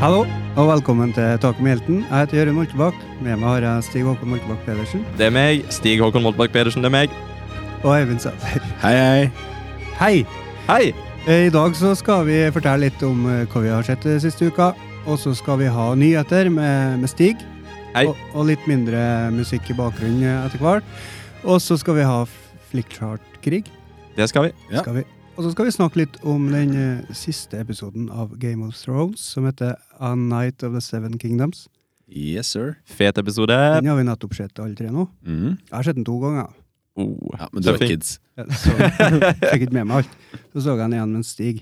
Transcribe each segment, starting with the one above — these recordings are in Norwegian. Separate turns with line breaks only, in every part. Hallo, og velkommen til Taket med helten. Jeg heter Jørund Moltebakk. Med meg har jeg Stig Håkon Moltebakk Pedersen
Det er meg. Stig Håkon Moltbakk Pedersen, det er meg.
og Eivind Sæther.
Hei, hei.
Hei!
Hei!
Eh, I dag så skal vi fortelle litt om eh, hva vi har sett den siste uka. Og så skal vi ha nyheter med, med Stig.
Hei.
Og, og litt mindre musikk i bakgrunnen eh, etter hvert. Og så skal vi ha flickchart-krig.
Det skal vi.
Ja.
Skal vi. Og så skal vi snakke litt om den eh, siste episoden av Game of Thrones, som heter A Night of the Seven Kingdoms.
Yes, sir.
Fet episode.
Den
Eh.
har vi nettopp sett, alle tre nå.
Mhm.
Jeg har sett den to ganger.
Oh.
Ja, men du har
Tøffing.
kids.
Ja, Så, fikk ikke med meg alt. Så så jeg den igjen med en Stig.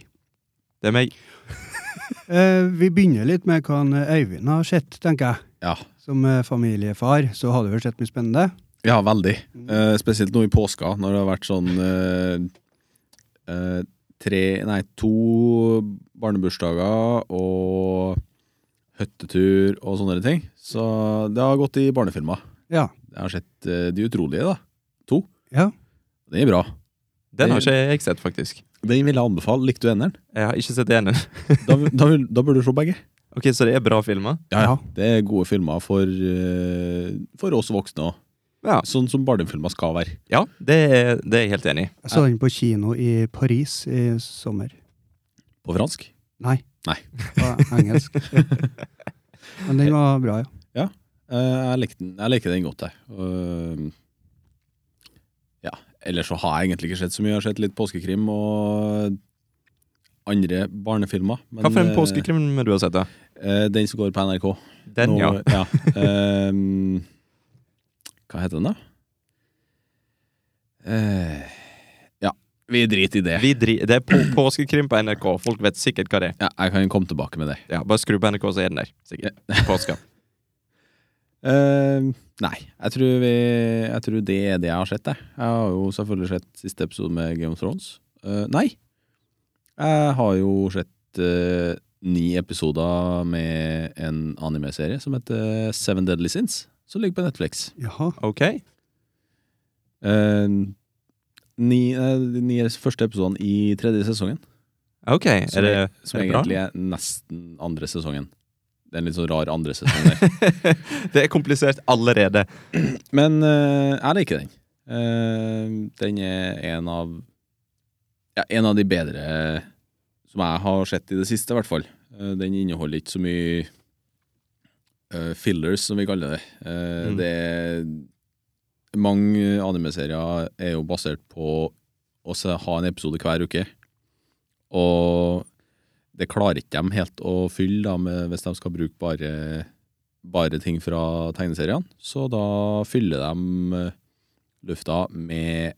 Det er meg.
Eh, vi begynner litt med hva han, eh, Øyvind har sett, tenker jeg.
Ja.
Som eh, familiefar så har du vel sett mye spennende.
Ja, veldig. Eh, spesielt nå i påska, når det har vært sånn eh, eh, tre Nei, to barnebursdager og hyttetur og sånne ting. Så det har gått i barnefilmer.
Ja.
Jeg har sett eh, De utrolige, da. To.
Ja.
Det er bra.
Den har ikke jeg sett, faktisk.
Den vil jeg anbefale. Likte du eneren?
Jeg har ikke sett enen.
Da, da, vil- da bør du se begge.
Ok, Så det er bra filmer?
Ja,
Ja.
ja. Det er gode filmer for, eh, for oss voksne òg.
Ja.
Sånn som barnefilmer skal være.
Ja, det er, det er jeg helt enig i.
Jeg så den på kino i Paris i sommer.
På fransk.
Nei.
Nei.
På engelsk. Men den var bra, ja.
Eh, jeg, likte den, jeg liker den godt, jeg. Og, ja, ellers så har jeg egentlig ikke sett så mye. Jeg har sett litt påskekrim og andre barnefilmer. Men,
Hva for en
eh,
påskekrim du har sett? da?
eh, den som går på NRK.
Den, ja.
Nå- ja. Ehm, hva heter den, da? Eh, ja, vi driter i det.
Vi dri det er på påskekrim på NRK. Folk vet sikkert hva det er.
Ja, jeg kan komme tilbake med det.
Ja, Bare skru på NRK, så er den der. Sikkert. Påska.
Eh, nei, jeg tror, vi, jeg tror det er det jeg har sett. Jeg, jeg har jo selvfølgelig sett siste episode med Game of Thrones. Eh, nei! Jeg har jo sett eh, ni episoder med en anime-serie som heter Seven Deadly Sins, som ligger på Netflix.
Jaha.
Ok?
Eh, ni, eh, de ni første episodene i tredje sesongen,
Ok,
Som
Er det,
som
er det bra?
egentlig er nesten andre sesongen. Det er en litt sånn rar andre sesong der.
det er komplisert allerede.
Men eh, jeg liker den. Eh, den er en av ja, En av de bedre som jeg har sett i det siste, i hvert fall. Eh, den inneholder ikke så mye eh, fillers, som vi kaller det. Eh,
Mm.
Det er Mange anime-serier er jo basert på å se- ha en episode hver uke. Og det klarer ikke de helt å fylle da, med, hvis de skal bruke bare bare ting fra tegneseriene, så da fyller de eh, lufta med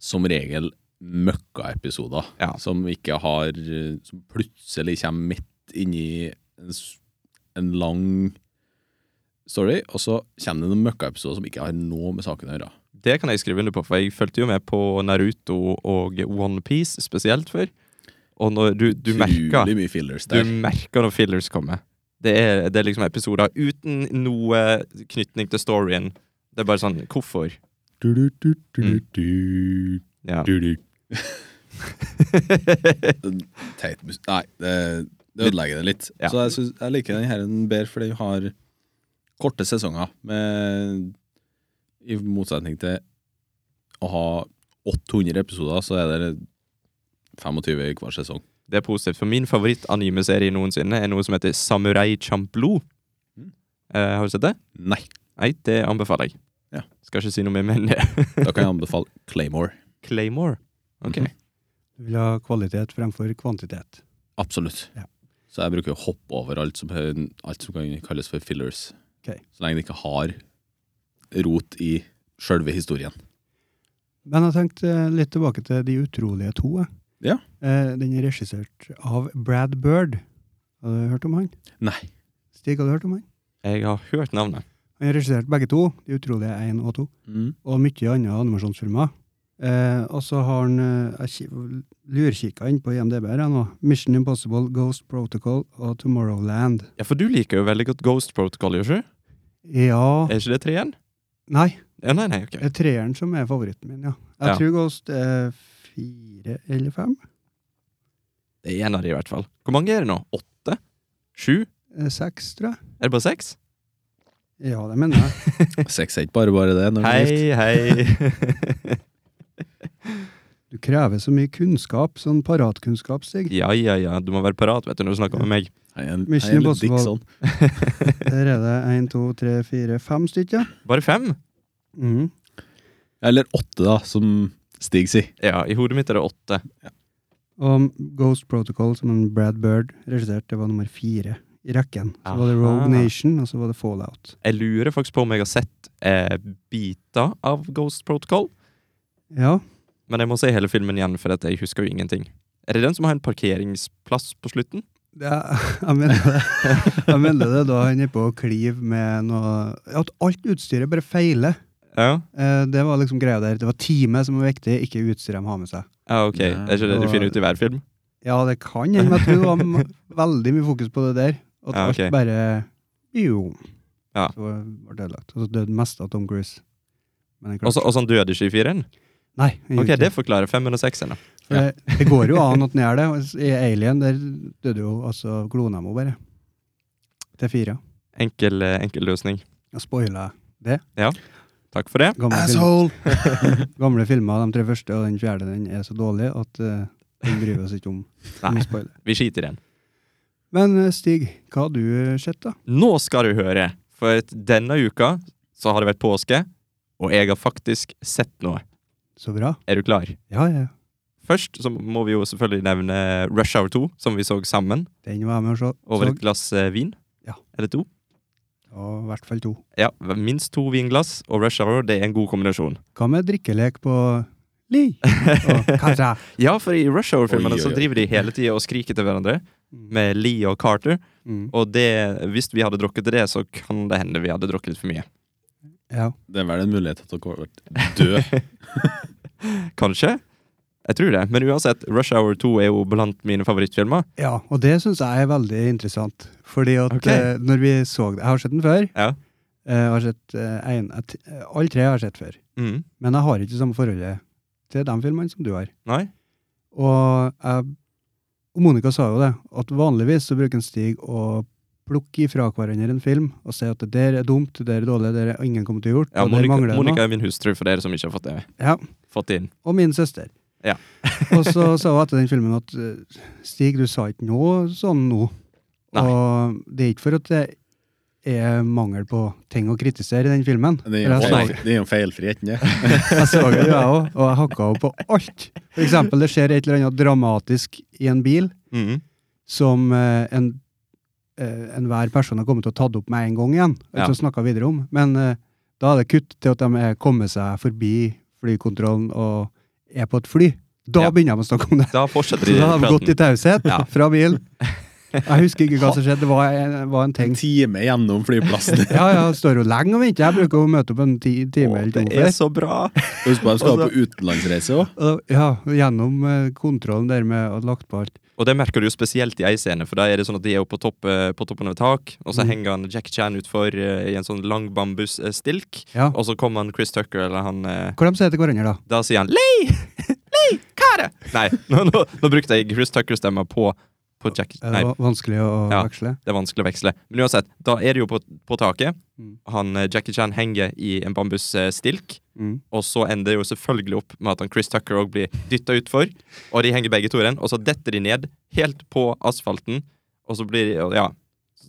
som regel møkkaepisoder
Ja.
som ikke har eh, Som plutselig kommer midt inni en, s- en lang story, og så kommer det noen møkkaepisoder som ikke har noe med saken å gjøre.
Det kan jeg skrive under på, for jeg fulgte jo med på Naruto og Onepiece spesielt før. Og når du, du merker
Utrolig mye fillers
Du
der.
merker når fillers kommer. Det er, det er liksom episoder uten noe knytning til storyen. Det er bare sånn Hvorfor? Ja.
Mm. teit mus- Nei, det, det ødelegger det litt.
Ja.
Så jeg, synes, jeg liker den her den bedre, fordi vi har korte sesonger, med, i motsetning til å ha 800 episoder, så er det 25 i hver sesong.
Det er positivt. For min favoritt-animeserie noensinne er noe som heter Samurai Champloo.
Mm.
Eh, har du sett det?
Nei,
Nei, det anbefaler jeg.
Ja.
Skal ikke si noe mer, men
da kan jeg anbefale Claymore.
Claymore. Ok.
Mhm.
Du vil ha kvalitet fremfor kvantitet.
Absolutt.
Ja.
Så jeg bruker å hoppe over alt som, alt som kan kalles for fillers.
Ok.
Så lenge det ikke har rot i sjølve historien.
Men jeg tenkte eh, litt tilbake til De utrolige to. Jeg.
Ja.
Eh, den er regissert av Brad Bird. Har du hørt om han?
Nei.
Stig, har du hørt om han?
Jeg har hørt navnet.
Han har regissert begge to, De utrolige 1 og 2,
Mm.
og mye andre animasjonsfilmer. Eh, og så har han eh, Jeg ki- lurkikket inn på IMDb her jeg nå. Mission Impossible, Ghost Protocol og Tomorrowland.
Ja, For du liker jo veldig godt Ghost Protocol, gjør du ikke?
Ja
Er ikke det treeren?
Nei,
Ja, nei, nei, ok.
det er treeren som er favoritten min, ja. Jeg
Ja.
tror Ghost er fire eller fem.
Det er en av de i hvert fall. Hvor mange er det nå? Åtte? Sju?
Eh, Seks, tror jeg.
Er det bare seks?
Ja, det mener jeg.
Sex er ikke bare bare det. Når det er gift.
Hei, hei.
Du krever så mye kunnskap, sånn paratkunnskap, Stig.
ja, ja, ja. Du må være parat vet du, når du snakker med meg.
Hei, en, hei,
Mission
en liten dick
Impossible.
sånn.
Der er det én, to, tre, fire, fem stykker.
Bare fem?
Mhm.
Eller åtte, da, som Stig sier.
Ja, i hodet mitt er det åtte.
Og Ghost Protocol, som en Brad Bird regisserte, det var nummer fire i rekken. Så var det
Aha.
Rogue Nation, og så var det Fallout.
Jeg lurer faktisk på om jeg har sett eh, biter av Ghost Protocol.
Ja,
Men jeg må se hele filmen igjen, for at jeg husker jo ingenting. Er det den som har en parkeringsplass på slutten?
det er, jeg mener det. Jeg mener det da han er på å klive med noe At alt utstyret bare feiler.
Ja,
Eh, Det var liksom greia der. Det var teamet som var viktig, ikke utstyret de har med seg.
ja ok.
Ja,
er ikke det du
og-
finner ut i hver film?
Ja, det kan hende, men jeg tror det var m- veldig mye fokus på det der. At
Ja, ok.
alt bare Jo.
Ja.
Så ble det ødelagt. Og så døde mest av Tom Cruise. Men han klarte
Og så og så han døde ikke i fireren?
seg. Nei, han
Mm.
Ok,
gjorde ikke
det forklarer femmeren og sekseren. da.
For det, det går jo an at den gjør det. og I Alien der døde jo altså klona mi bare. Til fire.
Enkel, eh, enkel løsning.
Jeg spoila
Takk for det.
gamle, film,
Asshole!
gamle filmer, de tre første, og den fjerde den er så dårlig at eh, den bryr vi oss ikke om. om
Nei.
spoiler.
Vi skiter i den.
Men eh, Stig, hva har du eh, sett, da?
Nå skal du høre, for at denne uka så har det vært påske, og jeg har faktisk sett noe.
Så bra.
Er du klar?
Ja, ja.
Først så må vi jo selvfølgelig nevne Rush Hour 2, som vi så sammen,
Den var jeg med og så.
over
så.
et glass eh, vin.
Ja.
Eller to.
Og i hvert fall to.
Ja, minst to vinglass og Rush Hour, det er en god kombinasjon.
Hva med drikkelek på Li? Og Katra?
Ja, for i Rush
Oi,
Hour-filmene
oi,
så
oi.
driver de hele tida og skriker til hverandre,
Mm.
med Lee og Carter,
Mm.
og det, hvis vi hadde drukket det, så kan det hende vi hadde drukket litt for mye.
Ja.
Det er vel en mulighet til at dere har vært døde.
Kanskje? Jeg tror det, men uansett, Rush Hour 2 er jo blant mine favorittfilmer.
Ja, og det syns jeg er veldig interessant. Fordi at
Ok.
eh, når vi så det Jeg har sett den før.
Ja.
Eh, Jeg har sett eh, en, et, eh, Alle tre har jeg sett før.
Mm.
Men jeg har ikke det samme forholdet til de filmene som du har.
Nei?
Og, jeg, og Monica sa jo det, at vanligvis så bruker en Stig å plukke ifra hverandre en film og si at det der er dumt, det der er dårlig, det der er ingen kommer til å gjøre,
Ja,
og der
Monica,
mangler det
Monica
noe.
er min hustru, for dere som ikke har fått det
Ja,
fått det inn.
og min søster.
Ja.
og så sa hun etter den filmen at eh, Stig, du sa ikke noe sånn nå.
Nei.
Og det er ikke for at det er mangel på ting å kritisere i den filmen.
Det
For jeg
er jo
Å, nei.
feil- det er jo en feilfri etne.
Jeg så det, jeg òg, og jeg hakka henne på alt. For eksempel, det skjer et eller annet dramatisk i en bil
Mm.
som eh, en eh, enhver person har kommet til å tatt opp med en gang igjen. og
Ja.
Ikke snakka videre om. Men eh, da er det kutt til at de er kommet seg forbi flykontrollen og er på et fly. Da
Ja.
begynner de å snakke om det.
Da fortsetter
Så
de
da har de gått i
praten.
taushet
Ja.
fra bilen. Jeg husker ikke hva som skjedde. Det var en, var en
En
ting.
time gjennom flyplassen.
Ja, ja, står jo lenge og venter. Jeg bruker å møte opp en ti, time
Å,
eller
det
to.
er
før.
så bra!
Husk på, de skal
Altså-
på utenlandsreise òg.
Og- Ja, gjennom eh, kontrollen der med å ha lagt på alt.
Og det merker du jo spesielt i ei scene, for da er det sånn at de er jo på, topp, eh, på toppen av et tak, og så
Mm.
henger han Jack Chan utfor eh, i en sånn lang bambusstilk,
Ja.
og så kommer han Chris Tucker, eller han eh,
Hva de sier til hverandre, da?
Da sier han Lei! Lei! Kare! Nei, nå, nå, nå brukte jeg Chris Tucker-stemma på, på Jack
Er
Nei,
det vanskelig å
Ja.
veksle?
det er vanskelig å veksle. Men uansett, da er det jo på, på taket.
Mm.
Han, eh, Jackie Chan henger i en bambusstilk.
Mm.
Og så ender det jo selvfølgelig opp med at han Chris Tucker òg blir dytta utfor. Og de henger begge to i den, og så detter de ned helt på asfalten. Og så blir de, og ja,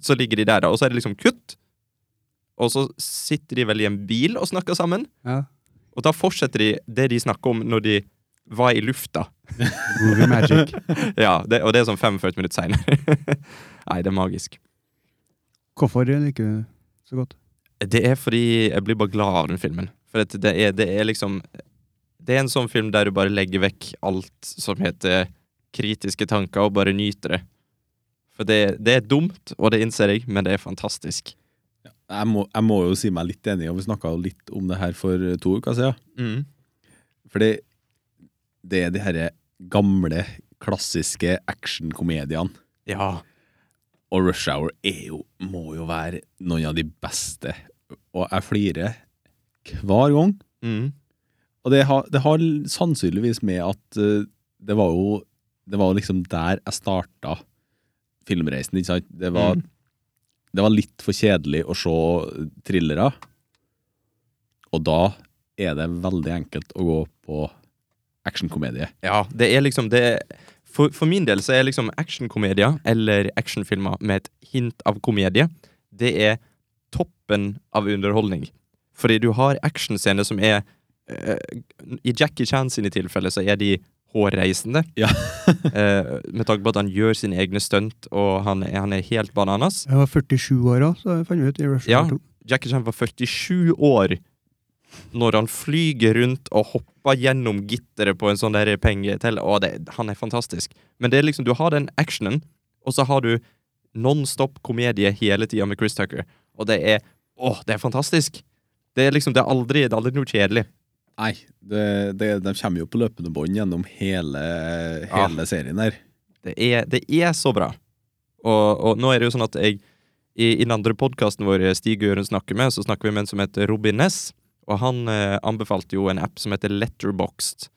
så ligger de der, da. Og så er det liksom kutt. Og så sitter de vel i en bil og snakker sammen.
Ja.
Og da fortsetter de det de snakker om når de var i lufta.
Movie magic.
Ja, det, Og det er sånn 45 minutter seinere. Nei, det er magisk.
Hvorfor liker du det så godt?
Det er fordi jeg blir bare glad av den filmen. For at det, er, det er liksom Det er en sånn film der du bare legger vekk alt som heter kritiske tanker, og bare nyter det. For det, det er dumt, og det innser jeg, men det er fantastisk.
Jeg, må- jeg må jo si meg litt enig, og vi snakka jo litt om det her for eh, to uker siden. Fordi det er de herre gamle, klassiske actionkomediene.
Ja.
Og Rush Hour er jo, må jo være noen av de beste. Og jeg flirer hver gang.
Mm.
Og det har, det har sannsynligvis med at eh, det var jo Det var jo liksom der jeg starta filmreisen, ikke sant? Det var, det var litt for kjedelig å se thrillere. Og da er det veldig enkelt å gå på actionkomedie.
Ja, det er liksom det er, for, for min del så er liksom actionkomedier eller actionfilmer med et hint av komedie, det er toppen av underholdning. Fordi du har actionscener som er eh, I Jackie Chan sine tilfeller så er de hårreisende.
Ja.
Eh, med tanke på at han gjør sine egne stunt, og han, er- han er helt bananas.
Jeg var 47 år òg, så jeg fant ut i Rush
Ja.
Hour 2.
Jackie Chan var 47 år når han flyger rundt og hopper gjennom gitteret på en sånn der pengetelle. Å, det, han er fantastisk. Men det er liksom, du har den actionen, og så har du non-stop komedie hele tida med Chris Tucker. Og det er Å, det er fantastisk! Det er liksom, det er aldri, det er aldri noe kjedelig.
Nei, det, det, de kommer jo på løpende bånd gjennom hele,
Ja.
hele serien der.
Det er, det er så bra. Og, og nå er det jo sånn at jeg I, i den andre podkasten vår eh, Stig Øren snakker med, så snakker vi med en som heter Robin Ness. Og han eh, anbefalte jo en app som heter Letterboxed.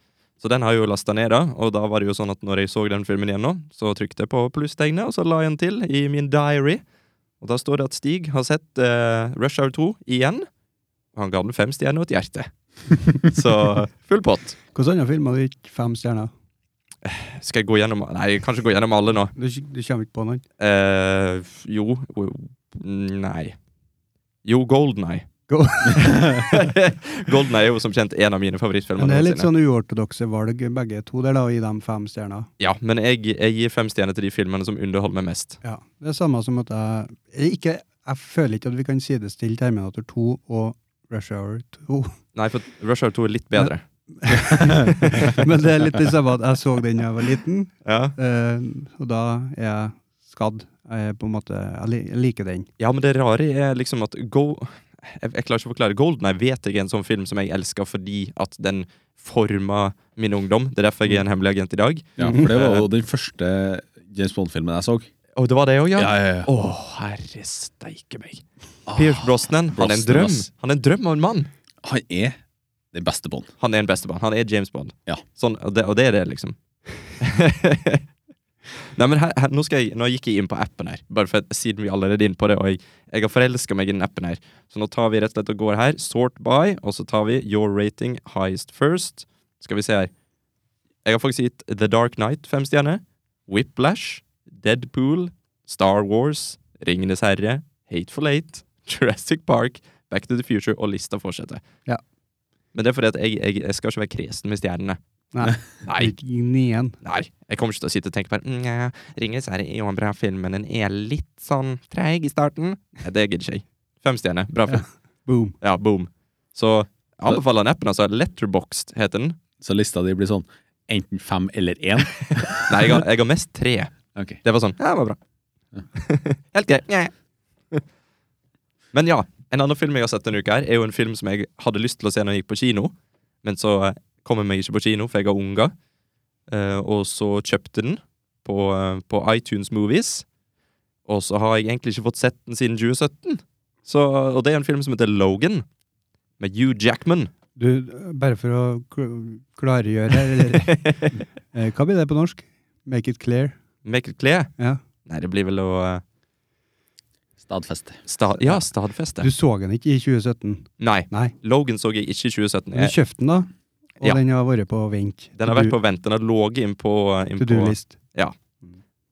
Så den har jeg jo lasta ned, da. Og da var det jo sånn at når jeg så den filmen igjen nå, så trykte jeg på plusstegnet, og så la jeg den til i min diary. Og da står det at Stig har sett eh, Rush Hour 2 igjen. Og han ga den fem stjerner og et hjerte. så full pott.
Hvilke andre filmer har du gitt fem stjerner?
Skal jeg gå gjennom Nei, jeg kan ikke gå gjennom alle nå.
Du, du kommer ikke på noen?
Eh, f- jo o- Nei. Jo, Golden Eye.
Go-
Golden Eye er jo som kjent en av mine favorittfilmer.
Men det er litt
noensinne.
sånn uortodokse valg, begge to der, da, å gi dem fem stjerner.
Ja, men jeg, jeg gir fem stjerner til de filmene som underholder meg mest.
Ja. Det er samme som at jeg eller ikke, Jeg føler ikke at vi kan sidestille Terminator 2 og Rush Hour 2.
Nei, for Rush Hour 2 er litt bedre.
Men det er litt det samme at jeg så den da jeg var liten,
Ja.
eh, og da er jeg skadd. Jeg er på en måte Jeg li- jeg liker den.
ja, men det rare er liksom at Go... Jeg, jeg klarer ikke å forklare. Golden Eye vet jeg er en sånn film som jeg elsker fordi at den forma min ungdom. Det er derfor jeg er en hemmelig agent i dag.
Ja, for det var jo den første James Bond-filmen jeg så.
Og det var det òg, ja?
ja,
Å, herre steike meg. Pierce Brosnan, han er en
Brosnan,
drøm.
ass.
Han er en drøm av en mann.
Han er den beste Bond.
Han er en bestemann. Han er James Bond.
Ja.
Sånn, og, det, og det er det, liksom. Nei, men her, her, nå, skal jeg, nå gikk jeg inn på appen her, bare for at, siden vi allerede er inne på det. Og jeg, jeg har forelska meg i den appen her. Så nå tar vi rett og slett og går her. Sort by, og så tar vi your rating highest first. Skal vi se her. Jeg har faktisk gitt The Dark Knight fem stjerner. Whiplash, Deadpool, Star Wars, Ringenes herre, Hateful Eight, Jurassic Park, Back to the Future, og lista fortsetter.
Ja.
Men det er fordi at jeg, jeg, jeg skal ikke være kresen med stjernene.
Nei.
Nei,
Litt gnien.
nei. Jeg kommer ikke til å sitte og tenke på «Mm, det. Nja, Ringenes herre er jo en bra film, men den er litt sånn treig i starten. Nei, det gidder ikke jeg. Fem stjerner. Bra film.
Boom.
Ja, boom. Så jeg anbefaler den appen, altså. Letterboxed heter den.
Så lista di blir sånn enten fem eller én.
Nei, jeg har, jeg har mest tre.
Ok.
Det var sånn, ja, det var bra. Helt greit. Nja. Men ja, en annen film jeg har sett denne uka, her er jo en film som jeg hadde lyst til å se når jeg gikk på kino, men så eh, kom jeg meg ikke på kino, for jeg har unger. Eh, og så kjøpte den på, eh, på iTunes Movies, og så har jeg egentlig ikke fått sett den siden 2017. Så, og det er en film som heter Logan, med Hugh Jackman.
Du, bare for å kl- klargjøre eller, eh, Hva blir det på norsk? Make it clear.
Make it clear.
Ja.
Nei, det blir vel å eh,
Stadfeste.
sta Ja, stadfeste.
Du så den ikke i 2017.
Nei.
Nei.
Logan så jeg ikke i 2017.
Men du
Jeg,
kjøpte den da, og
Ja.
den har vært på vent.
den har vært på vent. Den har ligget inn på eh, inn
To
på
do-list.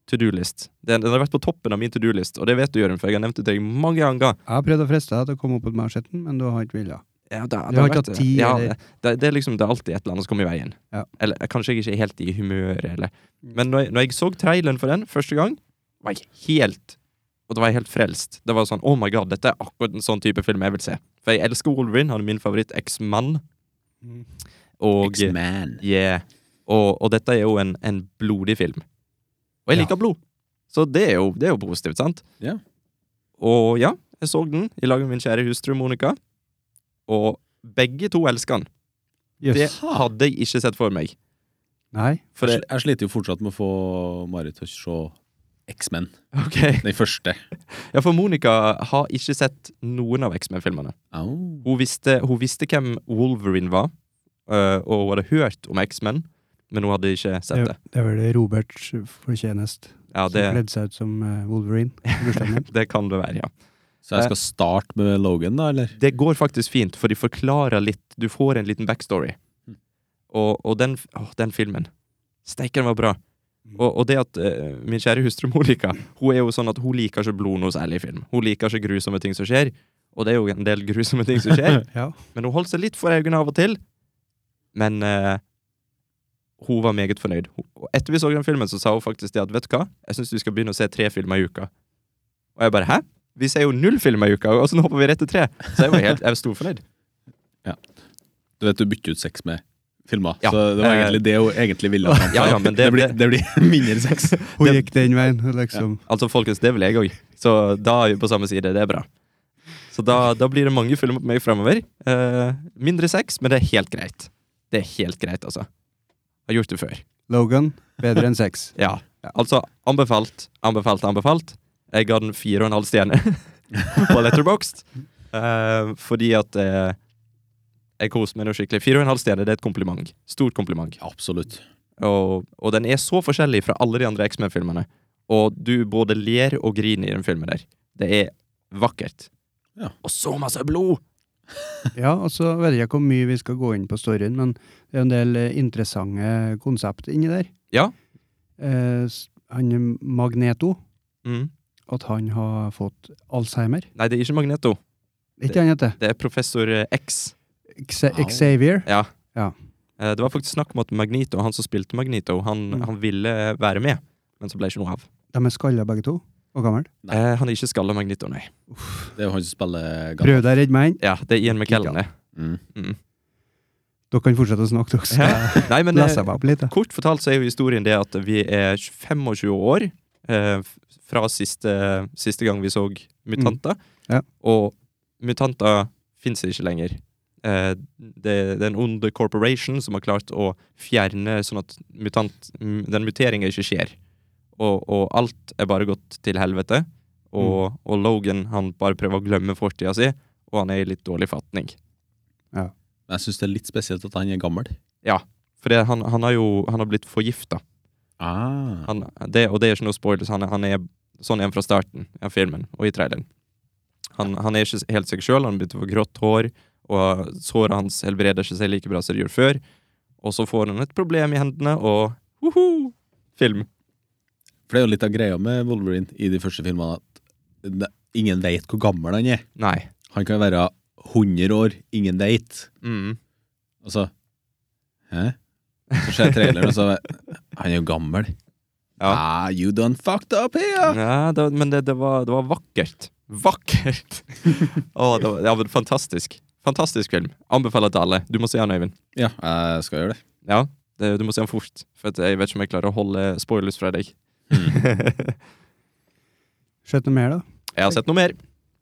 to do-list. Den, den har vært på toppen av min to do-list, og det vet du, Jørgen, for jeg har nevnt det til deg mange ganger.
Jeg har prøvd å friste deg til å komme opp på marsjetten, men du har ikke villet.
Ja, det,
Du
det
har
vært-
ikke hatt tid,
ja,
eller?
det, det er liksom det er alltid et eller annet som kommer i veien.
Ja.
Eller eh, kanskje jeg ikke er helt i humøret, eller Men når jeg, når jeg så traileren for den første gang, var jeg helt Og da var jeg helt frelst. Det var sånn Oh my god, dette er akkurat en sånn type film jeg vil se. For jeg elsker Wolverine, han er min favoritt-eksmann. Mm. Og
X-Man.
Yeah. Og, og dette er jo en, en blodig film. Og jeg
Ja.
liker blod, så det er jo, det er jo positivt, sant?
Ja.
Og ja, jeg så den i lag med min kjære hustru Monica, og begge to elsker den.
Jøss.
Det hadde jeg ikke sett for meg.
Nei.
For det,
Jeg sl- Jeg sliter jo fortsatt med å få Marit til å se X-Men.
ok.
Den første.
Ja, for Monica har ikke sett noen av X-Men-filmene.
Au.
Hun visste, hun visste hvem Wolverine var, øh, og hun hadde hørt om X-Men, men hun hadde ikke sett
Det,
det.
det er vel Roberts fortjenest.
Ja,
Som
det,
kledde seg ut som eh, Wolverine. i bursdagen min.
det kan det være, ja.
Så
Eh.
jeg skal starte med Logan, da, eller?
Det går faktisk fint, for de forklarer litt. Du får en liten backstory.
Mm.
Og, og den, åh, den filmen Steike, den var bra. Og, og det at eh, min kjære hustru Monica Hun er jo sånn at hun liker ikke blod noe særlig i film. Hun liker ikke grusomme ting som skjer, og det er jo en del grusomme ting som skjer.
Ja.
Men hun holdt seg litt for øynene av og til. Men eh, hun var meget fornøyd. Hun- Og etter vi så den filmen, så sa hun faktisk det at vet du hva, jeg syns vi skal begynne å se tre filmer i uka. Og jeg bare hæ? Vi ser jo null filmer i uka, og så nå hopper vi rett til tre. Så jeg var helt, jeg var storfornøyd.
Du vet du bytter ut sex med filmer.
Ja.
Så det var
Eh.
egentlig det hun egentlig ville. ha.
Ja, ja, men det-
blir, det blir mindre sex.
Hun
Det-
gikk den veien, liksom.
Altså, folkens, det vil jeg òg. Så da er vi på samme side. Det er bra. Så da, da blir det mange filmer på meg framover. mindre sex, men det er helt greit. Det er helt greit, altså. Har gjort det før.
Logan, bedre enn sex.
Ja. Altså, anbefalt, anbefalt, anbefalt. Jeg ga den fire og en halv stjerne på Letterboxd. Eh, fordi at eh, jeg koste meg noe skikkelig. Fire og en halv stjerne det er et kompliment. Stort kompliment.
Absolutt.
Og, og den er så forskjellig fra alle de andre X-Men-filmene. Og du både ler og griner i den filmen der. Det er vakkert.
Ja.
Og så masse blod!
Ja, og så vet jeg ikke hvor mye vi skal gå inn på storyen, men det er en del eh, interessante konsept inni der.
Ja.
Eh, s- han eh, Magneto,
Mm.
at han har fått Alzheimer.
Nei, det er ikke Magneto.
Er Ikke han heter
Det er Professor eh, X.
Xe-
Au.
Xavier.
Eh, Det var faktisk snakk om at Magneto, han som spilte Magneto, han,
Mm.
han ville være med, men så ble ikke noe av.
De er skalla begge to, og gammel.
Nei.
Eh, han er ikke skalla Magneto, nei.
Det er jo han som spiller Gandalf.
Prøv deg å redde meg inn.
Ja, det er Ian McKellen, det.
Mm.
Mm.
Dere kan fortsette å snakke, dere. skal
Ja. Nei, men eh,
Lese meg opp litt. da.
Kort fortalt så er jo historien det at vi er 25 år eh, f- fra siste, siste gang vi så mutanter.
Ja.
Og mutanter fins ikke lenger. Eh, det, det er en ond corporation som har klart å fjerne sånn at mutant, m- den muteringa ikke skjer. Og, og alt er bare gått til helvete. Og, og Logan han bare prøver å glemme fortida si, og han er i litt dårlig fatning.
Men Jeg syns det er litt spesielt at han er gammel.
For det, han, han har jo han har blitt forgifta.
Ah.
han, det, og det er ikke noe spoilers. Han, er- han er sånn igjen fra starten av filmen og i traileren. Han, han er ikke helt seg sjøl. Han begynte å få grått hår, og såret hans helbreder ikke seg like bra som det gjorde før. Og så får han et problem i hendene, og woho! Film.
For det er jo litt av greia med Wolverine i de første filmene, at det- ingen vet hvor gammel han er.
Nei.
Han kan være 100 år, ingen vet.
Mm.
Og så Hæ? Så ser jeg traileren, og så Han er jo gammel.
Ja.
Ah, you done fucked up here!
Ja, det, men det, det, var, det var vakkert. Vakkert! Å, det var, ja, men fantastisk. Fantastisk film. Anbefaler til alle. Du må se den, Øyvind.
Ja, jeg skal gjøre det.
Ja, det, du må se den fort, for at jeg vet ikke om jeg klarer å holde spoilers fra deg.
Skjøt noe mer, da?
Jeg har sett noe mer.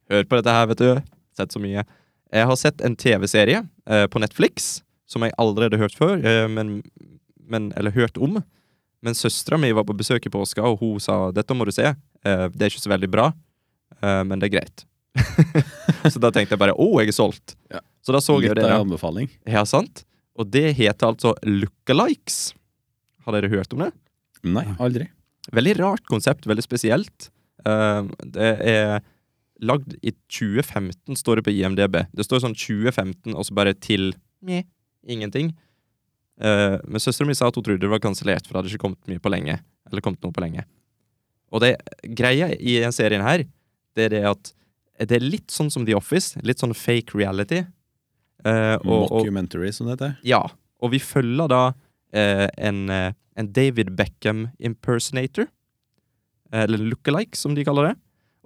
Hør på dette her, vet du. Sett så mye. Jeg har sett en TV-serie eh, på Netflix som jeg allerede hørt før, eh, men, men, eller hørt om. Men søstera mi var på besøk i påska, og hun sa 'dette må du se'. Eh, det er ikke så veldig bra, eh, men det er greit. så da tenkte jeg bare 'å, jeg er solgt'.
Ja.
Så da så jeg jo
Litt
det. da.
av anbefaling.
Ja, sant? Og det heter altså lookalikes. Har dere hørt om det?
Nei, aldri.
Veldig rart konsept, veldig spesielt. Eh, det er lagd i 2015, står det på IMDb. Det står sånn 2015, og så bare til meh, ingenting. Eh, men søstera mi sa at hun trodde det var kansellert, for det hadde ikke kommet mye på lenge. Eller kommet noe på lenge. Og det greia i den serien her, det er det at det er litt sånn som The Office. Litt sånn fake reality. Eh, og, og,
Mockumentary, som det heter.
ja, og vi følger da eh, en, eh, en David Beckham impersonator, eh, eller lookalike, som de kaller det.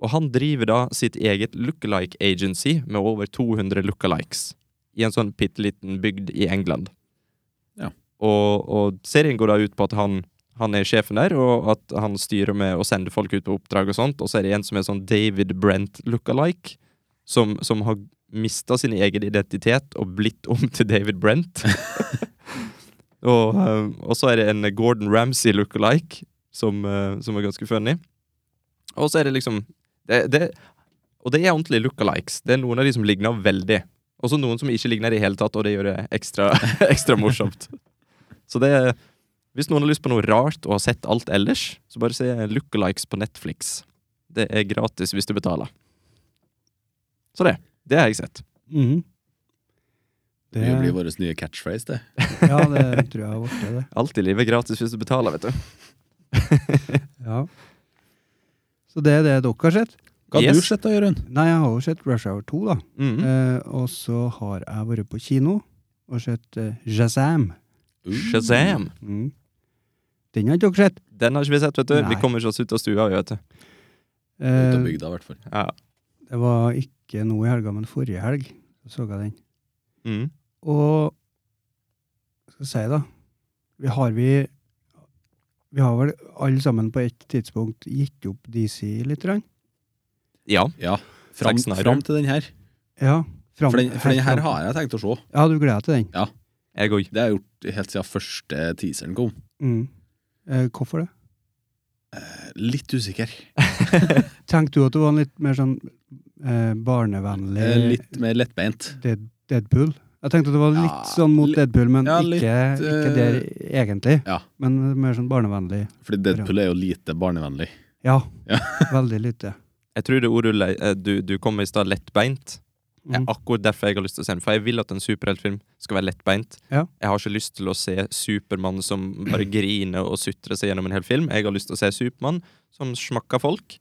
Og han driver da sitt eget lookalike agency med over 200 lookalikes i en sånn bitte liten bygd i England.
Ja.
Og, og serien går da ut på at han, han er sjefen der, og at han styrer med å sende folk ut på oppdrag og sånt, og så er det en som er sånn David Brent lookalike, som, som har mista sin egen identitet og blitt om til David Brent. og, eh, og så er det en Gordon Ramsay look-alike som, eh, som er ganske funny. Og så er det liksom det, det, Og det er ordentlig look-alikes. Det er noen av de som ligner veldig. Og så noen som ikke ligner i det hele tatt, og det gjør det ekstra, ekstra morsomt. Så det Hvis noen har lyst på noe rart og har sett alt ellers, så bare se lookalikes på Netflix. Det er gratis hvis du betaler. Så det. Det har jeg sett.
Mhm. Det,
Det blir vår nye catchphrase, det.
ja, det tror jeg har blitt det.
Alt i livet er gratis hvis du betaler, vet du.
Ja. Så det er det dere har sett?
Hva har
Yes.
du sett da, Jørund?
Nei, jeg har jo sett Rush Hour 2, da.
Mm.
Mhm.
Eh, og så har jeg vært på kino og sett eh, Shazam. Eh,
Shazam!
Mm. Den har ikke dere sett.
Den har ikke vi sett, vet du. Vi
Nei.
kommer ikke oss ut av stua, vet du.
Ut av
Eh,
bygda, i hvert fall.
Ja.
det var ikke nå i helga, men forrige helg så jeg den.
Mhm.
Og hva skal jeg si, da Vi har vi Vi har vel alle sammen på et tidspunkt gitt opp DC litt? Rann.
ja.
Ja. Fram,
Zack Snyder.
fram til den her.
Ja. Fram,
For den, for den her
fram-
har jeg tenkt å se.
Ja, du gleder deg til den?
Jeg òg.
Det har jeg gjort helt siden første teaseren kom.
Mm. Eh, hvorfor det?
Litt usikker.
Tenkte du at det var en litt mer sånn eh, barnevennlig
Eh, Litt mer lettbeint.
Dead, Deadpool? Jeg tenkte at det var litt
Ja,
sånn mot
litt-
Deadpool, men
ja,
ikke,
litt, eh,
ikke der egentlig.
ja.
Men mer sånn barnevennlig.
Fordi Deadpool er jo lite barnevennlig.
Ja.
Ja.
veldig lite.
Jeg tror det ordet du, le- eh, du, du kom med i stad, lettbeint, er
Mm.
akkurat derfor jeg har lyst til å se den. For jeg vil at en superheltfilm skal være lettbeint.
Ja.
Jeg har ikke lyst til å se Supermann som bare griner og sutrer seg gjennom en hel film. Jeg har lyst til å se Supermann som smakker folk.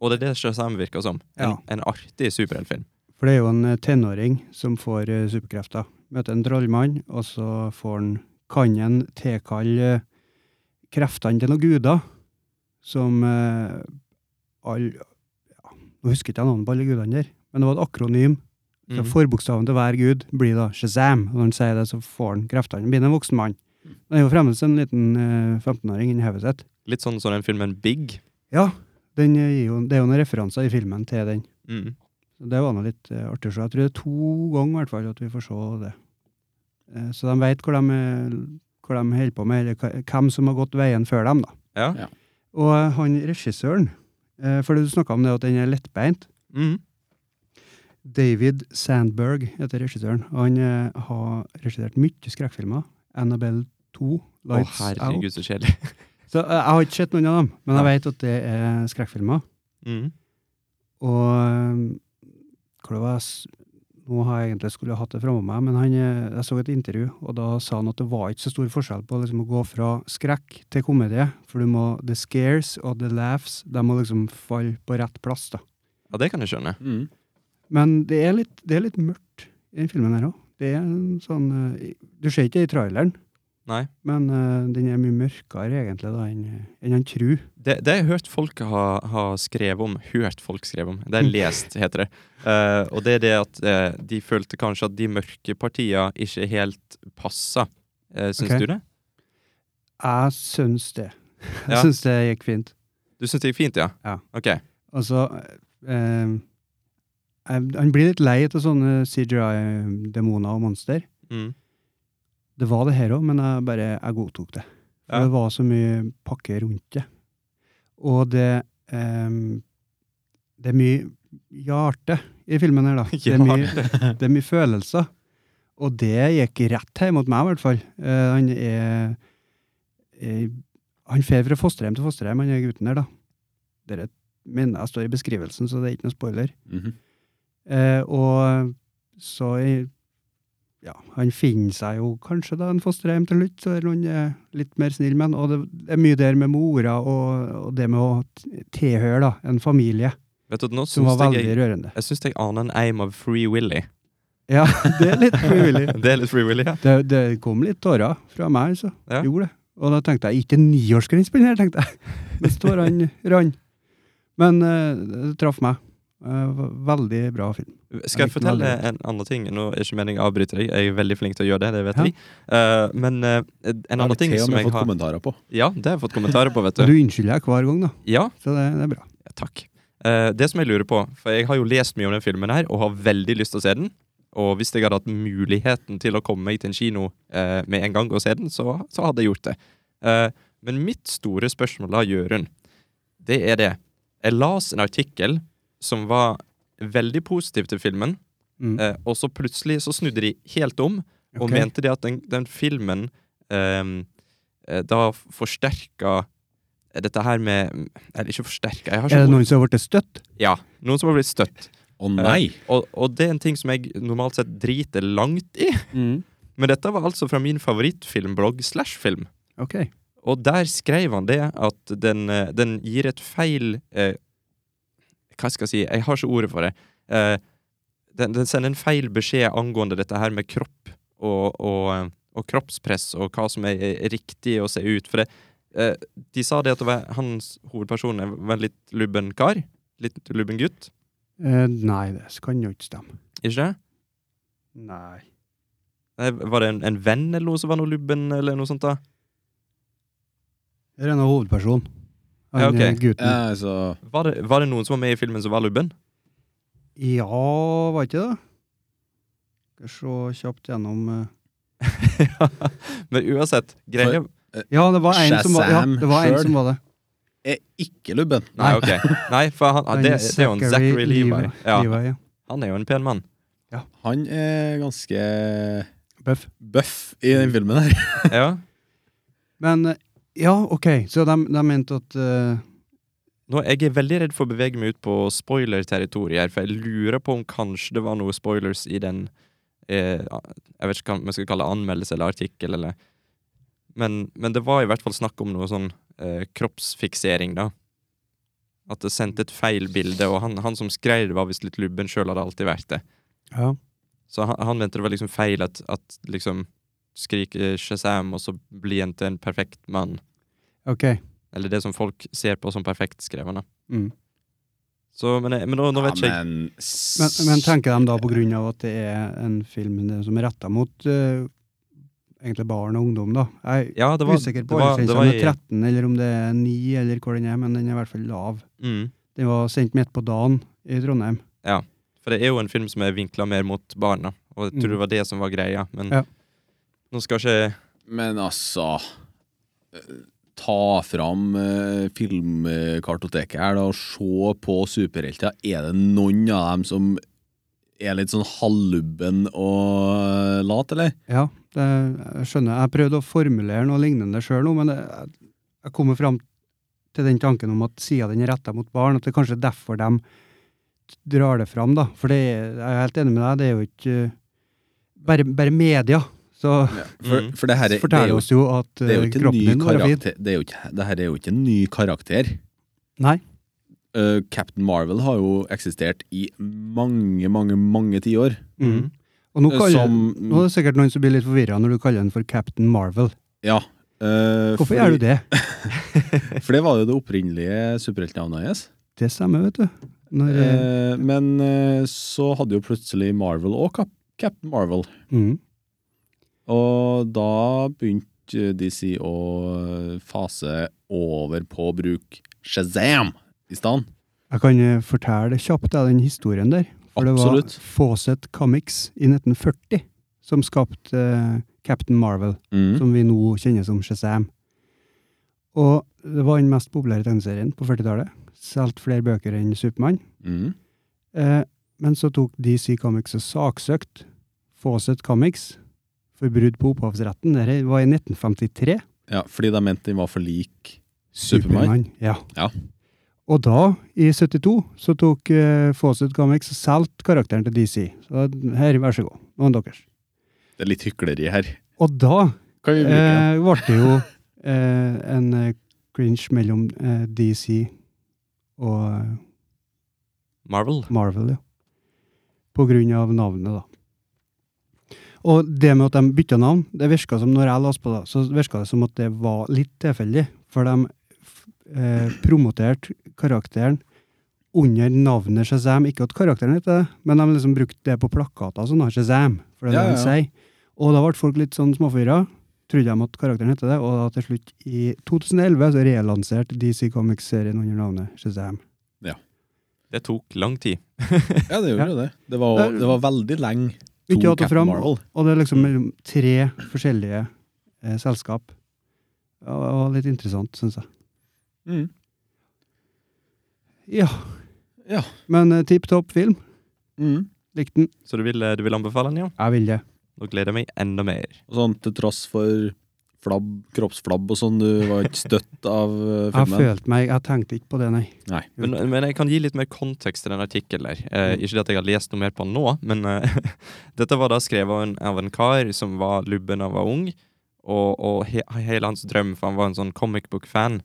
Og det er det Shazam virker som. En,
Ja.
en artig superheltfilm.
For det er jo en eh, tenåring som får eh, superkrefter. Møter en trollmann, og så får han kan han tilkalle eh, kreftene til noen guder som eh, all, ja, Nå husker ikke jeg navnet på alle gudene der, men det var et akronym. Så
Mhm.
Forbokstaven til hver gud blir da Shazam. Og når han sier det, så får han kreftene. Han blir en voksen mann. Han er jo fremdeles en liten eh, 15-åring inni hodet sitt.
Litt sånn som den filmen Big.
Ja, den eh, gir jo, det er jo noen referanser i filmen til den.
Mm.
Så Det var nå litt eh, artig å se. Jeg tror det er to ganger i hvert fall at vi får se det. Eh, så de veit hvor, de, eh, hvor de holder på med, eller hva- hvem som har gått veien før dem. da.
Ja.
Ja.
Og eh, han regissøren, eh, for du snakka om det at den er lettbeint,
Mm.
David Sandberg heter regissøren. Han eh, har regissert mye skrekkfilmer. Annabelle 2,
Å,
Lights Out.
herregud, så kjedelig.
Så eh, jeg har ikke sett noen av dem, men jeg vet at det er skrekkfilmer.
Mm.
Og eh, hva det var jeg s- Nå har jeg egentlig skulle hatt det framme meg, men han, eh, jeg så et intervju, og da sa han at det var ikke så stor forskjell på liksom, å gå fra skrekk til komedie, for du må the scares og the laughs, de må liksom falle på rett plass, da.
Ja, det kan jeg skjønne.
Mm.
Men det er litt, det er litt mørkt i den filmen her òg. Det er en sånn eh, Du ser ikke det i traileren,
Nei.
men eh, den er mye mørkere egentlig da enn enn han tror.
Det, det har jeg hørt folk ha, ha skrevet om. Hørt folk skrevet om. Det er lest, heter det. Eh, og det er det at eh, de følte kanskje at de mørke partiene ikke helt passa. Uh, syns
Ok.
du det?
Jeg syns det. Jeg
Ja.
syns det gikk fint.
Du syns det gikk fint, ja?
Ja.
Ok.
Altså eh, jeg- Han blir litt lei av sånne CGI-demoner og monster.
Mm.
Det var det her òg, men jeg bare jeg godtok det. For
Ja.
det var så mye pakke rundt det. Og det ehm, Det er mye hjerte i filmen her, da. Det er mye, det er mye følelser. Og det gikk rett hjem mot meg, i hvert fall. Eh, han er, er Han fer fra fosterhjem til fosterhjem, han er gutten her, da. Dere minner jeg står i beskrivelsen, så det er ikke noe spoiler.
Mhm.
Eh, og så i- ja, han finner seg jo kanskje da en fosterhjem til slutt, så er noen eh, litt mer snill med han. Og det er mye der med mora og, og det med å t- tilhøre da, en familie,
Vet du, nå
som
syns
var veldig
jeg
rørende.
jeg syns jeg aner en aim av Free Willy.
Ja, det er litt frivillig.
Det er litt Free Willy, ja.
Det, det kom litt tårer fra meg, altså.
Ja.
Gjorde det. Og da tenkte jeg, ikke niårsgrense på den her, tenkte jeg. Mens tårene rann. Men eh, det traff meg. Eh, v- veldig bra film.
Skal jeg
Jeg likte
fortelle
veldig
en annen ting? Nå er ikke meningen å avbryte deg, jeg er veldig flink til å gjøre det. det vet
Ja.
jeg. Eh, men eh, en annen ting
Jeg har
som jeg
til og med fått
har
kommentarer på.
Ja, det har jeg fått kommentarer på, vet
Og
du.
du unnskylder deg hver gang, da.
Ja,
Så det, det er bra.
Ja, Takk. Eh, det som jeg lurer på, for jeg har jo lest mye om den filmen her, og har veldig lyst til å se den. Og hvis jeg hadde hatt muligheten til å komme meg til en kino eh, med en gang og se den, så, så hadde jeg gjort det. Eh, men mitt store spørsmål da, Jørund, det er det. Jeg las en artikkel som var veldig positiv til filmen,
Mm.
eh, og så plutselig så snudde de helt om, og
Ok.
mente det at den, den filmen ehm, eh, det har forsterka dette her med Eller ikke forsterka, jeg
Er
har ikke
det
noen...
noen som har blitt støtt?
Ja, noen som har blitt støtt.
Å nei!
Og, og det er en ting som jeg normalt sett driter langt i, men dette var altså fra min favorittfilmblogg slash film.
Ok.
Og der skrev han det at den, eh, den gir et feil eh, Hva skal jeg si? Jeg har ikke ordet for det. Eh, den, den sender en feil beskjed angående dette her med kropp og, og, eh, og kroppspress og hva som er er riktig å se ut. For det, eh, de sa det at det var, hans hovedperson er- var en litt lubben kar. Litt lubben gutt.
Eh, nei, det kan jo ikke stemme.
Ikke det?
Nei.
Nei, Var det en, en venn eller noe som var noe lubben, eller noe sånt? da?
Det er en hovedperson. Han
Ja, ok.
eh, gutten.
Eh, så
Var det, var det noen som var med i filmen som var lubben?
Ja, var ikke det? Skal se kjapt gjennom eh.
Men uansett, greia
Ja, det var en som var, ja,
Shazam
det. Var en
selv.
som var det.
er ikke lubben.
Nei, ok. Nei, for han, det, det er jo en Zachary Levi. Ja,
Levi, ja.
han er jo en pen mann.
Han er ganske
Bøff.
bøff i den filmen her.
Ja.
Men eh, ja, ok, så de, de mente at eh,
Nå, jeg er veldig redd for å bevege meg ut på spoiler-territoriet her, for jeg lurer på om kanskje det var noe spoilers i den eh, Jeg vet ikke hva man skal kalle det, anmeldelse eller artikkel, eller men, men det var i hvert fall snakk om noe sånn eh, kroppsfiksering, da. At det sendte et feil bilde, og han, han som skrev det, var visst litt lubben sjøl, hadde alltid vært det.
ja.
Så han, han mente det var liksom feil at, at liksom skrike Shazam, og så bli en til en perfekt mann.
Ok.
Eller det som folk ser på som perfekt, skrev han da.
Mm.
Så, men, jeg- men nå, nå vet ikke jeg
men,
Men, men tenker de da på grunn av at det er en film det- som er retta mot eh, egentlig barn og ungdom, da? Jeg
ja, det
er
var,
usikker
det
på
var, det
aldersgrensa,
var
om det er
i,
13 eller om det er 9 eller hvor den er, men den er i hvert fall lav.
mm,
Den var sendt midt på dagen i Trondheim.
For det er jo en film som er vinkla mer mot barna, og jeg tror
Mm.
det var det som var greia. Men
Ja.
nå skal ikke
Men altså eh, Ta fram eh, filmkartoteket her da, og se på superhelter. Er det noen av dem som er litt sånn halvlubben og eh, lat, eller?
Ja, det, jeg skjønner. Jeg prøvde å formulere noe lignende sjøl nå, men det, jeg- jeg kommer fram til den tanken om at sida den er retta mot barn, at det er kanskje derfor de drar det fram, da. For det, er- jeg er helt enig med deg, det er jo ikke eh, bare, bare media. Så
For,
Mm.
for det her er, det er
forteller
jo,
oss jo at
det er jo
eh,
ikke en
kroppen
ny
din var fin.
karakter. Det er jo ikke, det her er jo ikke en ny karakter.
Nei.
Eh, Captain Marvel har jo eksistert i mange, mange, mange tiår.
Mm. Og nå,
Eh,
kaller,
som-
nå er det sikkert noen som blir litt forvirra når du kaller den for Captain Marvel.
Ja. eh,
Hvorfor
fordi-
gjør du det?
For det var jo det opprinnelige superheltnavnet hennes.
Det stemmer, vet du. Når, eh,
Eh, men eh, så hadde jo plutselig Marvel og Cap Captain Marvel.
mm.
Og da begynte eh, DC å eh, fase over på å bruke Shazam i stedet.
Jeg kan eh, fortelle kjapt jeg, den historien der. For
Absolutt.
det var Fawcett Comics i 1940 som skapte eh, Captain Marvel,
Mm.
som vi nå kjenner som Shazam. Og det var den mest populære tegneserien på 40-tallet. Solgte flere bøker enn Supermann.
Mm.
Eh, men så tok DC Comics og saksøkt Fawcett Comics for brudd på opphavsretten. Det var i 1953.
Ja, fordi de mente den var for lik. Superman.
Ja.
Ja.
Og da, i 72, så tok eh, Fawcett Comics og solgte karakteren til DC. Så da- her, vær så god. Noen deres.
Det er litt hykleri her.
Og da
Kan vi bruke den?
eh, ble det jo eh, en eh, cringe mellom eh, DC og eh,
Marvel.
Marvel, ja. På grunn av navnet, da. Og det med at de bytta navn, det virka som når jeg leste på det, så virka det som at det var litt tilfeldig. For de f- eh, promoterte karakteren under navnet Shazam. Ikke at karakteren heter det, men de liksom brukte det på plakater og sånn, da, Shazam. For det er
Ja,
det de sier. Og da ble folk litt sånn småforvirra. Trodde de at karakteren hette det, og da til slutt, i 2011, så relanserte DC Comics-serien under navnet Shazam.
Det tok lang tid.
Ja, det gjorde det. Det var, det var veldig lenge. to
Ikke hatt det
Captain
fram,
Marvel.
Og det er liksom mellom tre forskjellige eh, selskap. Ja, Det var litt interessant, syns jeg.
Mm.
Ja.
Ja.
Men eh, tipp topp film.
Mm.
Likte den.
Så du vil, du vil eh, anbefale den, ja?
Jeg vil det.
Nå gleder jeg meg enda mer.
Og sånn til tross for flabb, kroppsflabb og sånn. Du var ikke støtt av eh,
Jeg
filmen.
følte meg Jeg tenkte ikke på det, nei.
Nei.
Men, men jeg kan gi litt mer kontekst til den artikkelen der. Eh, ikke det at jeg har lest noe mer på den nå, men eh, dette var da skrevet av en, av en kar som var lubben da han var ung, og, og he, hele hans drøm, for han var en sånn comic book-fan,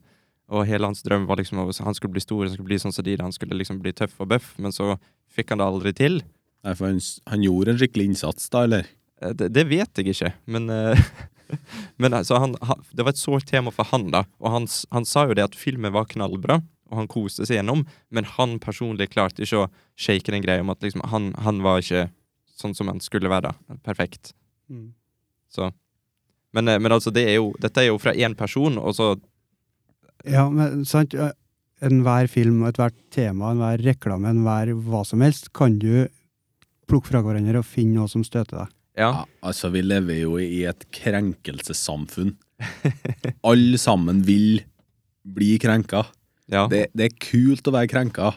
og hele hans drøm var liksom at han skulle bli stor, han skulle bli sånn som de, han skulle liksom bli tøff og bøff, men så fikk han det aldri til.
Nei, for han, s- han gjorde en skikkelig innsats da, eller?
Eh, Det, det vet jeg ikke, men, eh, men altså, han, han, det var et sårt tema for han, da. Og han, s- han sa jo det at filmen var knallbra, og han koste seg gjennom, men han personlig klarte ikke å shake den greia om at liksom, han, han var ikke sånn som han skulle være. da. Perfekt. Så. Men, eh, men altså, det er jo, dette er jo fra én person, og så
Ja, men sant eh, Enhver film, ethvert tema, enhver reklame, enhver hva som helst, kan du plukke fra hverandre og finne noe som støter deg.
Ja.
Ja, altså, vi lever jo i et krenkelsessamfunn. Alle sammen vil bli krenka.
ja.
Det, det er kult å være krenka.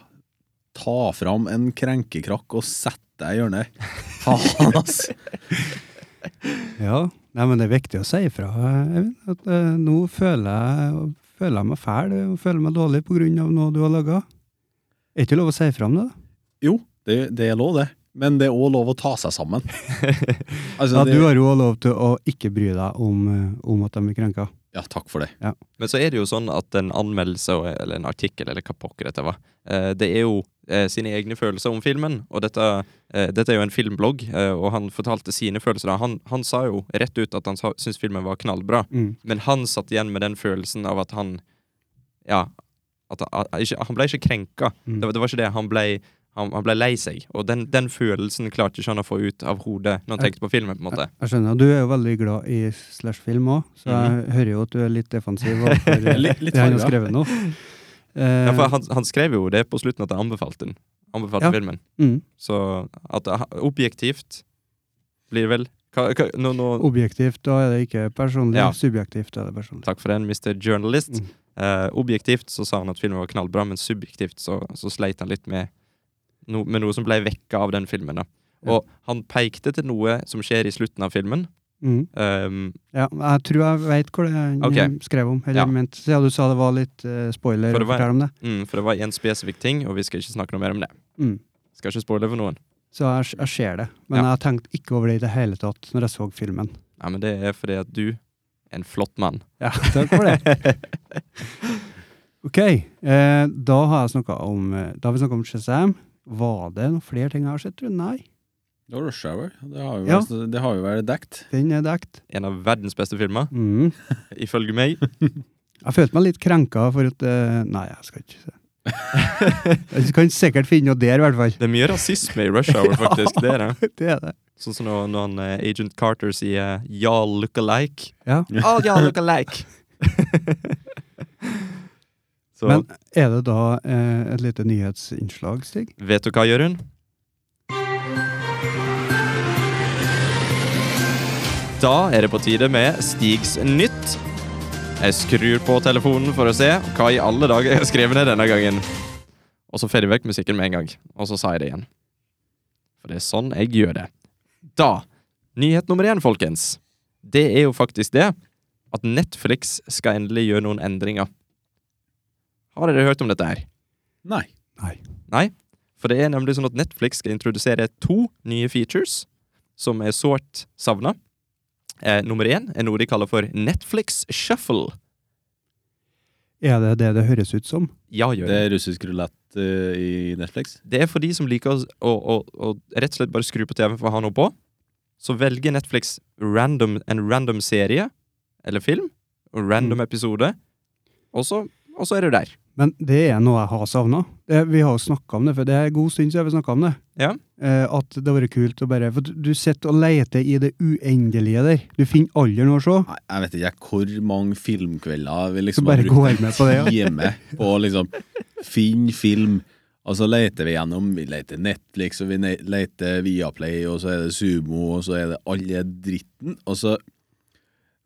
Ta fram en krenkekrakk og sett deg i hjørnet. Faen, ass!
Ja. Nei, men det er viktig å si ifra, Eivind. At eh, nå føler jeg, føler jeg meg fæl og føler meg dårlig på grunn av noe du har laga. Er ikke lov å si ifra om det? da?
Jo, det, det er lov, det. Men det er òg lov å ta seg sammen. Altså,
Ja,
det,
du har jo også lov til å ikke bry deg om, eh, om at de blir krenka.
ja, takk for det.
Men så er det jo sånn at en anmeldelse, og- eller en artikkel, eller hva pokker dette var, eh, det er jo eh, sine egne følelser om filmen, og dette, eh, dette er jo en filmblogg, eh, og han fortalte sine følelser. da. Han, han sa jo rett ut at han sa- syntes filmen var knallbra,
Mm.
men han satt igjen med den følelsen av at han Ja, at, at, at ikke, han ble ikke krenka.
Mm.
Det, var- det var ikke det. Han ble, han, han ble lei seg, og den, den følelsen klarte ikke han å få ut av hodet når han tenkte på filmen, på en måte.
Jeg skjønner. Du er jo veldig glad i slash-film òg, så jeg
Mhm.
hører jo at du er litt defensiv overfor eh,
Litt- litt
det han har
farga.
skrevet nå.
Ja,
Eh,
for han, han skrev jo det på slutten at han anbefalte den. Anbefalte
Ja.
filmen.
mm,
Så at det ha- objektivt blir det vel hva, hva, nå, nå,
objektivt, da er det ikke personlig.
Ja.
Subjektivt er det personlig.
Takk for den, Mr. Journalist.
Mm.
Eh, objektivt så sa han at filmen var knallbra, men subjektivt så, så sleit han litt med, no, med noe som ble vekka av den filmen. da.
Ja.
Og han pekte til noe som skjer i slutten av filmen.
Mm.
Um,
Ja, jeg tror jeg veit hvor det han
Ok.
eh, skrev om. Eller
Ja.
ment. Siden du sa det var litt eh, spoiler
For
å
det var-
fortelle om det.
mm, for det var én spesifikk ting, og vi skal ikke snakke noe mer om det.
Mm.
Skal ikke spoile for noen.
Så jeg, jeg ser det. Men
Ja.
jeg tenkte ikke over det i det hele tatt når jeg så filmen.
Ja, men det er fordi at du er en flott mann.
Ja, takk for det. Ok, eh, da har jeg snakket om eh, Da har vi snakka om Shazam. Var det noen flere ting jeg har sett? tror jeg? Nei,
Det var Rush Hour. Det har
Ja.
vi vel- det har vi vel dekt.
den er dekt.
En av verdens beste filmer,
Mm.
ifølge meg.
Jeg følte meg litt krenka for at eh, Nei, jeg skal ikke se. Jeg kan sikkert finne noe der, i hvert fall.
Det er mye rasisme i Rush Hour, faktisk. det er det.
Det er det.
Sånn som når, når han, eh, Agent Carter sier eh, 'y'all look alike'.
Ja.
All y'all look alike! Så
Men er det da eh, et lite nyhetsinnslag, Stig?
vet du hva, Jørund? Da er det på tide med Stigs nytt. Jeg skrur på telefonen for å se hva i alle dager jeg har skrevet ned denne gangen. Og så ferdig vekk musikken med en gang. Og så sa jeg det igjen. For det er sånn jeg gjør det. Da, nyhet nummer én, folkens. Det er jo faktisk det at Netflix skal endelig gjøre noen endringer. Har dere hørt om dette her?
Nei.
Nei. For det er nemlig sånn at Netflix skal introdusere to nye features som er sårt savna. Eh, nummer én er noe de kaller for Netflix Shuffle.
Er det det det høres ut som?
Ja, gjør
Det er russisk rulett eh, i Netflix.
Det er for de som liker å, å, å, å rett og slett bare skru på TV-en for å ha noe på. Så velger Netflix random, en random serie eller film, og random episode, og så, og så er du der.
Men det er noe jeg har savna. Vi har jo snakka om det, for det er en god stund siden vi snakka om det.
Ja.
Eh, at det har vært kult å bare For du, du sitter og leter i det uendelige der. Du finner aldri noe å se.
Nei, jeg vet ikke jeg, hvor mange filmkvelder vi
Så
liksom
bare går med på det. Ja.
time på å liksom finne film. Og så leter vi gjennom. Vi leter Netflix, og vi ne- leter Viaplay, og så er det Sumo, og så er det alle dritten. Og så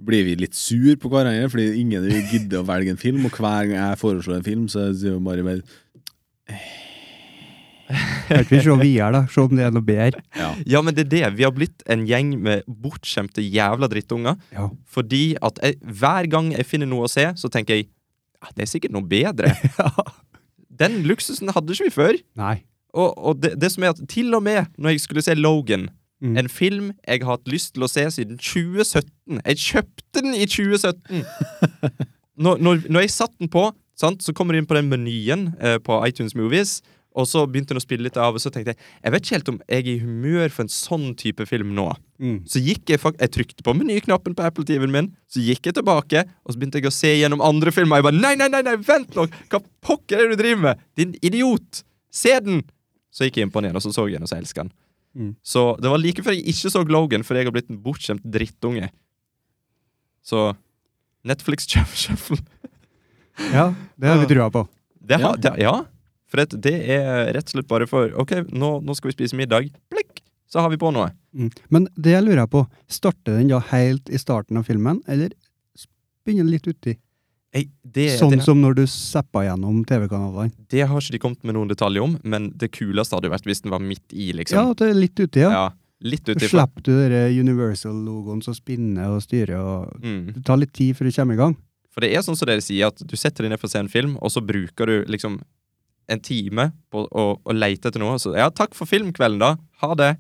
blir vi litt sur på hverandre, fordi ingen vil gidde å velge en film. Og hver gang jeg foreslår en film, så sier jo Mari mer
Kan ikke vi se videre, da? Se om det er noe bedre.
Ja, men det er det. Vi har blitt en gjeng med bortskjemte jævla drittunger.
Ja.
Fordi at jeg, hver gang jeg finner noe å se, så tenker jeg ja, det er sikkert noe bedre. Den luksusen hadde ikke vi før.
Nei.
Og, og det, det som er at til og med når jeg skulle se Logan,
Mm.
en film jeg har hatt lyst til å se siden 2017 Jeg kjøpte den i 2017! når, når, når jeg satte den på, sant, så kommer du inn på den menyen eh, på iTunes Movies, og så begynte den å spille litt av, og så tenkte jeg jeg vet ikke helt om jeg er i humør for en sånn type film nå.
Mm.
Så gikk jeg fak- Jeg trykte på menyknappen på Apple TV-en min, så gikk jeg tilbake, og så begynte jeg å se gjennom andre filmer. Jeg bare Nei, nei, nei, nei vent nå! Hva pokker er det du driver med? Din idiot! Se den! Så gikk jeg inn på den igjen, og så så jeg den, og så elska den.
Mm.
Så det var like før jeg ikke så Logan, for jeg har blitt en bortskjemt drittunge. Så Netflix Shuffle
Ja, det har vi trua på.
det har,
Ja.
Det, ja. For det, det er rett og slett bare for OK, nå, nå skal vi spise middag. Plikk! Så har vi på noe.
Mm. Men det jeg lurer på, starter den da helt i starten av filmen, eller s- begynner den litt uti?
Jeg, det,
Sånn
det,
som når du zappa gjennom TV-kanalene.
det har ikke de kommet med noen detaljer om, men det kuleste hadde jo vært hvis den var midt i,
Ja,
liksom.
at det er litt uti, ja.
litt
Så
uti.
slipper du den Universal-logoen som spinner og styrer og
Mm.
Det tar litt tid før du kommer i gang.
For det er sånn som dere sier, at du setter deg ned for å se en film, og så bruker du liksom en time på å, å leite etter noe. og Så ja, takk for filmkvelden, da. Ha det.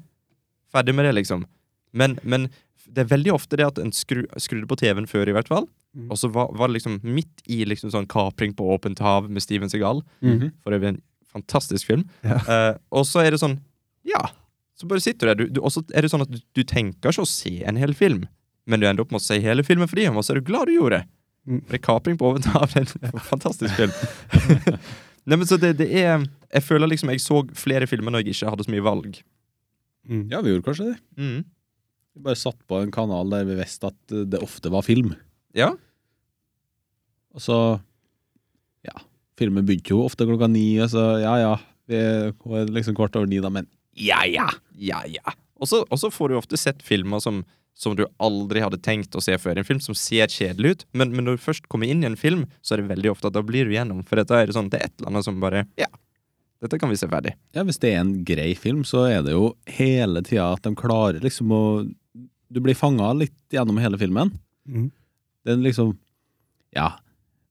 Ferdig med det, liksom. Men, men det er veldig ofte det at en skru, skrudde på TV-en før, i hvert fall.
Mm.
Og så var, var det liksom midt i liksom sånn kapring på åpent hav med Steven Segal.
Mhm.
For øvrig en fantastisk film.
Ja.
Eh, og så er det sånn Ja. Så bare sitter du der. Du, du, og så er det sånn at du, du tenker ikke å se en hel film, men du ender opp med å se hele filmen fordi, og så er du glad du gjorde det.
Mm.
For det er kapring på åpent hav. Det er en fantastisk film. Nei, men så det, det er Jeg føler liksom jeg så flere filmer når jeg ikke hadde så mye valg.
Mm.
Ja, vi gjorde kanskje det.
Mm.
Vi bare satt på en kanal der vi visste at eh, det ofte var film.
Ja.
Og så Ja. Filmen begynte jo ofte klokka ni, og så ja ja. Vi hun er liksom kvart over ni, da, men ja ja.
Ja, ja. Og så og så får du ofte sett filmer som, som du aldri hadde tenkt å se før. En film som ser kjedelig ut, men, men når du først kommer inn i en film, så er det veldig ofte at da blir du gjennom. For dette er det sånn, det er et eller annet som bare Ja, dette kan vi se ferdig.
Ja, Hvis det er en grei film, så er det jo hele tida at de klarer liksom å Du blir fanga litt gjennom hele filmen.
Mm.
Det er liksom Ja.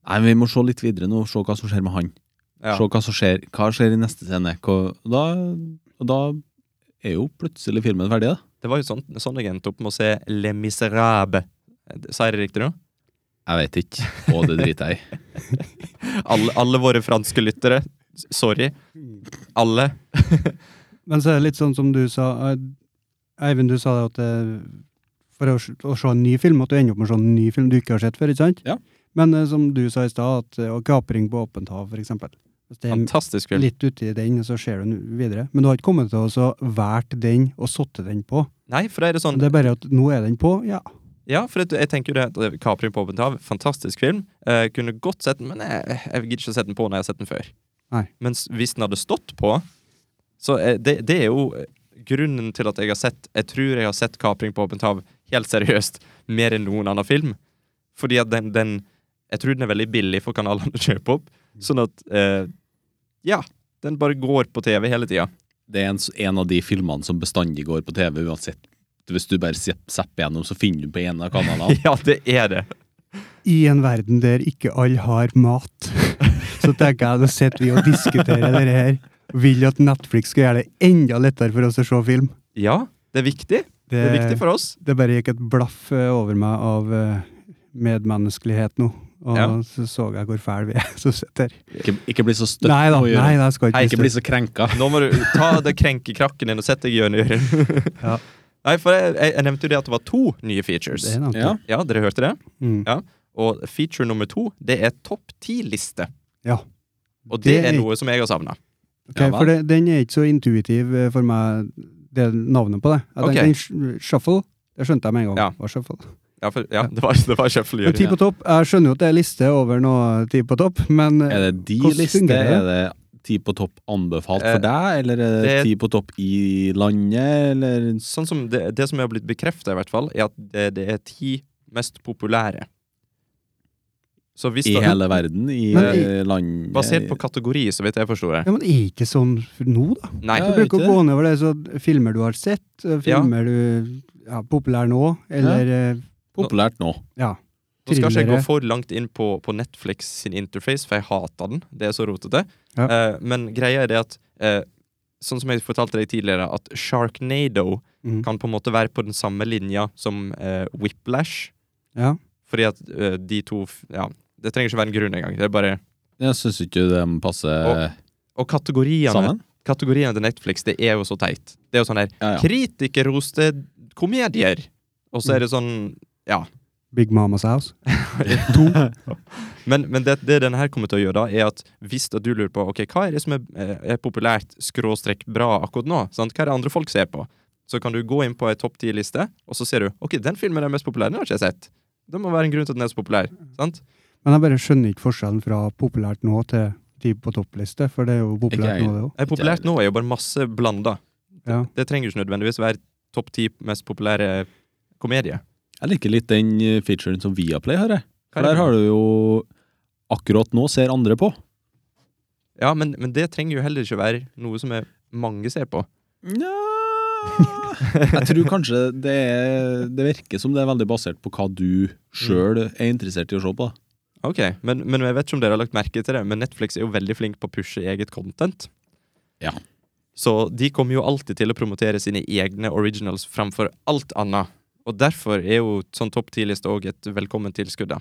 Nei, men vi må se litt videre nå, se hva som skjer med han.
Ja.
Se hva som skjer. Hva skjer i neste scene? Hva, da, og da er jo plutselig filmen ferdig, da.
Det var jo sånn, sånn jeg endte opp med å se Le Miserable. Sa jeg det riktig nå?
Jeg veit ikke. Og det driter jeg i.
Alle, alle våre franske lyttere. S- Sorry. Alle.
Men så er det litt sånn som du sa, eh, Eivind, du sa det at eh, for å, s- å se en ny film, at du ender opp med å se en ny film du ikke har sett før, ikke sant?
Ja.
Men eh, som du sa i stad, at eh, å kapring på åpent hav, for eksempel. Hvis det er
Fantastisk film.
litt uti den, så ser du den videre. Men du har ikke kommet til å så valgt den og satt den på.
Nei, for det er det sånn
Det er bare at nå er den på, ja.
Ja, for det, jeg tenker jo det at Capri på åpent hav, fantastisk film. Eh, kunne godt sett den, men jeg, jeg gidder ikke å sette den på når jeg har sett den før.
Nei.
Mens hvis den hadde stått på Så eh, det, det er jo eh, grunnen til at jeg har sett Jeg tror jeg har sett Kapring på åpent hav helt seriøst mer enn noen annen film. Fordi at den, den Jeg tror den er veldig billig for kanalene å kjøpe opp. Sånn at eh, Ja. Den bare går på TV hele tida.
Det er en, s- en av de filmene som bestandig går på TV, uansett. Hvis du bare zapp- zapper gjennom, så finner du på en av kanalene.
Ja, det er det.
I en verden der ikke alle har mat, så tenker jeg da sitter vi og diskuterer det her. Vil at Netflix skal gjøre det enda lettere for oss å se film.
Ja, det er viktig. Det
Eh,
er viktig for oss.
det bare gikk et blaff eh, over meg av eh, medmenneskelighet nå. Og
Ja.
så så jeg hvor fæl vi er som sitter her.
Ikke, ikke bli så støtt.
Nei da,
å gjøre.
nei, da, jeg skal ikke,
Nei, ikke
bli
bli så krenka.
Nå må du ta det krenkekrakken din og sette deg i hjørnet.
Ja.
Nei, for jeg, jeg, jeg nevnte jo det at det var to nye features.
Det er en annen
Ja.
ting.
Ja, dere hørte det?
Mm.
Ja. Og feature nummer to, det er topp ti-liste.
Ja.
Og det,
Det er-
er noe som jeg har savna.
Ok,
Ja vel.
for det, den er ikke så intuitiv eh, for meg, det navnet på det. Jeg tenkte
Ok.
den sh- Shuffle, det skjønte jeg med en gang.
Ja.
Var shuffle.
Ja, for, ja, det var, det var shuffle
Men ti på topp, jeg skjønner jo at det er liste over noe ti på topp, men eh,
Er det de
Hvordan
liste?
fungerer det?
Er det ti på topp anbefalt
Eh,
for deg, eller er det
det-
ti på topp i landet, eller
Sånn som det, det som er blitt bekrefta, i hvert fall, er at det, det er ti mest populære. Så hvis
I
det,
hele verden, i
Men
eh, land
Basert på kategori, så vidt jeg forsto det.
Ja, men er ikke sånn for nå, da?
Nei.
Ja,
Du bruker å
ikke det?
gå nedover det, så filmer du har sett, eh, filmer du ja, populær nå, eller eh,
Populært nå.
ja.
Nå skal ikke jeg gå
thrillere.
for langt inn på, på Netflix sin interface, for jeg hater den. Det er så rotete.
Ja.
Eh, men greia er det at eh, Sånn som jeg fortalte deg tidligere, at Sharknado
Mm.
kan på en måte være på den samme linja som eh, Whiplash.
Ja.
Fordi at eh, de to f- Ja, det trenger ikke være en grunn engang. Det er bare
Jeg syns ikke de passer
Og- Og kategoriene,
sammen.
kategoriene til Netflix, det er jo så teit. Det er jo sånn her
Ja, ja.
kritikerroste komedier. Og så er det sånn
Big Mamas House.
Men, men det, det denne her kommer til å gjøre, da, er at hvis at du lurer på ok, hva er det som er, eh, er populært, skråstrekk bra akkurat nå, sant? hva er det andre folk ser på, så kan du gå inn på ei topp ti-liste, og så ser du ok, den filmen er mest populær, den har ikke jeg sett. Det må være en grunn til at den er så populær. Eh, sant?
Men jeg bare skjønner ikke forskjellen fra populært nå til de på toppliste, for det er jo populært
Ikke jeg.
nå, det òg.
Er populært nå er jo bare masse blanda.
Ja.
Det trenger ikke nødvendigvis være topp ti mest populære komedie.
Jeg liker litt den eh, featuren som Viaplay har, jeg.
Hva er
For der
det?
har du jo Akkurat nå ser andre på.
Ja, men, men det trenger jo heller ikke være noe som er mange ser på.
Nja Jeg tror kanskje det, er, det virker som det er veldig basert på hva du sjøl er interessert i å se på. da.
Ok, men, men jeg vet ikke om dere har lagt merke til det, men Netflix er jo veldig flink på å pushe eget content.
Ja.
Så de kommer jo alltid til å promotere sine egne originals framfor alt annet. Og derfor er jo sånn topp 10-liste òg et velkommen tilskudd, da.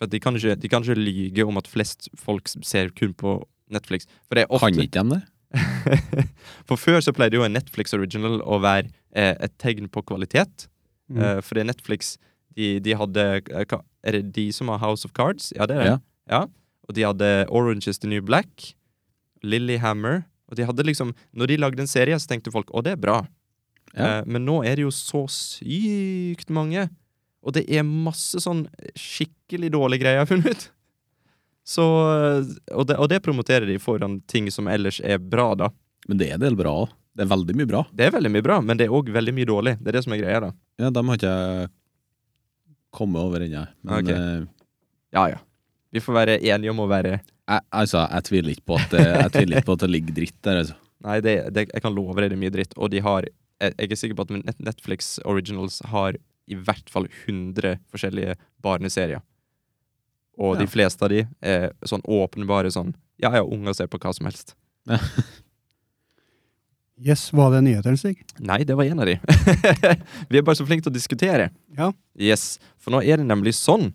For at de kan, ikke, de kan ikke lyge om at flest folk ser kun på Netflix. For det er ofte
Kan ikke de det?
For før så pleide jo en Netflix original å være eh, et tegn på kvalitet.
Mm.
Eh, fordi Netflix de, de hadde eh, hva- Er det de som har House of Cards? Ja, det er det.
Ja.
Ja. Og de hadde Orange is the New Black, Lillehammer Og de hadde liksom Når de lagde en serie, så tenkte folk å, det er bra. Eh,
Ja.
men nå er det jo så sykt mange. Og det er masse sånn skikkelig dårlige greier jeg har funnet ut. Så, eh, og, det, og det promoterer de foran ting som ellers er bra, da.
Men det er en del bra. også. Det er veldig mye bra.
Det er veldig mye bra, men det er òg veldig mye dårlig. Det er det som er greia, da.
Ja, dem har ikke jeg kommet over ennå. Men
Ok.
eh,
Ja, ja. Vi får være enige om å være
jeg, altså, jeg tviler ikke på at det, jeg tviler ikke på at det ligger dritt der. Altså.
Nei, det, det, jeg kan love deg det er mye dritt. Og de har Jeg, jeg er sikker på at Net- Netflix Originals har i hvert fall 100 forskjellige barneserier. Og
Ja.
de fleste av de er sånn åpenbare sånn Ja, ja, unger ser på hva som helst.
Yes, var det nyhetene, Stig?
Nei, det var en av de. Vi er bare så flinke til å diskutere.
Ja.
Yes, For nå er det nemlig sånn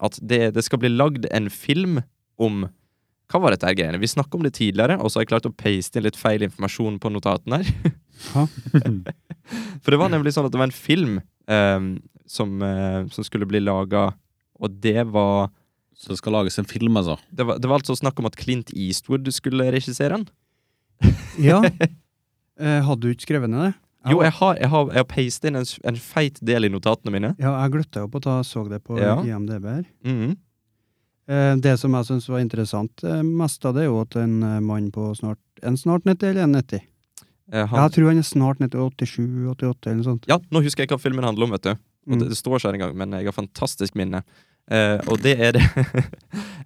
at det, det skal bli lagd en film om Hva var dette her greiene? Vi snakka om det tidligere, og så har jeg klart å paste inn litt feil informasjon på notatene her.
Ja.
For det var nemlig sånn at det var en film ehm, som, eh, som skulle bli laga, og det var
Så det skal lages en film, altså.
det var, det var altså snakk om at Clint Eastwood skulle regissere den.
ja. Eh, hadde du ikke skrevet ned det?
Jo, jeg har, jeg har, jeg har pastet inn en, s- en feit del i notatene mine.
Ja, jeg gløtta jo på at jeg så det på
Ja.
IMDb her.
Mhm.
Eh, Det som jeg syns var interessant eh, mest av det, er jo at en eh, mann på snart en snart 90 eller en 90
Eh, han-
Jeg tror han er snart ned til 87-88 eller noe sånt.
Ja, nå husker jeg hva filmen handler om, vet du. Og det,
Mm.
det står ikke her engang, men jeg har fantastisk minne. Eh, og det er det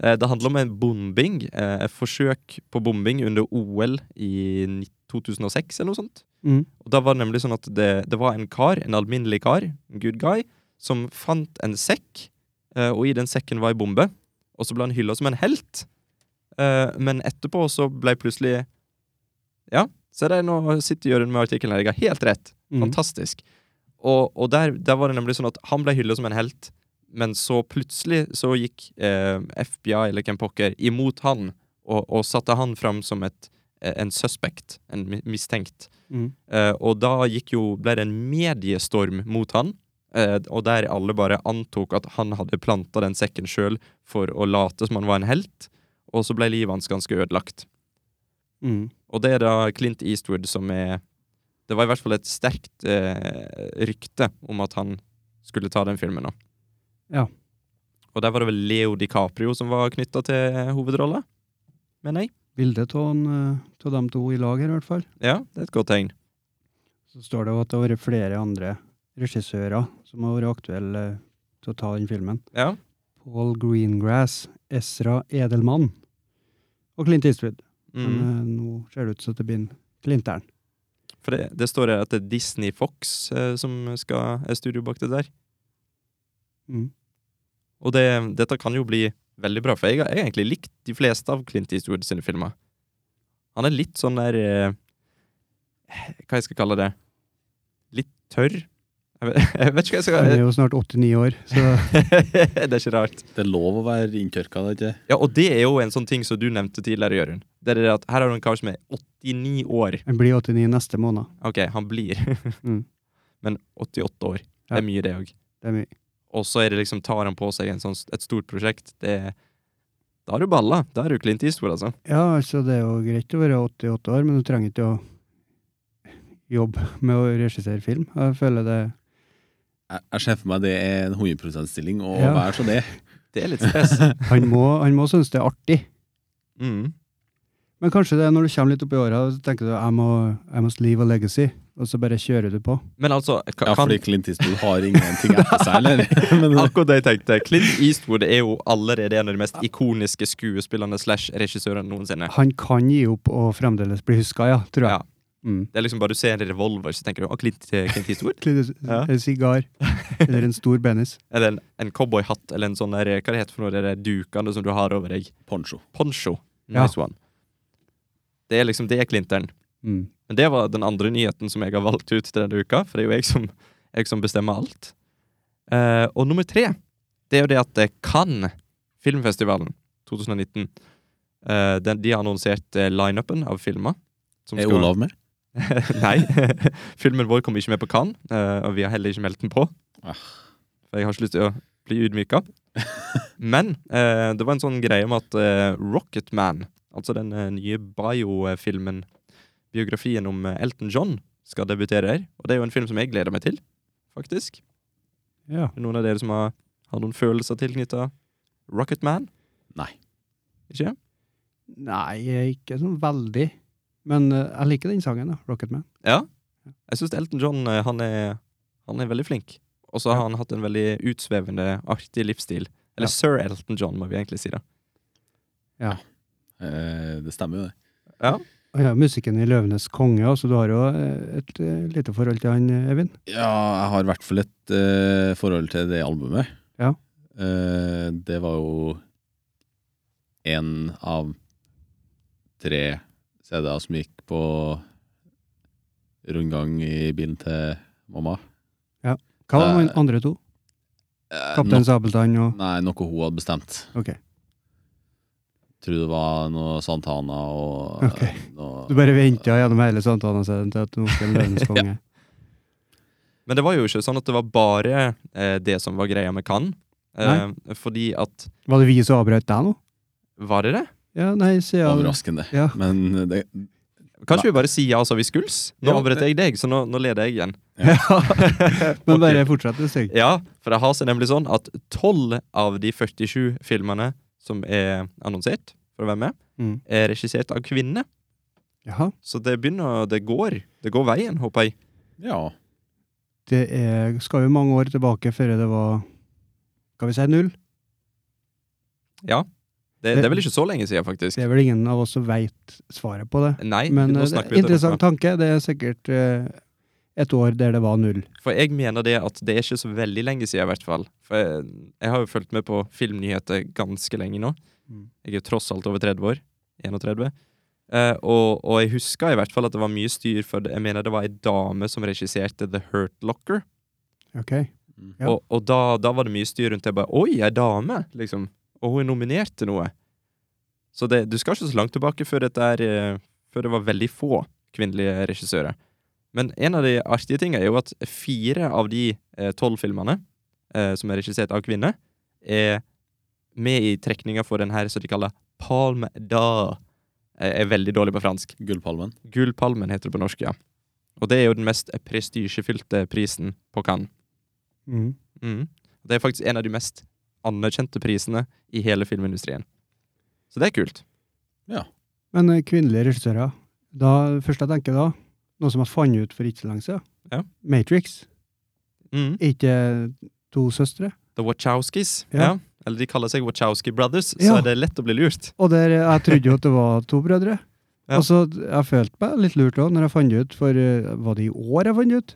Eh, Det handler om en bombing. eh, et forsøk på bombing under OL i ni- 2006 eller noe sånt.
Mm.
Og da var det nemlig sånn at det, det var en kar, en alminnelig kar, en good guy, som fant en sekk, eh, og i den sekken var ei bombe. Og så ble han hylla som en helt. Eh, men etterpå så ble plutselig Ja, se der, nå sitter Jørund med artikkelen her. Jeg har helt rett.
Mm.
Fantastisk. Og, og der, der var det nemlig sånn at han ble hylla som en helt, men så plutselig så gikk eh, FBI eller hvem pokker imot han og, og satte han fram som et, eh, en suspect, en mi- mistenkt.
Mm.
Eh, og da gikk jo, ble det en mediestorm mot han, eh, og der alle bare antok at han hadde planta den sekken sjøl for å late som han var en helt, og så ble livet hans ganske ødelagt.
Mm.
Og det er da Clint Eastwood som er Det var i hvert fall et sterkt eh, rykte om at han skulle ta den filmen nå.
Ja.
Og der var det vel Leo DiCaprio som var knytta til hovedrolla, mener jeg.
Bilde av dem to i lag her, i hvert fall.
Ja, det er et godt tegn.
Så står det jo at det har vært flere andre regissører som har vært aktuelle eh, til å ta den filmen.
Ja.
På- Paul Greengrass, Ezra Edelmann og Clint Eastwood. Men
Mm.
eh, nå ser det ut som det blir en Clintern.
For det, det står her at det er Disney Fox eh, som skal, er studio bak det der.
Mm.
Og det, dette kan jo bli veldig bra, for jeg har jeg har egentlig likt de fleste av Clint Eastwood sine filmer. Han er litt sånn der eh, Hva jeg skal kalle det? Litt tørr? Jeg vet, jeg vet ikke hva jeg
Han er
skal
jo snart 89 år, så
Det er ikke rart.
Det er lov å være inntørka, det er ikke det?
Ja, Og det er jo en sånn ting som du nevnte tidligere, Jørund. Det er det at Her har du en kar som er 89 år.
han blir 89 neste måned.
Ok, han blir.
Mm.
Men 88 år. Det
Ja.
er mye, det òg.
Det er mye.
Og så er det liksom, tar han på seg en sånn, et stort prosjekt. Det, er- da er du balla. Da er du Clint Eastwood, altså.
Ja, altså det er jo greit å være 88 år, men du trenger ikke å jobbe med å regissere film. Jeg føler det
Jeg, jeg ser for meg det er en 100 %-stilling, og
Ja.
vær så det.
Det er litt stress.
Han må, han må synes det er artig.
Mm.
Men kanskje det er når du kommer litt opp i åra, så tenker du I, må, I must leave a legacy, og så bare kjører du på.
Men altså ka-
Ja,
kan,
fordi Clint Eastwood har ingenting etter seg, eller? Men,
Akkurat det jeg tenkte. Clint Eastwood er jo allerede en av de mest ikoniske skuespillerne slash regissørene noensinne.
Han kan gi opp og fremdeles bli huska, ja, tror jeg.
Ja.
Mm.
Det er liksom bare Du ser en revolver, så tenker du å, Clint, eh, Clint Eastwood?
Litt-
Ja.
En sigar eller en stor benis.
Eller en, en cowboyhatt, eller en sånn der eh, Hva det heter for noe, de der dukene som du har over deg?
Poncho.
Poncho.
Ja.
Nice one. Det er liksom det er Clinteren.
Mm.
Men det var den andre nyheten som jeg har valgt ut til denne uka, for det er jo jeg som, jeg som bestemmer alt. Eh, og nummer tre, det er jo det at eh, Cannes Filmfestivalen 2019 eh, den, De har annonsert eh, lineupen av filmer. som
Er
skal-
Olav med?
Nei. Filmen vår kommer ikke med på Cannes, eh, og vi har heller ikke meldt den på.
Ah.
For jeg har ikke lyst til å bli ydmyka. Men eh, det var en sånn greie med at eh, Rocketman, altså den eh, nye biofilmen, biografien om eh, Elton John, skal debutere her. Og det er jo en film som jeg gleder meg til, faktisk.
Ja.
Er det noen av dere som har, har noen følelser tilknytta Rocketman?
Nei.
Ikke?
Nei, jeg er ikke sånn veldig. Men eh, jeg liker den sangen, da. Rocket Man.
Ja. Jeg syns Elton John eh, han er, han er veldig flink. Og så har han hatt en veldig utsvevende, artig livsstil.
Ja.
Eller sir Elton John, må vi egentlig si. da.
Eh, det stemmer jo, det.
Og ja, musikken i 'Løvenes konge', så du har jo eh, et eh, lite forhold til han, eh, Evin.
Ja, jeg har i hvert fall et eh, forhold til det albumet.
Ja.
Eh, det var jo én av tre CD-er som gikk på rundgang i bilen til mamma.
Hva var de andre to?
Eh,
Kaptein Sabeltann og
no, nei, noe hun hadde bestemt.
Ok.
Tror det var noe Santana og
Ok.
eh, noe,
Du bare venta gjennom hele samtalen til at nå skal Løvenes konge.
Men det var jo ikke sånn at det var bare eh, det som var greia med Cannes. Eh, fordi at
Var det vi som avbrøt deg nå?
Var det det?
Ja, nei, siden
Overraskende.
Ja.
Men det,
Kanskje vi bare sier ja, så vi skuls? Nå
Ja,
avbrøt jeg deg, så nå, nå leder jeg igjen.
Men bare fortsett et stykke.
Ja, for det har seg nemlig sånn at 12 av de 47 filmene som er annonsert for å være med,
Mm.
er regissert av kvinner.
Jaha.
Så det begynner å- Det går. Det går veien, håper jeg.
ja.
Det er, skal jo mange år tilbake før det var Skal vi si null?
Det, det er vel ikke så lenge siden, faktisk.
Det er vel ingen av oss som veit svaret på det.
Nei,
Men
nå
eh, det er
snakker vi til dere.
interessant tanke. Det er sikkert eh, et år der det var null.
For jeg mener det at det er ikke så veldig lenge siden, i hvert fall. For jeg, jeg har jo fulgt med på filmnyheter ganske lenge nå.
Mm.
Jeg er jo tross alt over 30 år. 31. Eh, og, og jeg husker i hvert fall at det var mye styr, for det- jeg mener det var ei dame som regisserte The Hurt Locker.
Ok.
Mm.
Ja.
Og, og da, da var det mye styr rundt det. Bare, Oi, ei dame! Liksom. Og hun er nominert til noe. Så det, du skal ikke så langt tilbake før, dette er, eh, før det var veldig få kvinnelige regissører. Men en av de artige tingene er jo at fire av de eh, tolv filmene eh, som er regissert av kvinner, er med i trekninga for den her som de kaller Palme d'Or. Jeg er veldig dårlig på fransk.
Gullpalmen.
Gullpalmen heter det på norsk, ja. Og det er jo den mest prestisjefylte prisen på Cannes.
Mm.
Mm. Det er faktisk en av de mest anerkjente prisene i hele filmindustrien. Så det er kult.
Men eh, kvinnelige regissører da, Først jeg tenker da, noe som jeg fant ut for ikke så lenge siden.
Ja.
Matrix.
Mm.
Er ikke to søstre?
The Wachowskis.
Ja.
Ja. eller de kaller seg Wachowski Brothers,
Ja.
så er det lett å bli lurt.
Og der, eh, jeg trodde jo at det var to brødre.
Ja.
Og så jeg følte meg litt lurt òg, når jeg fant det ut, for eh, var det i år jeg fant det ut?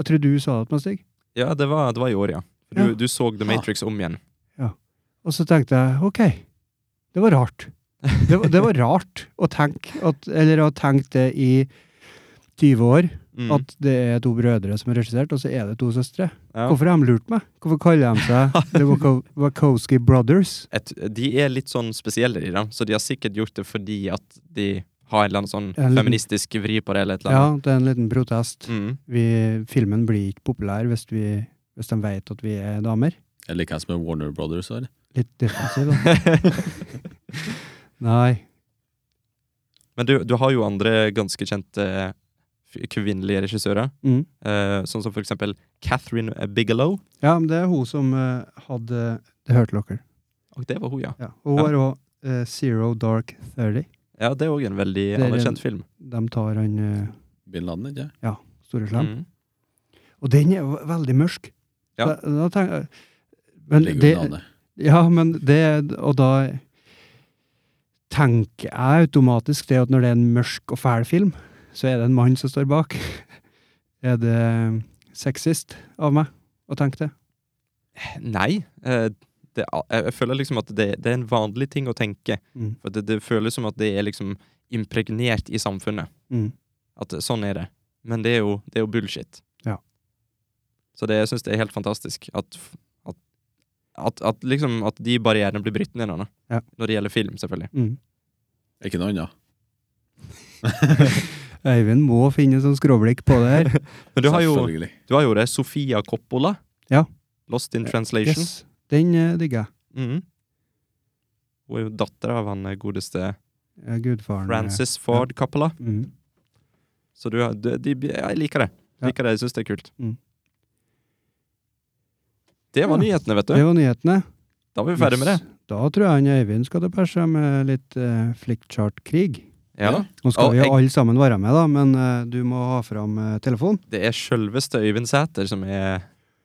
Jeg trodde du sa det til meg, Stig.
Ja, det var, det var i år, ja. Du,
Ja.
du så The
Ha.
Matrix om igjen.
Og så tenkte jeg ok, det var rart. Det, var- det var rart å tenke at, eller å tenke det i 20 år,
Mm.
at det er to brødre som er regissert, og så er det to søstre.
Ja.
Hvorfor har de lurt meg? Hvorfor kaller de seg The Wako- Wachowski Brothers?
Et, de er litt sånn spesielle, de da, så de har sikkert gjort det fordi at de har en eller annen sånn
Ja, litt-
feministisk vri på det, eller et eller
Ja,
annet.
det er en liten protest.
Mm.
Vi, filmen blir ikke populær hvis, vi, hvis de vet at vi er damer.
Eller hva som er Warner Brothers her.
Litt defensiv, da. Nei.
Mm. Men du, du har jo andre ganske kjente eh, f- kvinnelige regissører,
Mm.
eh, sånn som for eksempel Catherine Bigelow.
Ja, men det er hun som eh, hadde Det hørte dere.
Og det var hun, ja.
Ja. Og hun
Ja.
har òg Zero Dark Thirty.
Ja, det er òg en veldig
er en-
anerkjent film.
De tar han eh,
Bin Laden, ikke
store slem.
Mm.
Og den er jo veldig mørk. Da,
Ja.
da tenker jeg men
Ligger
det,
under navnet.
Ja, men det Og da tenker jeg automatisk det at når det er en mørk og fæl film, så er det en mann som står bak. Er det sexist av meg å tenke det?
Nei. eh, det, er- jeg jeg føler liksom at det, det er en vanlig ting å tenke.
Mm.
For det, det føles som at det er liksom impregnert i samfunnet.
Mm.
At det- sånn er det. Men det er jo, det er jo bullshit.
Ja.
Så det, jeg syns det er helt fantastisk at, f- at, at, at liksom at de barrierene blir brytt ned nå. da.
Ja.
Når det gjelder film, selvfølgelig.
Mm.
Ikke noe annet.
Øyvind må finne sånn skråblikk på det her.
Men du har jo,
Selvfølgelig.
du har jo det Sofia Coppola.
Ja.
Lost in Translation.
Yes, den eh, digger jeg.
Mhm. Hun er jo datter av han eh, godeste
Eh, Gudfaren. eh,
Francis Ford Coppola.
Mm.
Så du, har- de, de, jeg liker det.
Ja.
Liker det, Jeg syns det er kult.
Mm.
Det var
Ja.
nyhetene, vet
Det
du.
var nyhetene.
Da var vi ferdig med det.
Yes. Da tror jeg han Øyvind skal til persa med litt eh, flickchart-krig.
Ja.
Nå skal
Og
vi
jeg-
jo alle sammen være med, da, men eh, du må ha fram eh, telefon.
Det er sjølveste Øyvind Sæter som er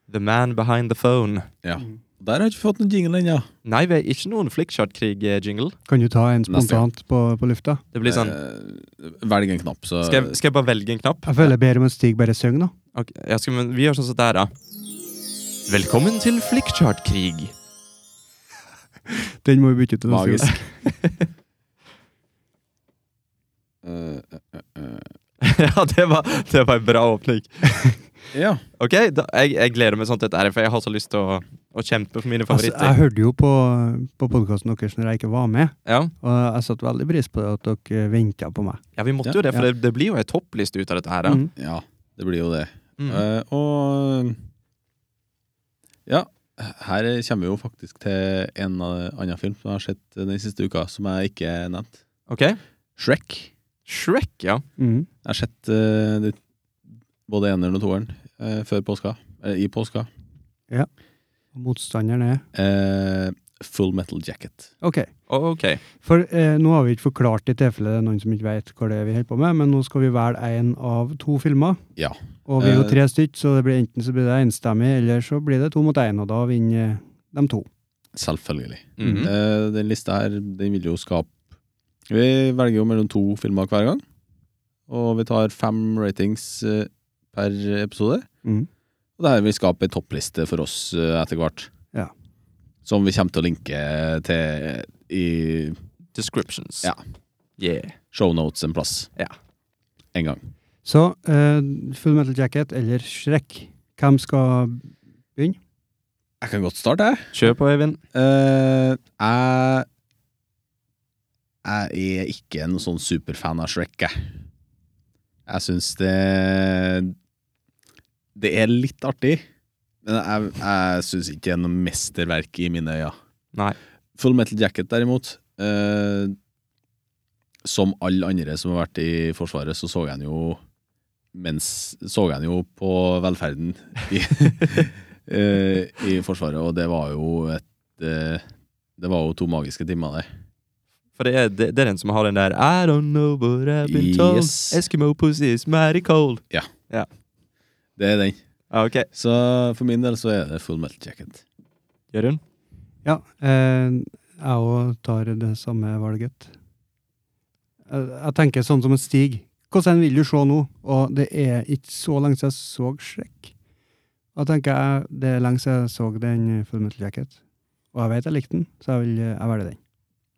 the man behind the phone.
Ja.
Mm.
Der har jeg ikke fått noen jingle ennå.
Nei, vi er ikke noen flikkchartkrig-jingle.
Kan du ta en
Neste
spontant på, på lufta?
Det blir sånn
Eh, Velg en knapp, så
Skal jeg, skal jeg bare velge en knapp?
Jeg føler bedre om en Stig bare synger, da.
Ok, ja, skal, men vi gjør sånn som det er, da. Velkommen til flikkchartkrig.
Den må vi bytte til neste gang.
Magisk. Eh, eh, eh,
ja, det var, det var en bra åpning.
eh. Ja.
Ok, da, jeg, jeg gleder meg sånn til dette, her, for jeg har så lyst til å, å kjempe for mine
Altså, jeg
favoritter.
hørte jo på, på podkasten deres når jeg ikke var med,
Ja,
og jeg satte veldig pris på at dere venta på meg.
ja vi måtte jo det, for det, det blir jo ei toppliste ut av dette her. Da.
Mm.
ja, det blir jo det.
Mm.
Eh, og ja, her kommer vi jo faktisk til en eh, annen film som jeg har sett den siste uka, som jeg ikke nevnte.
Ok.
Shrek.
Shrek, ja.
Mm.
Jeg har sett eh, det, både eneren og toeren eh, før påska. Eller i påska.
Og Motstanderen er
Eh, Full Metal Jacket.
OK.
Ok.
For eh, nå har vi ikke forklart i tilfelle det er noen som ikke vet hva det er vi holder på med, men nå skal vi velge én av to filmer.
Ja.
Og vi er jo
Eh.
tre stykk, så det blir enten så blir det enstemmig, eller så blir det to mot én, og da vinner eh, de to.
Selvfølgelig.
Mhm.
Eh, den lista her, den vil jo skape Vi velger jo mellom to filmer hver gang. Og vi tar fem ratings eh, per episode.
Mm.
Og det her vil skape en toppliste for oss eh, etter hvert.
Ja.
Som vi kommer til å linke til i
Descriptions.
Ja.
Yeah.
shownotes en plass.
Ja.
En gang.
Så eh, Full Metal Jacket eller Shrek, hvem skal
Jeg kan godt starte, jeg.
Kjør på, Øyvind.
Eh, jeg Jeg er ikke noen sånn superfan av Shrek, jeg. Jeg syns det Det er litt artig, men jeg, jeg syns ikke det er noe mesterverk i mine øyne.
Nei.
Full Metal Jacket, derimot eh, Som alle andre som har vært i Forsvaret, så så jeg den jo mens så jeg den jo på velferden i, eh, i Forsvaret, og det var jo et eh, Det var jo to magiske timer, det.
For det er, det, det er den som har den der I don't know what I've been told
Yes.
Eskimo pussy is mighty cold.
Det er den.
Ja, ok.
Så for min del så er det Full Metal Jacket.
Jørund?
Ja, eh, jeg òg tar det samme valget. Jeg, jeg tenker sånn som en stig. Hvordan vil du se nå? Og det er ikke så lenge siden jeg så Shrek. Da tenker jeg det er lenge siden jeg så den Full Metal Jacket. Og jeg vet jeg likte den, så jeg vil eh, jeg velger den.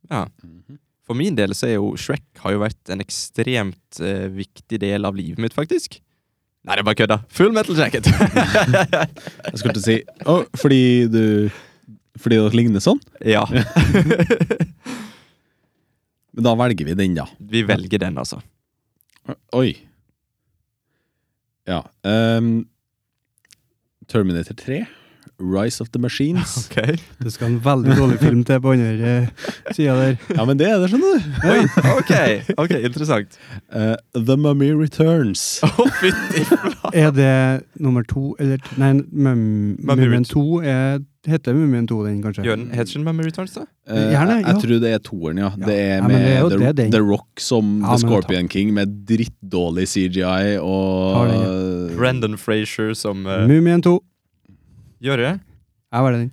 Mhm.
For min del så er jo Shrek har jo vært en ekstremt eh, viktig del av livet mitt, faktisk. Nei, det er bare kødda. Full metal jacket!
Jeg skulle til å si «Å, fordi du Fordi dere ligner sånn?
ja.
Men da velger vi den, da.
Vi velger den, altså.
Oi. Ja. ehm, Terminator 3, Rise of the Machines.
Ok.
Det skal en veldig dårlig film til på andre eh, sida der.
Ja, men det er det, skjønner du.
Oi, ok, ok, interessant.
Eh, the Mummy Returns.
Å, fytti flate!
Er det nummer to, eller t- Nei, Mum-
Mumien.
Mumien 2 er, heter Mumien 2, den, kanskje?
Gjør den Heter ikke den Memory Returns, da?
Eh,
Gjerne,
jeg, jeg
ja.
tror det er toeren, ja.
Ja.
Det er
Ja, men
med
det er jo-
The,
det er den.
The Rock som
Ja, men
The
da tar-
Scorpion King med drittdårlig CGI
Har
og
Brendan Frazier som eh,
Mumien 2.
gjør det.
Jeg velger den.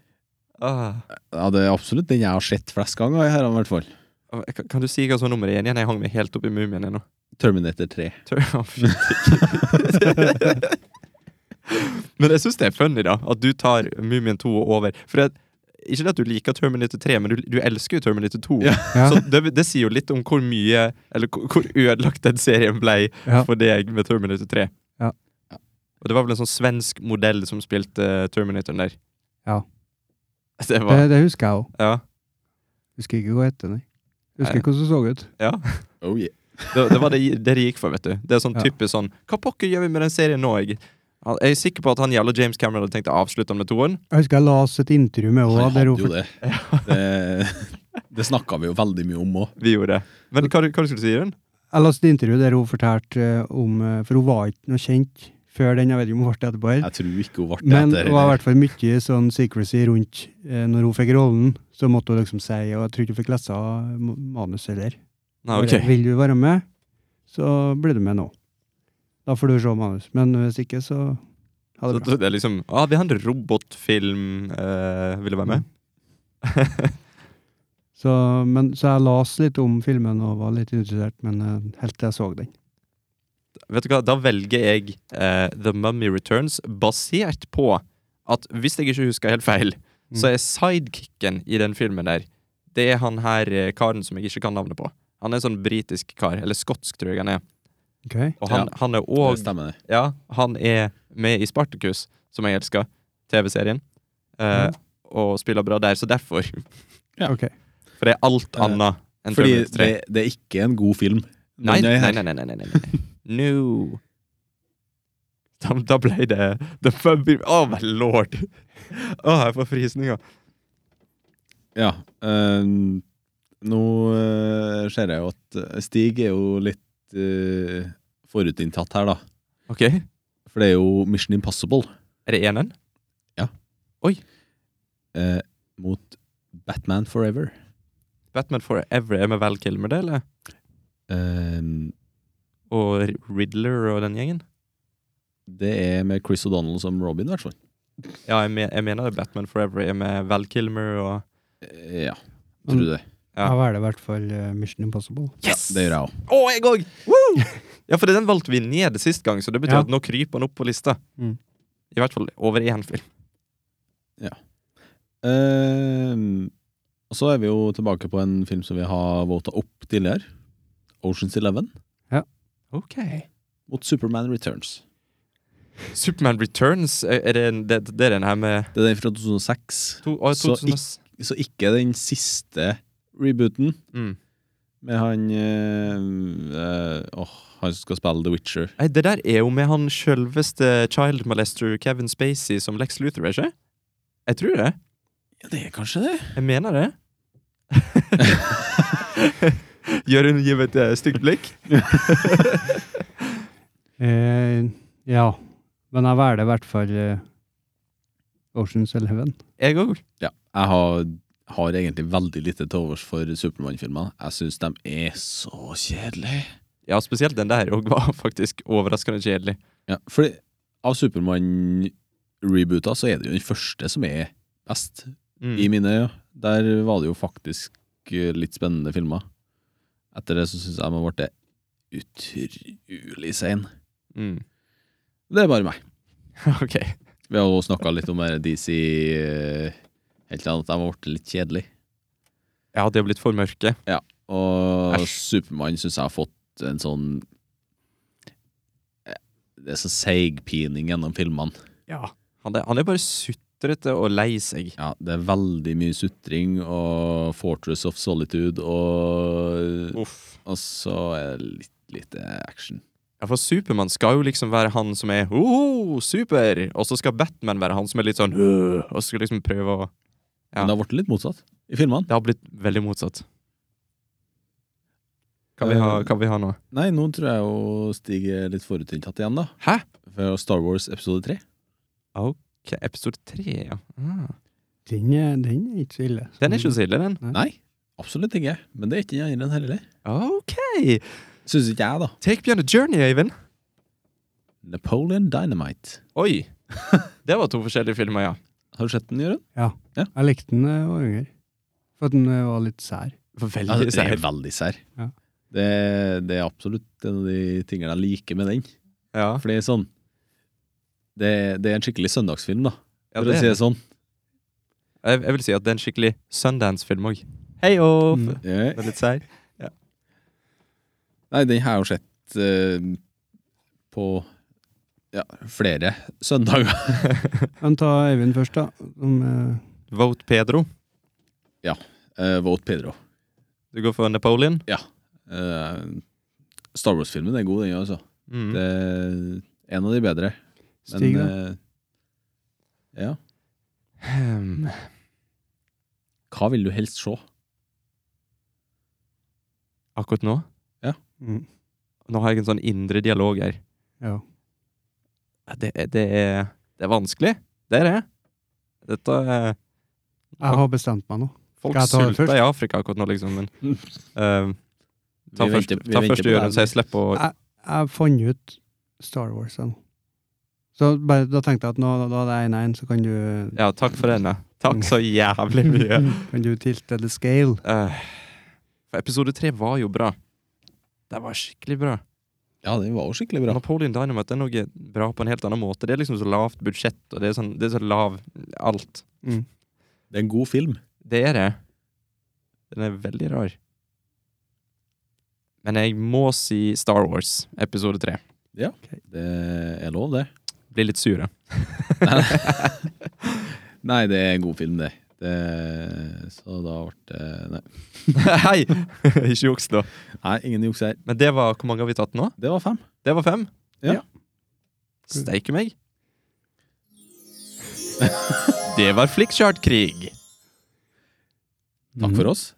Ah.
Ja, det er absolutt den jeg har sett flest ganger. Her, i hvert fall.
Kan- Kan du si hva som er nummeret igjen? Jeg hang meg helt opp i mumien ennå.
Terminator 3.
Tør- Å, fy. Men jeg syns det er funny, da, at du tar Mumien 2 over. For at, ikke at du liker Terminator 3, men du, du elsker jo Terminator 2.
Ja.
Ja.
Så det, det sier jo litt om hvor mye Eller hvor, hvor ødelagt den serien ble
Ja.
for deg med Terminator 3.
Ja.
Og det var vel en sånn svensk modell som spilte eh, Terminatoren der.
Ja.
Det
Det,
var
det husker jeg òg.
Ja.
Husker ikke hva hette, nei. Husker
Nei.
ikke hvordan det så ut.
ja.
Oh, yeah.
Det, det var det, det de gikk for, vet du. Det er sånn
Ja.
type sånn Hva pokker gjør vi med den serien nå? Jeg, Han- jeg er sikker på at han jævla James Cameron hadde tenkt å avslutte med toeren.
Jeg husker jeg las et intervju med
Han
henne.
hadde
der
jo
hun
det. Det, det snakka vi jo veldig mye om òg.
Vi gjorde det. Men hva, hva skulle du si, Jørund?
Jeg leste et intervju der hun fortalte eh, om eh, For hun var ikke noe kjent før den. Jeg vet ikke om hun ble det etterpå. her.
Jeg tror ikke hun ble
Men
etter.
det var i hvert fall mye sånn secrecy rundt eh, når hun fikk rollen. Så måtte hun liksom si Og jeg tror ikke hun fikk lese av ma- manus heller.
Nei,
Bare,
Ah, ok.
Vil du være med, så blir du med nå. Da får du se manus. Men hvis ikke, så ha
Så
det bra.
det er liksom ah, Vi har en robotfilm eh, Vil du være med?
Mm. Så, men, så jeg las litt om filmen og var litt interessert, men eh, helt til jeg så den.
Vet du hva, Da velger jeg eh, The Mummy Returns, basert på at hvis jeg ikke husker helt feil,
Mm.
så er sidekicken i den filmen der Det er han her eh, karen som jeg ikke kan navnet på. Han er en sånn britisk kar. Eller skotsk, tror jeg han er.
Ok.
Og han,
Ja.
han er
Det
òg
stemmer, det.
Ja, han er med i Spartacus, som jeg elsker, TV-serien. Eh,
Ja.
Mm.
Og spiller bra der, så derfor.
Ja.
Ok.
For det er alt
Eh,
annet enn
Fordi
Terminator 3.
det, det er ikke en god film.
Nei,
Den er
nei,
her.
nei, nei, nei, nei, nei, nei. No. Da, da ble det The Fubby Oh my lord! Å, jeg får frysninger.
Ja. ehm, nå eh, ser jeg jo at eh, Stig er jo litt eh, forutinntatt her, da.
Ok, er
For det er jo Mission Impossible
det enen?
eh, mot Batman Forever.
Batman Forever er med Val Kilmer, det, eller?
Ehm,
Og Riddler og den gjengen?
det er med Chris O'Donnell som Robin, i hvert fall.
Ja, jeg, me jeg mener det. Batman Forever er med Val Kilmer og
Eh, ja. Tror du det?
Ja.
Jeg velger i hvert fall eh, Mission Impossible.
Yes!
Det gjør jeg òg.
Å, jeg òg! Ja, for den valgte vi ned sist gang, så det betyr
Ja.
at nå kryper han opp på lista.
Mm.
I hvert fall over én film.
Ehm, og så er vi jo tilbake på en film som vi har vota opp tidligere. Oceans Eleven
Ok
mot Superman Returns.
Superman Returns, er er det, en- det, det er den her med
Det er den fra 2006.
to, å,
Så
2000 ass.
Så ikke den siste rebooten
mm.
med han eh, eh, Åh, han som skal spille The Witcher.
Nei, Det der er jo med han sjølveste child molester Kevin Spacey som Lex Luther, ikke? Jeg tror det.
Ja, det er kanskje det.
Jeg mener det. Gjør hun gir meg et eh, stygt blikk?
Eh, ja. Men jeg velger i hvert fall eh, Oceans Eleven.
Jeg òg.
Ja, jeg har, har egentlig veldig lite til overs for Supermann-filmer. Jeg syns de er så kjedelige.
Ja, spesielt den der òg var faktisk overraskende kjedelig.
Ja, fordi av Supermann-rebooter så er det jo den første som er best.
Mm.
i mine øyne. Der var det jo faktisk eh, litt spennende filmer. Etter det så syns jeg man ble utrolig sein.
Mm.
Det er bare meg.
Ok.
Vi har jo snakka litt om eh, DC eh, helt til at jeg ble litt kjedelig.
Ja, de har blitt for mørke.
Og
Æsj.
Supermann syns jeg har fått en sånn eh, Det er så seigpining gjennom filmene.
Ja.
Han er, han er bare sutrete og lei seg.
Ja, det er veldig mye sutring og Fortress of Solitude, og,
Uff.
og så er det litt lite action.
Ja, for Supermann skal jo liksom være han som er oh, super, og så skal Batman være han som er litt sånn «Åh», og så skal liksom prøve å Ja.
Men det har blitt litt motsatt i filmene.
Det har blitt veldig motsatt. Hva vi har, hva vi har nå?
Nei, nå tror jeg jo Stig er litt forutinntatt igjen, da.
Hæ?
For Star Wars episode 3.
Ok, episode tre, ja. Ah.
Den er, den er ikke så ille.
Den er ikke så ille, den.
Nei, absolutt ikke. Men det er ikke den andre enn heller.
Ok!
Syns ikke jeg, da.
Take me on a journey, Øyvind.
Napoleon Dynamite.
Oi! Det var to forskjellige filmer, ja.
Har du sett den, Jørund?
Jeg likte den da jeg var yngre. For at den eh, var litt sær.
Ja,
Veldig
det er
sær.
veldig sær.
Ja.
Det, det er absolutt en av de tingene jeg liker med den.
Ja.
For det er sånn det, det er en skikkelig søndagsfilm, da.
Ja,
For
det
å
er
si
det.
det sånn.
Jeg, jeg vil si at det er en skikkelig Sundance-film òg. Hei off!
Mm.
Ja.
Den er litt seig.
sånn. Nei, den har jeg jo sett eh, på ja, flere søndager.
Men ta Eivind først, da. Som, eh,
Vote Pedro.
Eh, Vote Pedro.
Du går for Napoleon.
Eh, Star Wars-filmen er god, den altså.
Mm.
Det er en av de bedre. Men
Stig, da.
eh, ja.
Hmm.
Hva vil du helst se?
Akkurat nå
Mm.
Nå har jeg en sånn indre dialog her.
Ja.
Det, er- det, er, det er vanskelig. Det er det. Dette er
Jeg har bestemt meg nå.
Folk
Skal jeg ta det
sulter
først?
i Afrika akkurat nå, liksom. Men, eh, ta
Vi
først,
venter- vi
ta
venter
først
på
Jørund,
deg.
så jeg slipper å
Jeg- Jeg fant ut Star Wars jeg, nå. Så bare, da tenkte jeg at nå, da er det 1-1, så kan du
Ja, takk for den, ja. Takk så jævlig mye.
Kan du tilte the scale.
Eh, for episode tre var jo bra. Det var skikkelig bra.
Ja, den var jo skikkelig bra.
Napoleon Dynamite er noe bra på en helt annen måte. Det er liksom så lavt budsjett, og det er, sånn, det er så lav alt.
Det er en god film.
Det er det. Den er veldig rar. Men jeg må si Star Wars, episode tre.
Det er lov, det.
Blir litt sur, ja.
Nei, det er en god film, det. det så da ble det Nei,
Hei! Ikke juks, da.
nei ingen juks her.
Men det var Hvor mange har vi tatt nå?
Det var fem.
Det var fem?
Ja.
Steike meg. Det var Flikkchart-krig.
Takk for oss.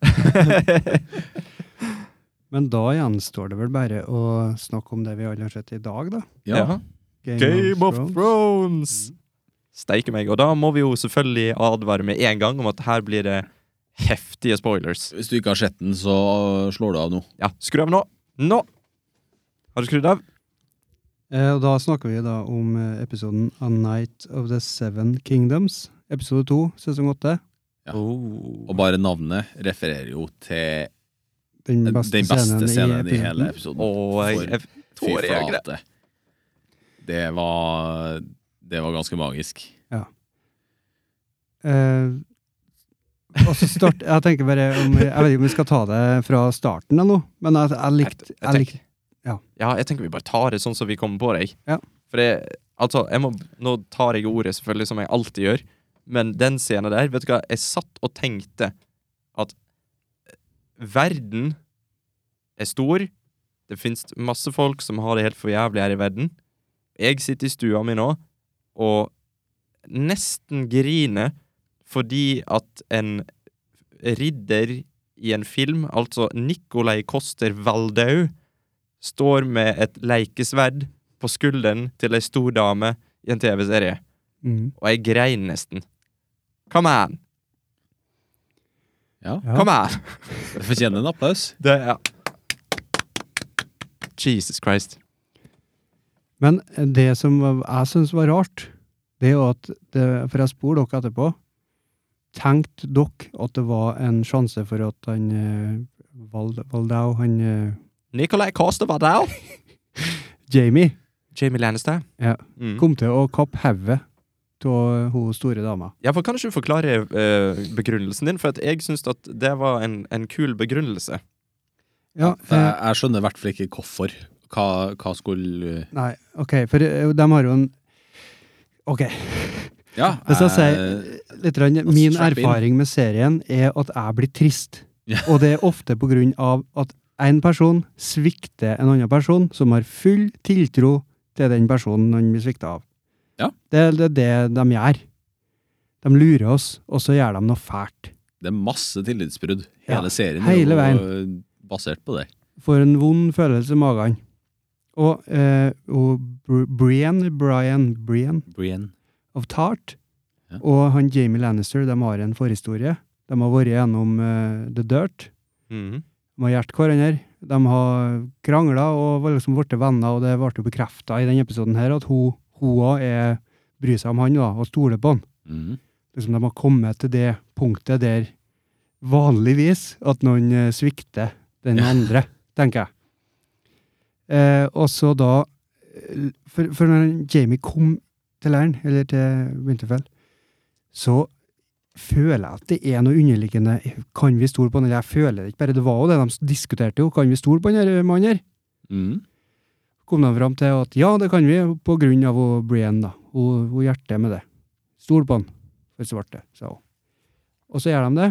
Men da gjenstår det vel bare å snakke om det vi alle har sett i dag, da.
Ja.
Game,
Game of
Thrones. Mm.
Thrones! Steike meg. Og da må vi jo selvfølgelig advare med en gang om at her blir det heftige spoilers.
Hvis du ikke har sett den, så slår du av nå.
Ja, skru av nå. Nå! Har du skrudd av?
Eh, og da snakker vi da om eh, episoden A Night of the Seven Kingdoms. Episode to, sesong åtte.
Ja.
Oh.
Og bare navnet refererer jo til
Den
Eh, den
beste,
beste scenen i
episoden.
hele episoden.
Og jeg, jeg,
Fy
tårer jeg gre-
flate. Det var Det var ganske magisk.
Eh, og så start, jeg tenker bare om, Jeg vet ikke om vi skal ta det fra starten eller noe, men jeg, jeg likte
Jeg tenker-
jeg likte- ja.
ja, jeg tenker vi bare tar det sånn som vi kommer på det. jeg.
Ja.
For det, altså, jeg må, nå tar jeg ordet selvfølgelig, som jeg alltid gjør, men den scenen der, vet du hva, jeg satt og tenkte at eh, verden er stor, det finnes masse folk som har det helt for jævlig her i verden. Jeg sitter i stua mi nå, og nesten griner fordi at en ridder i en film, altså Nikolai Koster Waldau, står med et leikesverd på skulderen til ei stor dame i en TV-serie,
Mm,
og jeg grein nesten. Come on!
Ja,
ja.
Come on!
Det fortjener en applaus.
Det er Jesus Christ.
Men det som jeg syns var rart, det er jo at det, For jeg spurte dere etterpå. Tenkte dere at det var en sjanse for at han eh, Val- Valdau, han eh,
Nicolay Costa var der!
Jamie,
Jamie Lannister.
Ja.
Mm.
kom til å kappe hodet av hun store dama.
Ja, for Kan ikke du forklare eh, begrunnelsen din? For at jeg syns at det var en, en kul begrunnelse.
Ja,
For
eh,
Jeg, jeg skjønner i hvert fall ikke hvorfor. Hva, hva skulle
nei, OK, for eh, de har jo en OK.
Ja, eh,
Hvis jeg
jeg-
sier litt grann,
og
Min
strap in.
erfaring med serien er at jeg blir trist.
Ja.
Og det er ofte på grunn av at en person svikter en annen person som har full tiltro til den personen han blir svikta av.
Ja.
Det er det, er det de gjør. De lurer oss, og så gjør de noe fælt.
Det er masse tillitsbrudd.
Ja,
Hele serien
hele
er jo eh,
veien.
basert på det.
Får en vond følelse i magen. Og, eh, og Br- Brian, Brian, Brian
Brian.
of Tart
Ja.
og han Jamie Lannister de har en forhistorie. De har vært gjennom eh, The Dirt.
Mhm.
De har hjulpet hverandre. De har krangla og var liksom blitt venner, og det ble jo bekrefta i denne episoden her at hun hun også er- bryr seg om han da, og stoler på han.
Mhm.
Liksom de har kommet til det punktet der vanligvis at noen eh, svikter den
Ja.
andre, tenker jeg. Eh, og så da eh, for, for når Jamie kom til leiren, eller til Winterfell, så føler jeg at det er noe underliggende Kan vi stole på han? Eller jeg føler det ikke bare. Det var jo det de s- diskuterte, jo. Kan vi stole på han her mannen her?
Mhm.
kom de fram til at ja, det kan vi, på grunn av hun Brienne, da. Hun, hun hjertet med det. Stol på han, for svarte, sa hun. Og så gjør de det.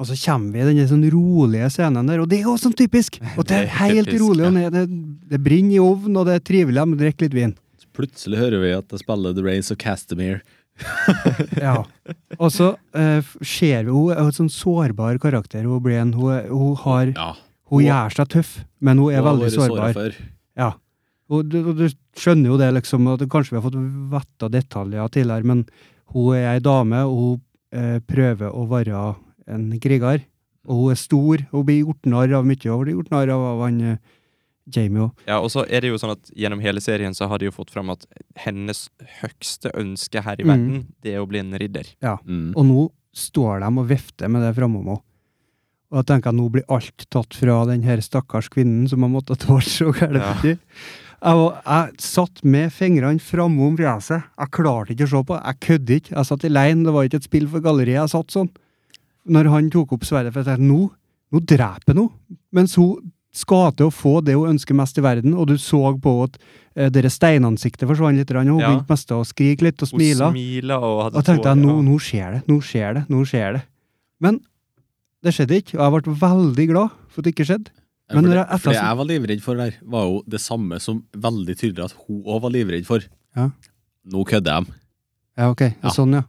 Og så kommer vi i denne sånn rolige scenen der, og det er jo sånn typisk! Og det
Det er
er helt
typisk,
rolig, og ned, det, det brenner i ovnen, og det er trivelig, de drikker litt vin.
Så plutselig hører vi at de spiller The Race of Castamere.
Ja. Og så eh, f- ser vi hun er jo en sånn sårbar karakter, hun Brienne. Hun, er- hun, har,
Ja,
hun gjør seg tøff, men hun er
hun har
veldig
vært såret
sårbar.
før.
Ja. Og du, og du skjønner jo det, liksom, at kanskje vi har fått vett av detaljer tidligere, men hun er ei dame, og hun eh, prøver å være en kriger. Og hun er stor, og hun blir gjort narr av mye, og hun blir gjort narr av, av han eh, Jamie òg.
Ja, og så er det jo sånn at Gjennom hele serien så har de jo fått fram at hennes høgste ønske her i
Mhm.
verden, det er å bli en ridder. Mm.
Mhm.
Og nå står de og vifter med det framom henne. Og jeg tenker at nå blir alt tatt fra den her stakkars kvinnen som har måttet tåle så gærent
Ja.
mye. Jeg, var- jeg satt med fingrene framom fjeset. Jeg klarte ikke å se på. Jeg kødder ikke. Jeg satt alene. Det var ikke et spill for galleriet. Jeg satt sånn. Når han tok opp sverdet, for jeg tenkte nå, nå dreper jeg henne. Mens hun skal til å få det hun ønsker mest i verden, og du så på at eh, dere steinansiktet forsvant litt, og hun
Ja.
begynte mest å skrike litt og
Hun
smile.
smiler og hadde
Og tenkte
tårer,
jeg, nå,
ja.
nå skjer det, nå skjer det, nå skjer det. Men det skjedde ikke, og jeg ble veldig glad for at det ikke skjedde.
Ja,
Men
for
når
det,
jeg- etter-
for det jeg var livredd for der, var jo det samme som veldig tydelig at hun òg var livredd for.
Ja.
Nå kødder de.
Ja, ok.
Ja.
Sånn, ja.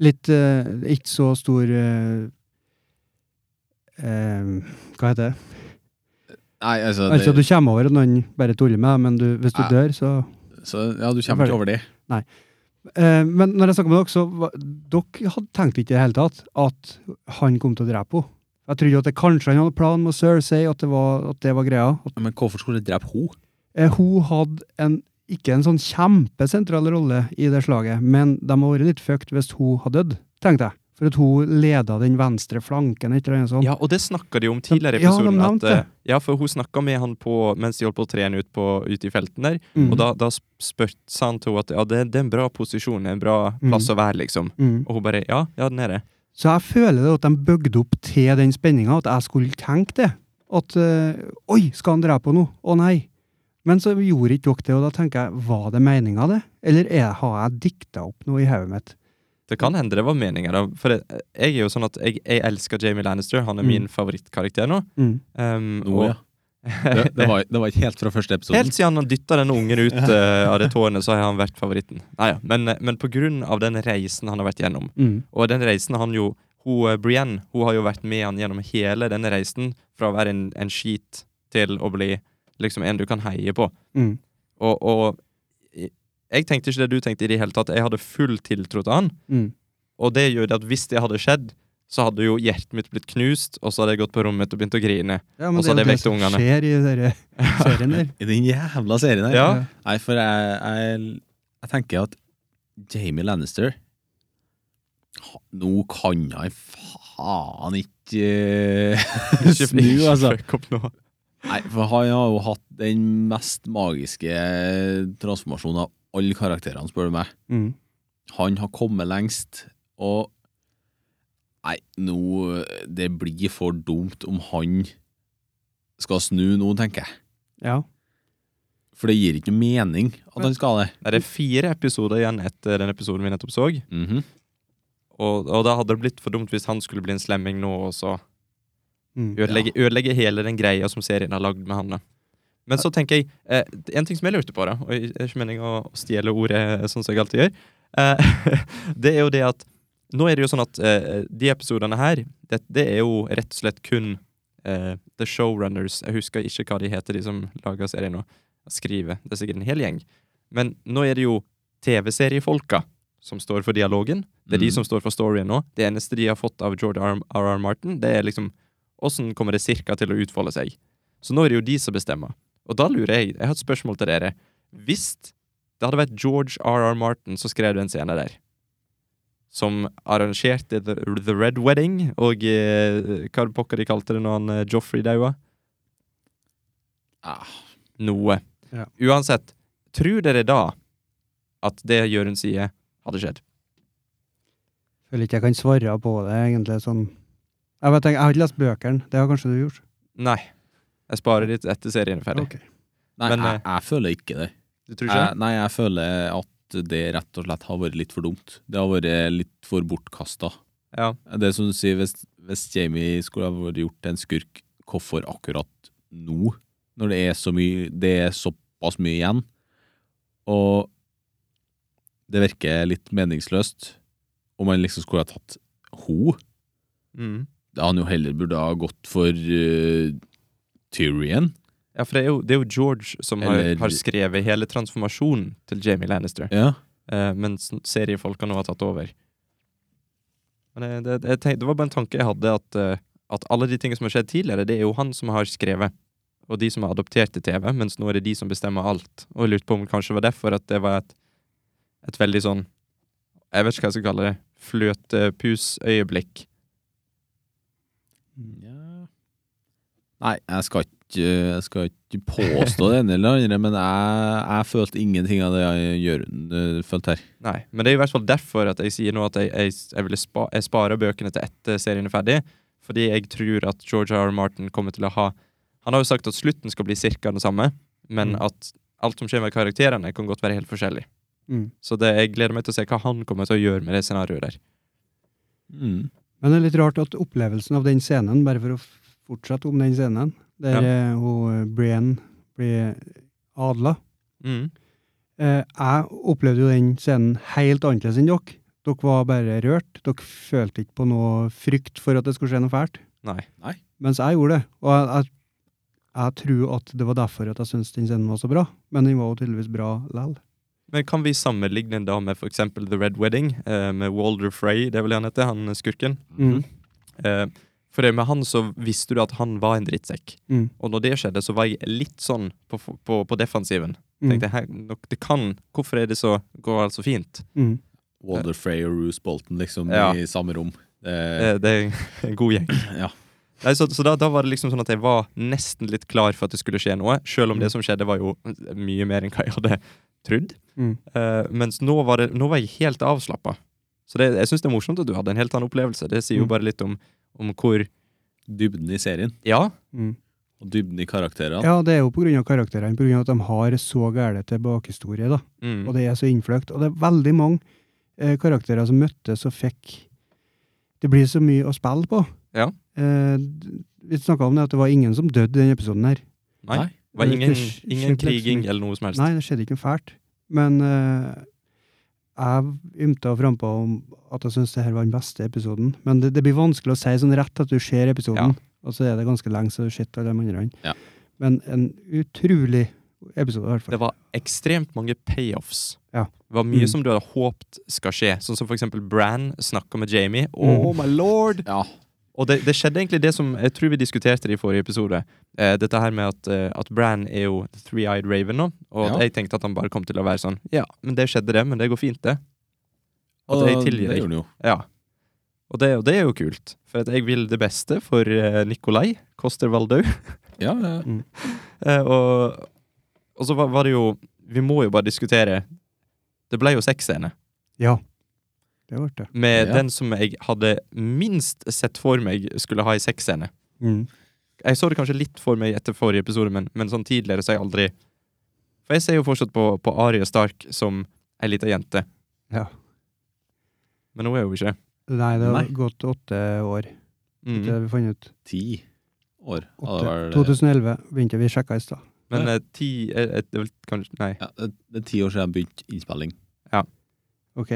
Litt eh, Ikke så stor eh, eh, Hva heter det?
Nei, altså, det,
Altså, du kommer over at noen bare tuller med deg, men du, hvis du
Ja.
dør, så
så, ja, du kommer ikke over det.
Eh, Men når jeg snakka med dere, så var- Dere hadde tenkt ikke i det hele tatt at han kom til å drepe henne. Jeg trodde at det kanskje han hadde planen med Cersei, at det var, at det var greia. At
Men hvorfor skulle de drepe henne?
Eh, Hun hadde en, ikke en sånn kjempesentral rolle i det slaget, men de hadde vært litt fucked hvis hun hadde dødd, tenkte jeg. For at hun leda den venstre flanken, et eller annet sånt.
Ja, og det snakka de om tidligere i
Ja, de
episoden.
nevnte
at, eh,
det.
ja, for hun snakka med han på, mens de holdt på å trene ut, på, ute i felten der.
Mm.
Og da, da sp- spør, sa han til henne at ja, det, det er en bra posisjon, en bra
Mm.
plass å være, liksom.
Mm.
Og hun bare ja, ja, den er det.
Så jeg føler det at de bygde opp til den spenninga, at jeg skulle tenke det. At eh, Oi, skal han drepe henne nå? Å nei. Men så gjorde ikke dere det, og da tenker jeg, var det meninga, det? Eller er, har jeg dikta opp noe i hodet mitt?
Det kan hende det var meninga, da. For det, jeg er jo sånn at jeg, jeg elsker Jamie Lannister. Han er
Mm.
min favorittkarakter nå.
Mm.
Um,
Nå, ja. Det, det, var, det var ikke helt fra første episode.
Helt siden han dytta denne ungen ut eh, av det tårnet, så har han vært favoritten. Nei, ja. men, eh, men på grunn av den reisen han har vært gjennom,
Mm.
og den reisen han jo hun, eh, Brienne hun har jo vært med han gjennom hele denne reisen, fra å være en, en skit til å bli liksom en du kan heie på.
Mm.
Og, og i- jeg tenkte ikke det du tenkte i det hele tatt. Jeg hadde full tiltro til han,
Mm.
og det gjør det at hvis det hadde skjedd, så hadde jo hjertet mitt blitt knust, og så hadde jeg gått på rommet mitt og begynt å grine.
Ja, men
Og
det er jo
så det
det
vekte
som
ungene.
skjer i denne serien der.
I den jævla serien her.
Ja.
Nei, for jeg, jeg, jeg tenker at Jamie Lannister Ha- Nå kan jeg faen ikke eh, snu, altså.
Fuck opp nå.
Nei, for han har jo hatt den mest magiske eh, transformasjonen av alle karakterene, spør du meg.
Mm.
Han har kommet lengst, og Nei, nå eh, Det blir for dumt om han skal snu nå, tenker jeg.
Ja.
For det gir ikke noe mening at han skal det.
Nei, Det er fire episoder igjen etter den episoden vi nettopp så.
Mhm.
Og, og da hadde det blitt for dumt hvis han skulle bli en slemming nå og så
Mm.
ødelegge, ødelegge hele den greia som serien har lagd med han. da. Men så tenker jeg eh, En ting som jeg lurte på, da, og jeg jeg er ikke meningen å å stjele ordet eh, sånn som jeg alltid gjør, eh, det er jo det at nå er det jo sånn at eh, de episodene her, det, det er jo rett og slett kun eh, The Showrunners Jeg husker ikke hva de heter, de som lager serien nå. Skriver. Det er sikkert en hel gjeng. Men nå er det jo TV-seriefolka som står for dialogen. Det er de
Mm.
som står for storyen nå. Det eneste de har fått av George R. R. R. Martin, det er liksom Åssen kommer det cirka til å utfolde seg? Så nå er det jo de som bestemmer. Og da lurer jeg Jeg har et spørsmål til dere. Hvis det hadde vært George R.R. Martin som skrev den scenen der, som arrangerte The, the Red Wedding, og eh, hva pokker de kalte det når han eh, Joffrey daua?
Ah,
Noe.
Ja.
Uansett, tror dere da at det Jørund sier, hadde skjedd?
Føler ikke jeg kan svare på det, egentlig. sånn. Jeg, vet, ikke, jeg har ikke lest bøkene. Det har kanskje du gjort?
Nei. Jeg sparer litt etter serien er ferdig. Eh,
Ok.
Nei,
Men,
jeg, jeg føler ikke det.
Du tror ikke?
Jeg, nei, jeg føler at det rett og slett har vært litt for dumt. Det har vært litt for bortkasta.
Ja.
Det som du sier, hvis, hvis Jamie skulle ha vært gjort til en skurk, hvorfor akkurat nå? Når det er så mye Det er såpass mye igjen. Og det virker litt meningsløst om man liksom skulle ha tatt ho.
Mm.
Da han jo heller burde ha gått for eh, Tyrion.
ja, for det er jo, det er jo George som har,
Eller-
har skrevet hele transformasjonen til Jamie Lannister.
Ja.
Eh, mens seriefolka nå har tatt over. Men eh, det, det, jeg tenk, det var bare en tanke jeg hadde, at, eh, at alle de tingene som har skjedd tidligere, det er jo han som har skrevet, og de som har adoptert til TV, mens nå er det de som bestemmer alt. Og jeg lurte på om det kanskje var derfor at det var et, et veldig sånn Jeg vet ikke hva jeg skal kalle det. Fløtepusøyeblikk.
Mm.
Nei, jeg skal ikke, jeg skal ikke påstå det ene eller andre, men jeg, jeg følte ingenting av det jeg gjør, øh, følte her.
Nei, men det er i hvert fall derfor at jeg sier nå at jeg, jeg, jeg, ville spa, jeg sparer bøkene til etter serien er ferdig, fordi jeg tror at George R. R. Martin kommer til å ha Han har jo sagt at slutten skal bli cirka den samme, men
Mm.
at alt som skjer med karakterene, kan godt være helt forskjellig.
Mm.
Så det, jeg gleder meg til å se hva han kommer til å gjøre med det scenarioet der.
Mm.
Men det er litt rart at opplevelsen av den scenen, bare for å f- fortsette om den scenen, der
Ja.
eh, hun eh, Brienne blir adla
Mm.
eh, Jeg opplevde jo den scenen helt annerledes enn dere. Dere var bare rørt. Dere følte ikke på noe frykt for at det skulle skje noe fælt.
Nei.
Mens jeg gjorde det. Og jeg, jeg, jeg tror at det var derfor at jeg syntes den scenen var så bra. Men den var jo tydeligvis bra lell.
Men kan vi sammenligne den da med for eksempel The Red Wedding, eh, med Walder Frey, det er vel det han heter, han skurken?
Mm.
Eh, for det med han så visste du at han var en drittsekk.
Mm.
Og når det skjedde, så var jeg litt sånn på, på, på defensiven.
mm,
Tenkte jeg, her- nok- det kan, hvorfor er det så, går alt så fint?
Mm.
Walder Frey og Roose Bolton liksom
Ja.
i samme rom. Det,
Eh, Det er en god gjeng.
ja.
Nei, så så da, da var det liksom sånn at jeg var nesten litt klar for at det skulle skje noe, selv om det som skjedde var jo mye mer enn hva jeg hadde trodd.
Mm.
Eh, mens nå var, det, nå var jeg helt avslappa. Så det, jeg syns det er morsomt at du hadde en helt annen opplevelse. Det sier jo
Mm.
bare litt om, om hvor
Dybden i serien
Ja,
Mm.
og dybden i karakterene.
Ja, det er jo pga. karakterene, pga. at de har så gæren tilbakehistorie, da.
mm,
Og det er så innfløkt. Og det er veldig mange eh, karakterer som møttes og fikk Det blir så mye å spille på.
Ja.
Eh, d- vi snakka om det at det var ingen som døde i den episoden her.
Nei, var ingen,
det sk-
ingen
skjedde
kriging
liksom-
eller noe som helst.
Nei, det skjedde ikke noe fælt. Men eh, jeg ymta og frampå om at jeg syns det her var den beste episoden. Men det, det blir vanskelig å si sånn rett at du ser episoden,
Ja.
og så er det ganske lenge så shit alle de andre.
Ja.
Men en utrolig episode, i hvert fall.
Det var ekstremt mange payoffs.
Ja.
Det var mye
Mm.
som du hadde håpt skal skje. Sånn som for eksempel Bran snakker med Jamie. Oh my lord!
Ja.
Og det, det skjedde egentlig det som jeg tror vi diskuterte det i forrige episode. Eh, dette her med at, eh, at Bran er jo the three-eyed raven nå. Og at
Ja.
jeg tenkte at han bare kom til å være sånn Ja, men det skjedde det, men det går fint, det. At
Og
jeg
det
tilgir deg.
gjorde han jo.
Ja. Og det, og det er jo kult, for at jeg vil det beste for eh, Nikolai Koster Waldau.
Ja, ja.
Eh, og, og så var, var det jo Vi må jo bare diskutere Det ble jo sexscene
Ja. Det ble det.
med
Ja.
den som jeg hadde minst sett for meg skulle ha en sexscene.
Mm.
Jeg så det kanskje litt for meg etter forrige episode, men, men sånn tidligere så har jeg aldri For jeg ser jo fortsatt på, på Arie Stark som ei lita jente,
ja.
men hun er jo ikke det.
Nei, det har
Nei.
gått åtte år.
Mm.
Det har vi funnet ut.
ti år. Ja,
Åtte.
det, var,
2011 begynte vi å sjekke i stad.
Men eh, ti eh, eh, det er vel kanskje Nei.
ja, det, det er ti år siden jeg begynte innspilling.
Ok.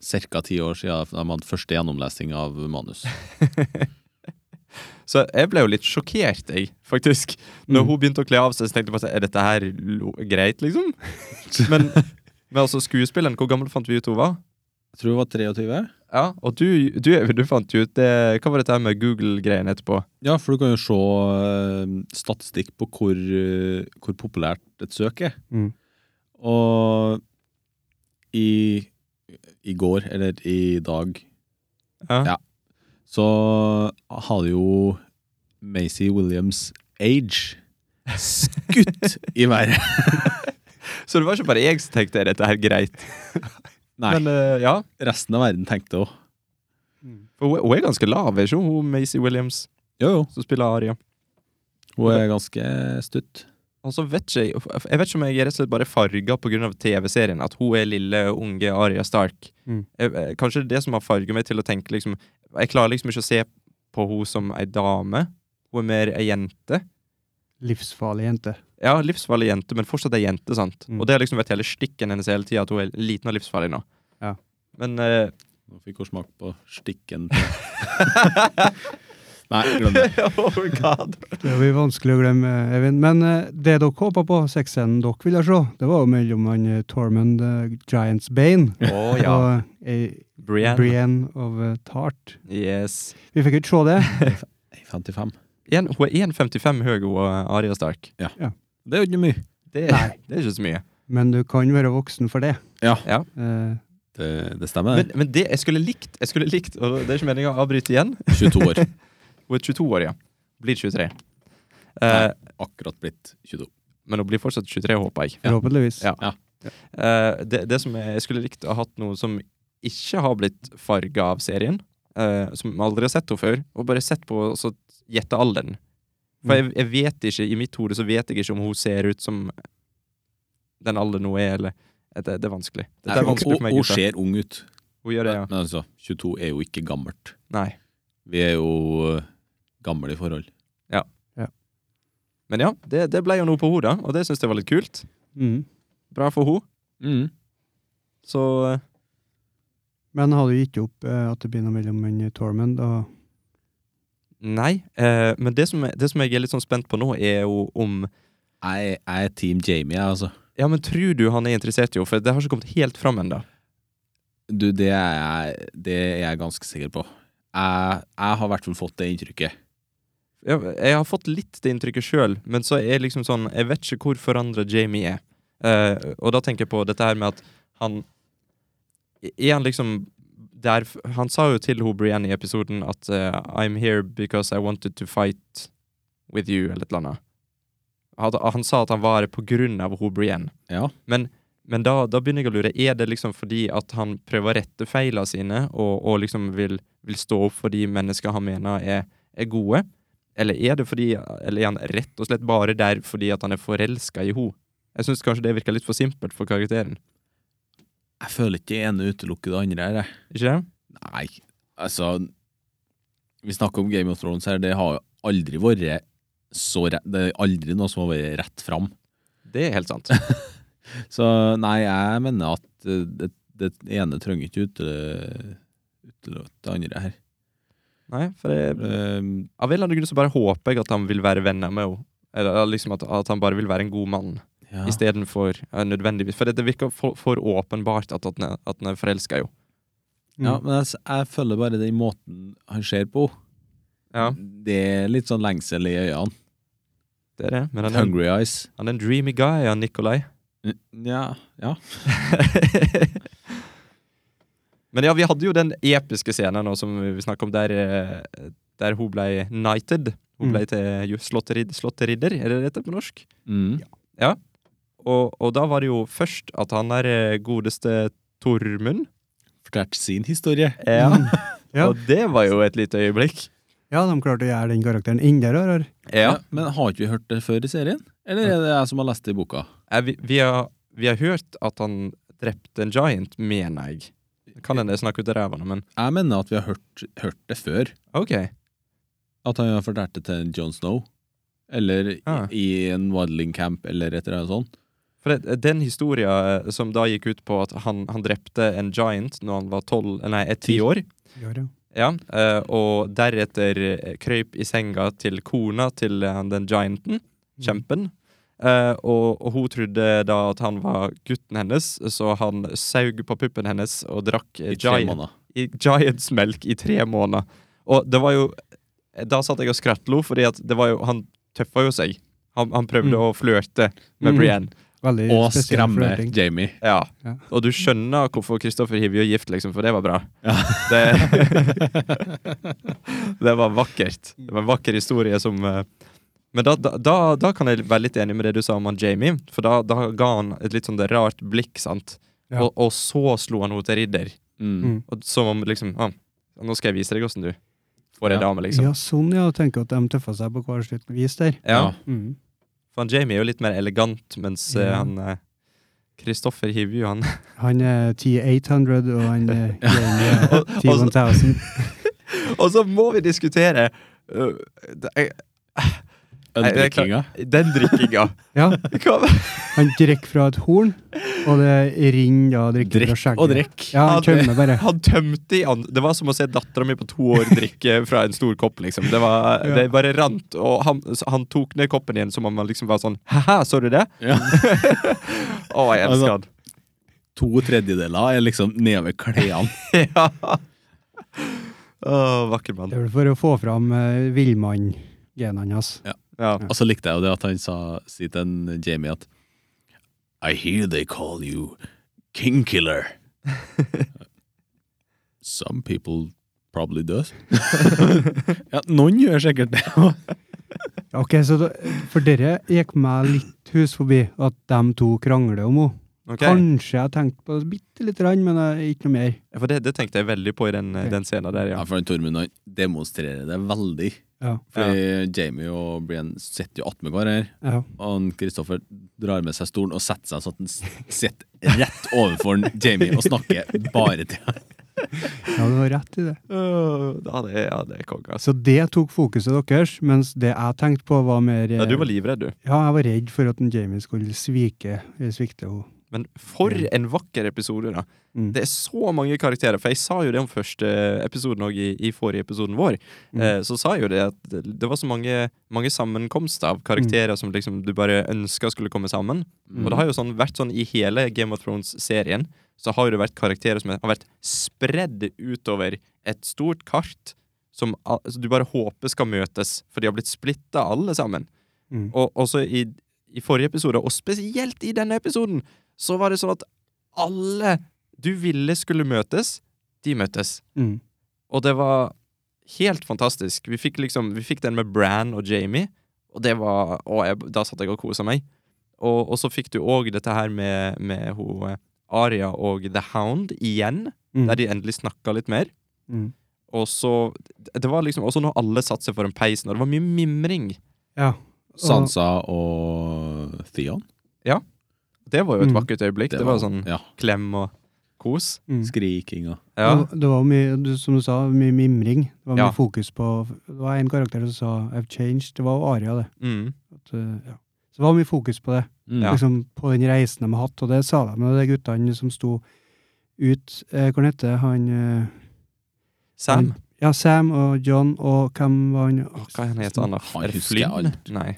Cirka ti år siden de hadde første gjennomlesning av manus.
Så jeg ble jo litt sjokkert, jeg, faktisk. Når
Mm.
hun begynte å kle av seg, så tenkte jeg bare sånn, Er dette her lo greit, liksom? men, men altså, skuespilleren, hvor gammel fant vi ut hun var?
Jeg tror det var 23.
Ja, Og du, du, Øyvind, du fant jo ut det, Hva var dette her med Google-greiene etterpå?
Ja, for du kan jo se eh, statistikk på hvor, eh, hvor populært et søk er.
Mm.
Og i, i går, eller i dag, Ja. så hadde jo Macy Williams Age skutt i været.
Så det var ikke bare jeg som tenkte Er dette her greit?
Nei,
Men eh, ja,
resten av verden tenkte òg.
for hun, hun er ganske lav, er ikke hun Macy Williams
Jo, jo.
som spiller Aria?
Hun er ganske stutt.
Og så vet ikke jeg Jeg vet ikke om jeg er rett og slett bare farga pga. TV-serien. At hun er lille, unge Aria Stark.
Mm.
Jeg- jeg- Kanskje det er det som har farga meg til å tenke liksom Jeg klarer liksom ikke å se på henne som ei dame. Hun er mer ei jente.
Livsfarlig jente.
Ja, livsfarlig jente, men fortsatt ei jente, sant.
Mm.
Og det har liksom vært hele stikken hennes hele tida, at hun er liten og livsfarlig nå.
Ja.
Men eh,
Nå fikk hun smak på stikken. Nei, glem det.
Oh god.
Det blir vanskelig å glemme, Evin. Men eh, det dere håpa på, sexscenen dere ville se, det var jo mellom han eh, Tormund eh, Giants Bane
Å ja.
og eh,
Brienne.
Brienne of eh, Tart.
Yes.
Vi fikk jo ikke se det.
55.
En, hun er 1,55 høy, hun eh, Aria Stark.
Det er jo ikke mye.
Det,
Nei.
det er ikke så mye.
Men du kan være voksen for det.
Ja.
Ja.
Eh,
Det, det stemmer.
Men, men det jeg skulle likt, jeg skulle likt og Det er ikke meninga å avbryte igjen.
22 år.
Hun er 22 år, ja. Blir 23. Eh,
Nei. Akkurat blitt 22.
men hun blir fortsatt 23, håper jeg.
forhåpentligvis.
Ja. Eh, det, det som jeg, jeg skulle likt å ha hatt noe som ikke har blitt farga av serien, eh, som vi aldri har sett henne før, og bare sett på og så gjette alderen. For
Mm.
jeg, jeg vet ikke, i mitt hode så vet jeg ikke om hun ser ut som den alderen hun er, eller Eh, det, det er vanskelig. Dette er
Nei,
vanskelig for meg.
Hun, hun
gutta.
ser ung ut.
Hun gjør det, ja.
Men altså, 22 er jo ikke gammelt.
Nei.
Vi er jo eh, gamle i forhold.
Men ja, det, det ble jo noe på hodet, og det syns jeg var litt kult.
Mm.
Bra for henne. Mm. Så eh,
Men har du gitt opp eh, at det blir noe mellom han eh, Tormund og
Nei, eh, men det som, det som jeg er litt sånn spent på nå, er jo om
Jeg, jeg er Team Jamie, jeg, altså.
Ja, men tror du han er interessert i henne? For det har ikke kommet helt fram ennå.
Du, det er jeg, det er jeg ganske sikker på. Jeg, jeg har i hvert fall fått det inntrykket.
Jeg, jeg har fått litt det inntrykket sjøl, men så er liksom sånn Jeg vet ikke hvor forandra Jamie er. Eh, og da tenker jeg på dette her med at han Er han liksom der Han sa jo til hun Brienne i episoden at eh, I'm here because I wanted to fight with you, eller et eller annet. Han, han sa at han var her på grunn av hun Brienne.
Ja.
Men da, da begynner jeg å lure. Er det liksom fordi at han prøver å rette feilene sine, og, og liksom vil, vil stå opp for de mennesker han mener er, er gode? Eller er det fordi Eller er han rett og slett bare der fordi at han er forelska i henne? Jeg syns kanskje det virker litt for simpelt for karakteren.
Jeg føler ikke det ene utelukker det andre her, jeg.
Ikke det?
Nei, altså Vi snakker om Game of Thrones her, det har jo aldri vært så rett Det er aldri noe som har vært rett fram.
Det er helt sant.
Så nei, jeg mener at eh, det, det ene trenger ikke utele- utelukke det andre her.
Nei, for det,
Eh,
Av en eller annen grunn så bare håper jeg at han vil være venner med henne. Eller liksom at, at han bare vil være en god mann,
Ja.
istedenfor uh, nødvendigvis. For det, det virker for, for åpenbart at, at han er- at han er forelska i henne.
Mm.
Ja, men jeg, s- jeg føler bare den måten han ser på
Ja,
Det er litt sånn lengsel i øynene.
det er det. Men han er
Hungry eyes.
Han er en dreamy guy, han Nikolai.
Ja, ja.
Men ja, vi hadde jo den episke scenen nå som vi snakket om, der, eh, der hun ble knighted. Hun
Mm.
ble til jo- slotterid- slotteridder, er det det heter på norsk?
Mm.
Og, og da var det jo først at han er eh, godeste Tormund.
Fortalte sin historie.
Mm. Ja.
Og det var jo et lite øyeblikk.
Ja, de klarte å gjøre den karakteren enda rarere.
Ja. men har ikke vi hørt det før i serien? Eller er det jeg som har lest det i boka?
Eh, Vi, vi, har, vi har hørt at han drepte en giant, mener jeg. Kan hende jeg snakker ut av ræva nå, men
Jeg mener at vi har hørt, hørt det før.
OK.
At han har fortalt det til John Snow. Eller i,
Ah.
i en waddling camp, eller et eller annet sånt.
For det, den historia eh, som da gikk ut på at han, han drepte en giant når han var 12, nei, eh, ti år,
Ja, ja.
Ja, eh, og deretter eh, krøyp i senga til kona til eh, den gianten, kjempen. Eh, og, og hun trodde da at han var gutten hennes, så han saug på puppen hennes og drakk eh,
I tre
giant,
måneder.
i Giants melk i tre måneder. Og det var jo Da satt jeg og skrattlo, fordi at det var jo Han tøffa jo seg. Han, han prøvde
Mm.
å flørte med
Mm.
Brienne.
Veldig
Og
spesiell
skremme
flørting.
Jamie.
Ja.
Ja.
Og du skjønner hvorfor Kristoffer Hivju er gift, liksom, for det var bra.
Ja.
Det, det var vakkert. Det var en vakker historie som eh, Men da, da, da, da kan jeg være litt enig med det du sa om han Jamie, for da, da ga han et litt sånn det rart blikk, sant,
Ja.
og, og så slo han henne til ridder.
Mm.
Mm.
Og som om liksom ah, Nå skal jeg vise deg åssen du får ei
Ja.
dame, liksom.
Ja, sånn, ja. Tenker at de tøffa seg på hver sitt vis der.
Ja.
Ja.
Mm.
For han Jamie er jo litt mer elegant, mens eh,
Ja.
han eh, Kristoffer Hivju, han
Han er T800, og han er Jamie er
Og- og-
T1000.
Og så må vi diskutere øh, det- jeg-
Ødedrikkinga.
den drikkinga.
Ja,
Hva-
han drikker fra et horn, og det renner da drikke fra
Drikk
skjegget.
og drikk.
Ja, han
Ja, det-
tømmer bare.
Han tømte i an Det var som å se dattera mi på to år drikke fra en stor kopp, liksom. Det, var,
Ja.
det bare rant, og han, så han tok ned koppen igjen som om han liksom var sånn Haha, så du det?
Ja.
Å, jeg elsker han.
To tredjedeler er liksom nedover klærne.
ja. Å, vakker
Det
mann.
er vel for å få fram uh, villmann-genene hans.
Ja.
Og så likte jeg jo det at han sa si til en Jamie at I hear they call you Kingkiller. Some people probably does. ja, noen gjør sikkert det.
Ok, så da, For dere gikk meg litt hus forbi at de to krangler om henne.
ok.
Kanskje jeg tenkte på det bitte lite grann, men eh, ikke noe mer.
For det, det tenkte jeg veldig på i den,
Ok.
den scenen der,
Ja,
ja.
for han Tormund han demonstrerer det veldig.
Ja,
Fordi Jamie og Brian sitter jo attmed hverandre,
ja.
og han Kristoffer drar med seg stolen og setter seg sånn at han s- sitter rett overfor han Jamie og snakker bare til han.
ja du har rett i det.
Å, da hadde jeg- ja, det er konge, altså.
Så det tok fokuset deres, mens det jeg tenkte på, var mer eh,
Ja, du var livredd, du.
Ja, jeg var redd for at en Jamie skulle svike, eh, svikte henne.
Men for en vakker episode, da.
Mm.
Det er så mange karakterer, for jeg sa jo det om første episoden òg, i, i forrige episoden vår.
Mm.
Eh, så sa jeg jo det at det det var så mange, mange sammenkomster av
Mm.
karakterer som liksom du bare ønska skulle komme sammen. Og det har jo sånn, vært sånn i hele Game of Thrones-serien, så har jo det vært karakterer som har vært spredd utover et stort kart som al- altså, du bare håper skal møtes, for de har blitt splitta alle sammen.
Mm.
Og også i, i forrige episode, og spesielt i denne episoden, så var det sånn at alle du ville skulle møtes, de møttes.
Mm.
Og det var helt fantastisk. Vi fikk liksom, vi fikk den med Bran og Jamie, og det var å, jeg, Da satt jeg og kosa meg. Og, og så fikk du òg dette her med, med ho, eh, Aria og The Hound igjen,
Mm.
der de endelig snakka litt mer.
Mm.
Og så Det var liksom også når alle satte seg foran peisen, og det var mye mimring.
Ja.
Sansa og Theon.
Det var jo et
Mm.
vakkert øyeblikk. Det var, sånn
ja,
klem og kos.
Mm.
skriking og
Ja.
Og Det var mye, du- som du sa, mye mimring. Det var mye
Ja.
fokus på Det var en karakter som sa 'I've changed'. Det var jo Aria, det.
Mm.
At, eh, ja. Så det var mye fokus på det.
Mm.
Ja.
Liksom på den reisen de har hatt, og det sa de. Og de guttene som sto ut eh, Hva heter han eh,
Sam.
Ja, Sam og John og hvem var han
Å, Hva heter han, da?
Han
Er det
husker jeg
Flynn?
alt.
Nei.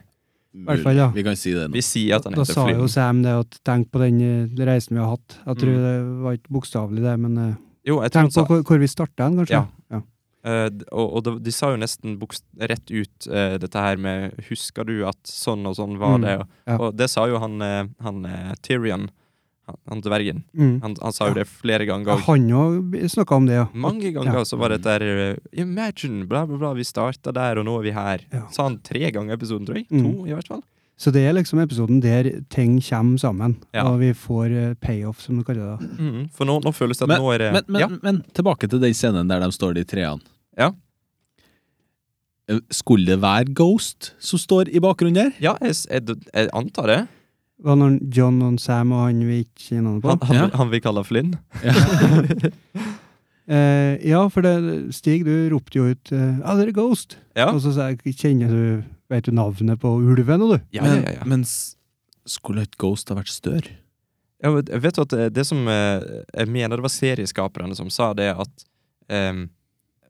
hvert fall, ja.
Vi kan si det nå.
Vi sier at han
Da
heter
sa jo
Flynn.
Sam det at tenk på den eh, reisen vi har hatt. Jeg tror
Mm.
det var ikke bokstavelig det, men eh,
Jo, jeg tror han
tenk
sa
på hvor, hvor vi starta hen, kanskje.
Ja.
ja.
Eh, d- og og de, de sa jo nesten bokst rett ut eh, dette her med 'husker du at sånn og sånn var
Mm,
det'? Og,
ja.
og det sa jo han, eh, han eh, Tyrion. han, han dvergen.
Mm.
Han, han sa jo det flere
Ja,
ganger.
Han òg snakka om det, ja.
Mange ganger så var det der eh, Imagine, bla, bla, bla. Vi starta der, og nå er vi her.
Ja.
Sa han tre ganger i episoden, tror jeg.
Mm.
To, i hvert fall.
Så det er liksom episoden der ting kommer sammen,
Ja.
og vi får eh, payoff, som du kaller det.
Mm. For nå, nå føles det at
Men-
nå er det
Men, men,
ja.
men tilbake til den scenen der de står, de treene.
Ja.
Eh, Skulle det være Ghost som står i bakgrunnen der?
Ja, jeg, s- jeg, d- jeg antar det.
Det var noen John og Sam og han vi ikke kjenner navnet på.
Han, han,
Ja.
han vi kaller Flynn.
Eh, ja, for det, Stig, du ropte jo ut eh, Ja, det er Ghost!
Ja.
Og så sa jeg Kjenner du Vet du navnet på ulven nå, du?
Ja, ja, ja, ja.
Men, men s- skulle ikke Ghost ha vært større?
Ja, men jeg vet jo at eh, det som eh, Jeg mener det var serieskaperne som sa det at ehm,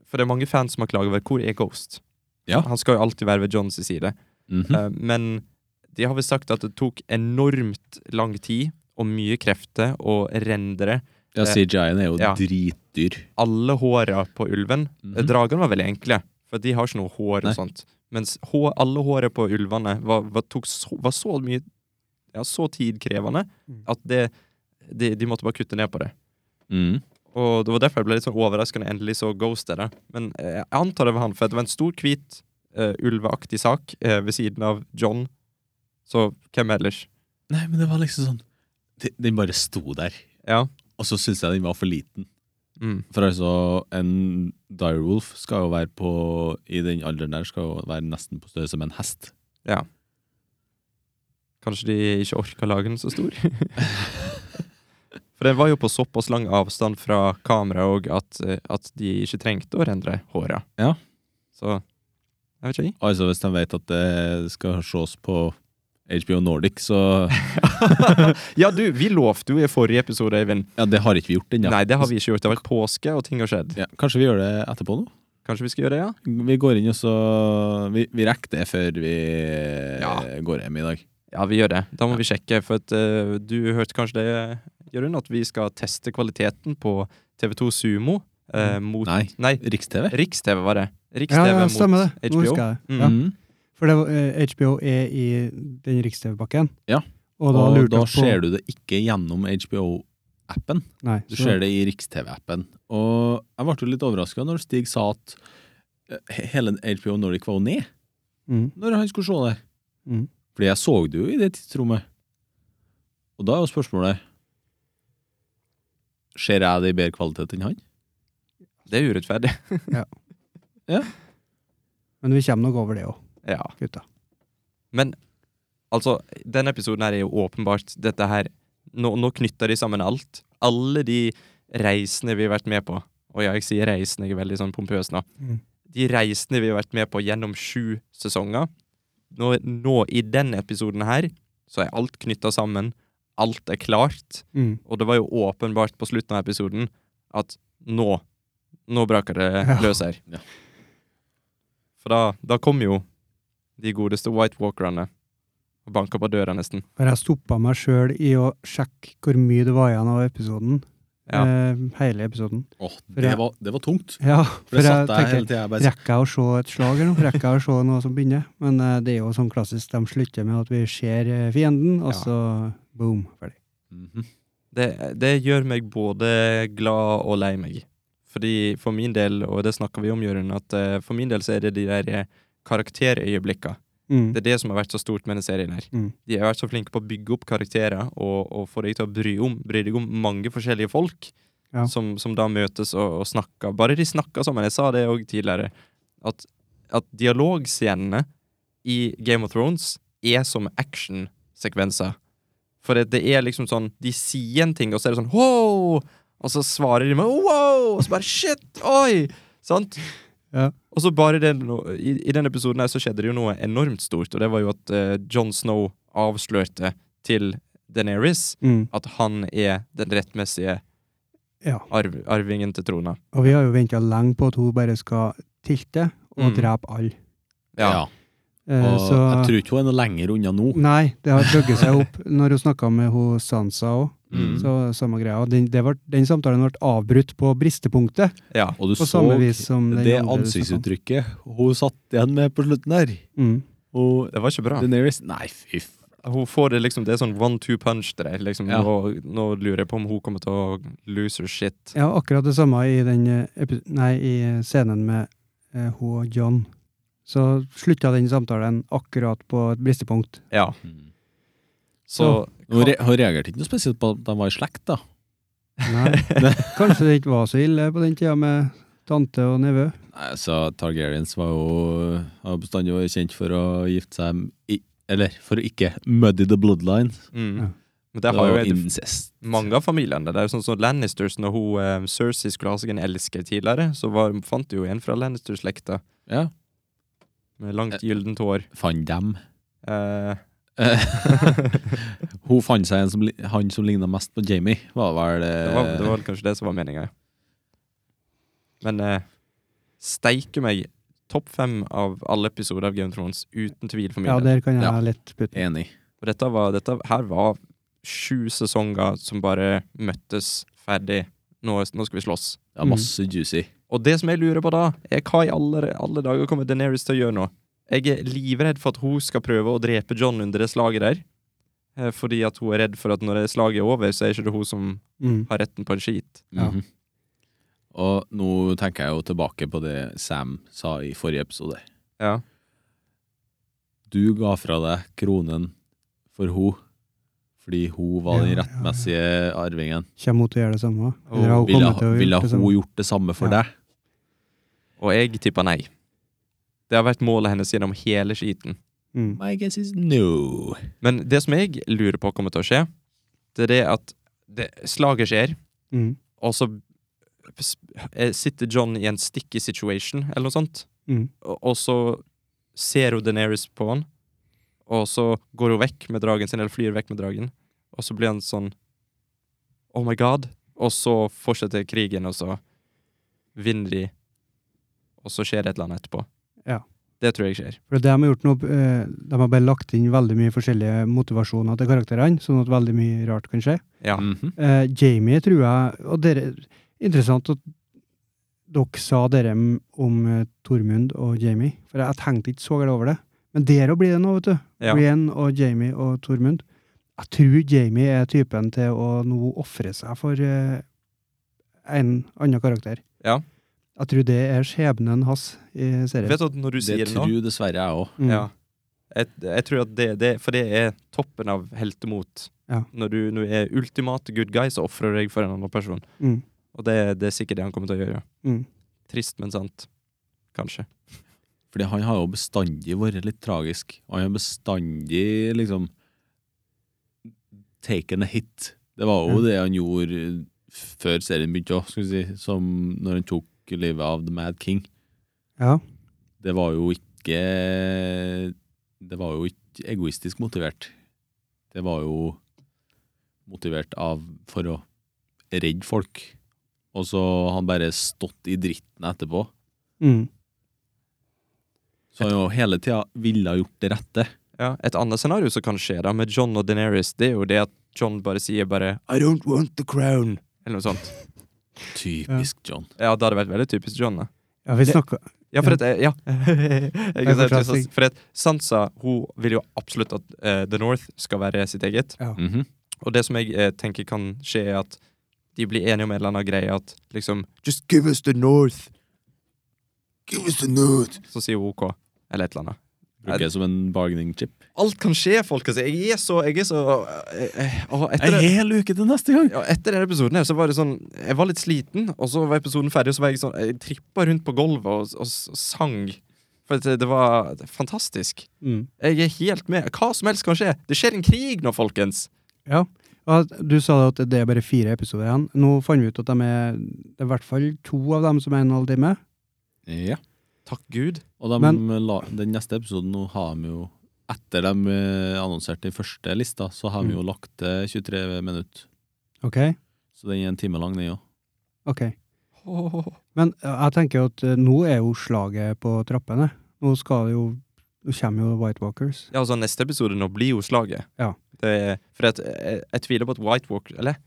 For det er mange fans som har klaget over hvor er Ghost?
Ja.
Han skal jo alltid være ved Johns side.
Mhm.
Eh, men de har vel sagt at det tok enormt lang tid og mye krefter å rendre
ja, CGI-en er jo
eh, ja.
dritdyr.
alle håra på ulven. Eh, Dragene var veldig enkle, for de har ikke noe hår
Mhm. Nei.
og sånt. Mens hå, alle håret på ulvene var, var, tok så, var så mye Ja, så tidkrevende
Mm.
at det, de, de måtte bare kutte ned på det.
Mhm.
Og det var derfor jeg ble litt sånn overraskende endelig så Ghost er det. Men eh, jeg antar det var han, for det var en stor, hvit, eh, ulveaktig sak eh, ved siden av John. Så hvem ellers?
Nei, men det var liksom sånn de- Den bare sto der.
Ja.
Og så syns jeg den var for liten.
Mm.
For altså, en direwolf skal jo være på I den alderen der skal jo være nesten på størrelse med en hest.
Kanskje de ikke orka å lage den så stor? for den var jo på såpass lang avstand fra kamera òg at, eh, at de ikke trengte å rendre håra.
Ja.
Så jeg vet ikke, jeg.
Altså, hvis de vet at det skal ses på HBO Nordic, så
ja, du, vi lovte jo i forrige episode, Eivind.
Ja, det har ikke vi gjort ennå.
Nei, det har vi ikke gjort. Det har vært påske, og ting har skjedd.
Ja, kanskje vi gjør det etterpå nå?
Kanskje vi skal gjøre det, ja?
Vi går inn og så Vi, vi rekker det før vi
Ja.
går hjem i dag.
Ja, vi gjør det. Da må vi sjekke, for at, eh, du hørte kanskje det, Jørund, at vi skal teste kvaliteten på TV2 Sumo eh, mot
Nei,
Nei,
Riks-TV.
Riks-TV var det.
Ja,
Riks-TV
ja, stemmer
mot
det. Nå
HBO.
husker jeg det.
Mm.
Ja.
Mhm.
For det, var, eh, HBO er i den Riks-TV-pakken.
Ja.
Og da
Og
lurte
da
jeg på
ser du det ikke gjennom HBO-appen.
Nei,
Du
så-
ser det i Riks-TV-appen. Og jeg ble jo litt overraska når Stig sa at eh, he- hele HBO Nordic var jo ned
Mm,
når han skulle se det.
mm.
Fordi jeg så det jo i det tidsrommet. Og da er jo spørsmålet Ser jeg det i bedre kvalitet enn han?
Det er urettferdig.
Men vi kommer nok over det òg,
Ja.
gutta.
Men altså, denne episoden her er jo åpenbart dette her Nå, nå knytter de sammen alt. Alle de reisene vi har vært med på. Og ja, jeg sier reisene, jeg er veldig sånn pompøs nå.
Mm.
De reisene vi har vært med på gjennom sju sesonger. Nå, nå i denne episoden her, så er alt knytta sammen. Alt er klart.
Mm.
Og det var jo åpenbart på slutten av episoden at nå Nå braker det
Ja.
løs her.
Ja.
For da, da kom jo de godeste White Walkerne og banka på døra, nesten.
For jeg stoppa meg sjøl i å sjekke hvor mye det var igjen av episoden.
Ja.
Eh, hele episoden.
Åh,
jeg-
det, var, det var tungt.
Ja,
For jeg satt der
tenkte-
hele tida. Bare,
Rekker jeg å se et slag eller noe? Rekker jeg å se noe som begynner? Men eh, det er jo sånn klassisk, de slutter med at vi ser eh, fienden, og
Ja.
så boom, ferdig.
Mhm.
Det, det gjør meg både glad og lei meg. Fordi For min del, og det snakker vi om, Jørund, at eh, for min del så er det de der eh, karakterøyeblikka.
Mm.
Det er det som har vært så stort med denne serien her.
Mm.
De har vært så flinke på å bygge opp karakterer og, og få deg til å bry, om, bry deg om mange forskjellige folk
Ja.
som, som da møtes og, og snakker. Bare de snakker sammen. Jeg sa det òg tidligere, at, at dialogscenene i Game of Thrones er som actionsekvenser. For det, det er liksom sånn De sier en ting, og så er det sånn wow! Og så svarer de med wow! Og så bare shit! Oi! Sant?
Ja.
Og så bare det, no- i, I den episoden her så skjedde det jo noe enormt stort, og det var jo at uh, John Snow avslørte til Deneris
Mm.
at han er den rettmessige
Ja.
arv, arvingen til trona.
Og vi har jo venta lenge på at hun bare skal tilte og
Mm.
drepe alle.
Ja.
ja.
Eh,
Og
så
jeg tror ikke hun er noe lenger unna nå.
Nei, det har bygget seg opp. Når hun snakka med hun Sansa òg,
Mm.
så samme greia. Den, det var, den samtalen ble avbrutt på bristepunktet,
Ja.
Og du
på
så
samme vis som den
det
andre du snakket om.
ansiktsuttrykket hun satt igjen med på slutten der.
Mm.
Og
Det var ikke bra.
Daenerys Nei, fy f-
Hun får det liksom, det er sånn one-two punch til deg. Liksom.
Ja.
Nå, nå lurer jeg på om hun kommer til å lose her shit.
Ja, akkurat det samme i, den, eh, epi- nei, i scenen med eh, hun og John. Så slutta den samtalen akkurat på et bristepunkt.
Ja,
Mm.
så
Hun, re hun reagerte ikke noe spesielt på at de var i slekt, da.
Nei. Kanskje det ikke var så ille på den tida med tante og nevø.
Nei, så Targaryens var jo har bestandig vært kjent for å gifte seg i, Eller for å ikke muddy the bloodline.
mm.
Ja.
Men det har jo
og
jeg
incest.
mange av familiene. Det er jo sånn som Lannisters, når hun, eh, Cersei skulle ha seg en elsker tidligere, så var, fant de jo en fra Lannister-slekta
Ja.
med langt gyldent hår.
Fant dem.
Eh,
Hun fant seg en som, li- han som ligna mest på Jamie, var vel eh,
det, var, det var vel kanskje det som var meninga. Men eh, steike meg, topp fem av alle episoder av Game of Thrones, uten tvil for min
Ja,
del.
der kan jeg
Ja.
lett putte
eh, Enig.
Og dette var, dette her var sju sesonger som bare møttes ferdig. Nå, nå skal vi slåss.
Ja,
Mm.
masse juicy.
Og det som jeg lurer på da, er hva i alle, alle dager kommer Daenerys til å gjøre nå? Jeg er livredd for at hun skal prøve å drepe John under det slaget der. Eh, Fordi at hun er redd for at når det slaget er over, så er ikke det hun som
mm.
har retten på en skit.
Ja.
Mhm. Og nå tenker jeg jo tilbake på det Sam sa i forrige episode.
Ja.
Du ga fra deg kronen for ho fordi hun var den
Ja, ja, ja.
rettmessige arvingen.
Kommer hun til å gjøre det samme?
Og
Eller har hun
Ville,
kommet til å
ville
gjøre det
hun
samme?
gjort det samme for
Ja.
deg?
Og jeg tipper nei. Det har vært målet hennes gjennom hele skiten.
Mm.
My guess is no.
Men det som jeg lurer på kommer til å skje, det er det at det, slaget skjer,
Mm.
og så s- eh, sitter John i en sticky situation, eller noe sånt.
Mm.
og og så ser hun Daenerys på han, og så går hun vekk med dragen sin, eller flyr vekk med dragen, og så blir han sånn Oh my god. Og så fortsetter krigen, og så vinner de, og så skjer det et eller annet etterpå.
Ja.
Det tror jeg skjer.
For det de har gjort nå, eh, de har bare lagt inn veldig mye forskjellige motivasjoner til karakterene, sånn at veldig mye rart kan skje.
Ja.
Mhm.
Eh, Jamie tror jeg Og dere, interessant at dere sa dere m- om eh, Tormund og Jamie, for jeg tenkte ikke så galt over det. Men dere blir det nå, vet du.
Ja.
Brienne og Jamie og Tormund. Jeg tror Jamie er typen til å nå ofre seg for eh, en annen karakter.
Ja.
Jeg tror det er skjebnen hans i serien.
Vet du at når du sier
Det
det nå
tror dessverre jeg òg.
Mm.
Ja. Jeg, jeg tror at det, det For det er toppen av heltemot.
Ja.
Når, du, når du er ultimate good guy, så ofrer du deg for en annen person.
Mm.
Og det, det er sikkert det han kommer til å gjøre.
Mm.
Trist, men sant. Kanskje.
Fordi han har jo bestandig vært litt tragisk. Og han har bestandig liksom taken a hit. Det var jo
Mm.
det han gjorde før serien begynte òg, skal vi si. Som når han tok livet av The Mad King.
Ja.
Det var jo ikke Det var jo ikke egoistisk motivert. Det var jo motivert av for å redde folk. Og så har han bare stått i dritten etterpå.
Mm.
Så han jo hele tida ville ha gjort det rette.
Ja, Et annet scenario som kan skje da med John og Daenerys, det er jo det at John bare sier bare I don't want the crown. Eller noe sånt.
Typisk John.
Ja, det hadde vært veldig typisk John. da.
ja, vi
Det-
snakka
Ja, for at Ja. Jeg kan si at du sa-
forklaring.
for at Sansa hun vil jo absolutt at eh, The North skal være sitt eget.
Mhm.
Og det som jeg eh, tenker kan skje, er at de blir enige om en eller annen greie at liksom Just give us the North.
Give us the note!
Så sier hun OK. Eller et eller annet.
Bruker det som en bargaining chip.
Alt kan skje, folkens. Jeg er så Jeg er så eh, eh, og etter det-
hel uke til neste gang!
ja, etter den episoden her, så var det sånn Jeg var litt sliten, og så var episoden ferdig, og så var jeg sånn Jeg trippa rundt på gulvet og, og, s- og sang. For det, det var fantastisk.
mm.
Jeg er helt med. Hva som helst kan skje. Det skjer en krig nå, folkens!
Ja. Og at- Du sa at det er bare fire episoder igjen. Nå fant vi ut at de er, det er i hvert fall to av dem som er en halv time.
Ja.
Takk Gud.
Og de,
Men-
la, den neste episoden nå har de jo Etter de eh, annonserte den første lista, så har vi
Mm.
jo lagt til 23 minutter.
Ok?
Så den er en time lang, den òg.
Ok. Men eh, jeg tenker jo at eh, nå er jo slaget på trappene. Nå skal det jo Nå kommer jo White Walkers.
Ja, altså, neste episode nå blir jo slaget.
Ja.
eh, Det, er- for at, jeg, jeg tviler på at White Walker Eller?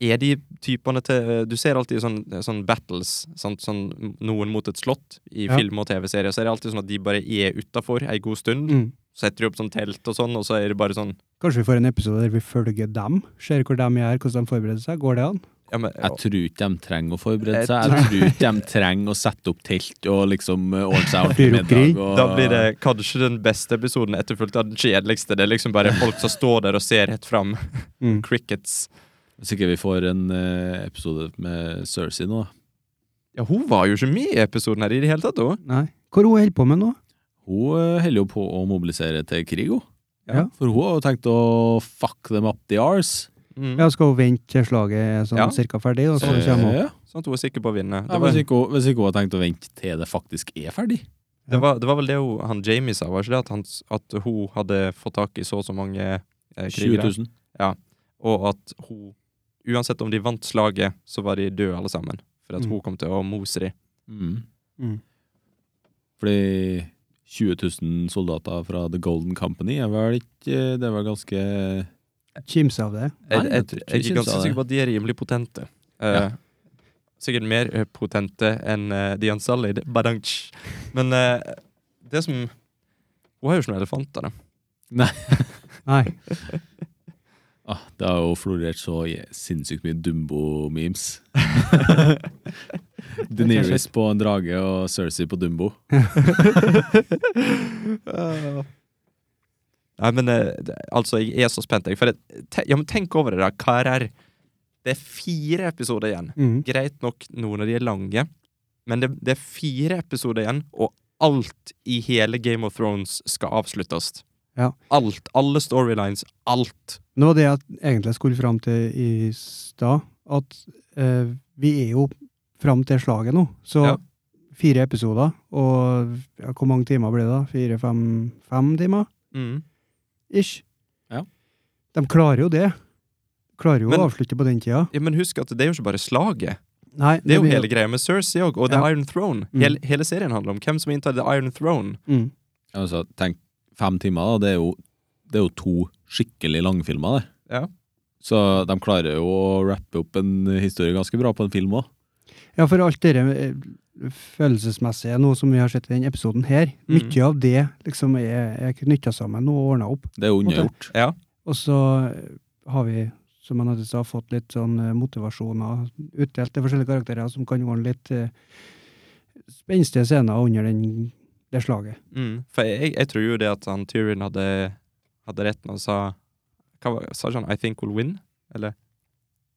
er de typene til Du ser alltid sånn, sånn battles, sant? Sånn, noen mot et slott, i
Ja.
film og TV-serier. Så er det alltid sånn at de bare er utafor ei god stund.
Mm.
Setter de opp sånn telt og sånn, og så er det bare sånn
Kanskje vi får en episode der vi følger dem, ser hvor de er, hvordan de forbereder seg. Går det an?
ja, men,
Jeg tror ikke de trenger å forberede
Jeg
seg. Jeg tror ikke de trenger å sette opp telt og liksom eh, ordne seg
Fyre
ordentlig
opp grill.
middag. Og,
Da blir det kanskje den beste episoden etterfulgt av den kjedeligste. Det er liksom bare folk som står der og ser rett fram.
Mm.
Crickets.
Hvis ikke vi får en eh, episode med Cersei nå, da.
Ja, hun var jo ikke med i episoden her i det hele tatt, hun.
Nei. Hva er hun holder på med nå?
Hun eh, holder jo på å mobilisere til krig, hun.
Ja.
For hun har jo tenkt å fuck them up the arse.
Mm.
Ja, Skal hun vente til slaget er sånn
Ja.
cirka ferdig, og så kommer hun?
Eh, ja.
Sånn at hun er sikker på å vinne.
Ja,
Det
hvis,
var,
ikke, hun- hvis ikke hun har tenkt å vente til det faktisk er ferdig.
det var, det var vel det hun, han Jamie sa, var ikke det? At, han, s- at hun hadde fått tak i så og så mange eh,
20
krigere.
000.
Og at hun Uansett om de vant slaget, så var de døde alle sammen. For at
Mm.
hun kom til å mose dem.
Mm.
Mm.
Fordi 20 000 soldater fra The Golden Company er vel ikke eh, Det er vel ganske
Kimse av det.
Jeg,
Nei,
jeg,
jeg tror ikke
jeg
jeg
er ganske
sa det.
sikker på at de er rimelig potente. Eh,
Ja.
Sikkert mer eh, potente enn uh, The Unsullied. Badanch. Men eh, det som Hun har jo ikke noen elefanter, da.
Nei.
ah, Det har jo florert så je- sinnssykt mye Dumbo-memes. Deneris på en drage og Cersei på Dumbo.
Nei, men eh, det, altså, jeg er så spent, jeg. For det, te, ja, men tenk over det, da, karer. Det er fire episoder igjen.
Mm.
Greit nok noen av de er lange, men det, det er fire episoder igjen, og alt i hele Game of Thrones skal avsluttes.
Ja.
Alt. Alle storylines. Alt.
Nå var det jeg egentlig skulle fram til i stad, at eh, vi er jo fram til slaget nå. Så
Ja.
fire episoder, og ja, hvor mange timer ble det da? Fire, fem, fem timer?
Mm.
Ish.
Ja.
De klarer jo det. Klarer jo
Men-
å avslutte på den tida.
Ja, men husk at det er jo ikke bare slaget.
Nei,
Det er jo
blir-
hele greia med Cersei òg, og The
Ja.
Iron Throne.
Mm.
Hele, hele serien handler om hvem som inntar The Iron Throne.
mm.
Altså, tenk fem timer, da. Det er jo, det er jo to skikkelig langfilmer, det.
Ja.
Så de klarer jo å rappe opp en historie ganske bra på en film òg.
Ja, for alt det eh, følelsesmessige nå som vi har sett i den episoden her,
Mhm.
mye av det liksom er, er knytta sammen og ordna opp.
Det er jo unnagjort.
Ja.
Og så eh, har vi, som han hadde sa, fått litt sånn eh, motivasjoner utdelt til forskjellige karakterer som kan ordne litt eh, spenstige scener under den, det slaget.
Mm. For jeg, jeg tror jo det at han Tyrion hadde, hadde rett når han sa hva var, Sa ikke han 'I think we'll win'? Eller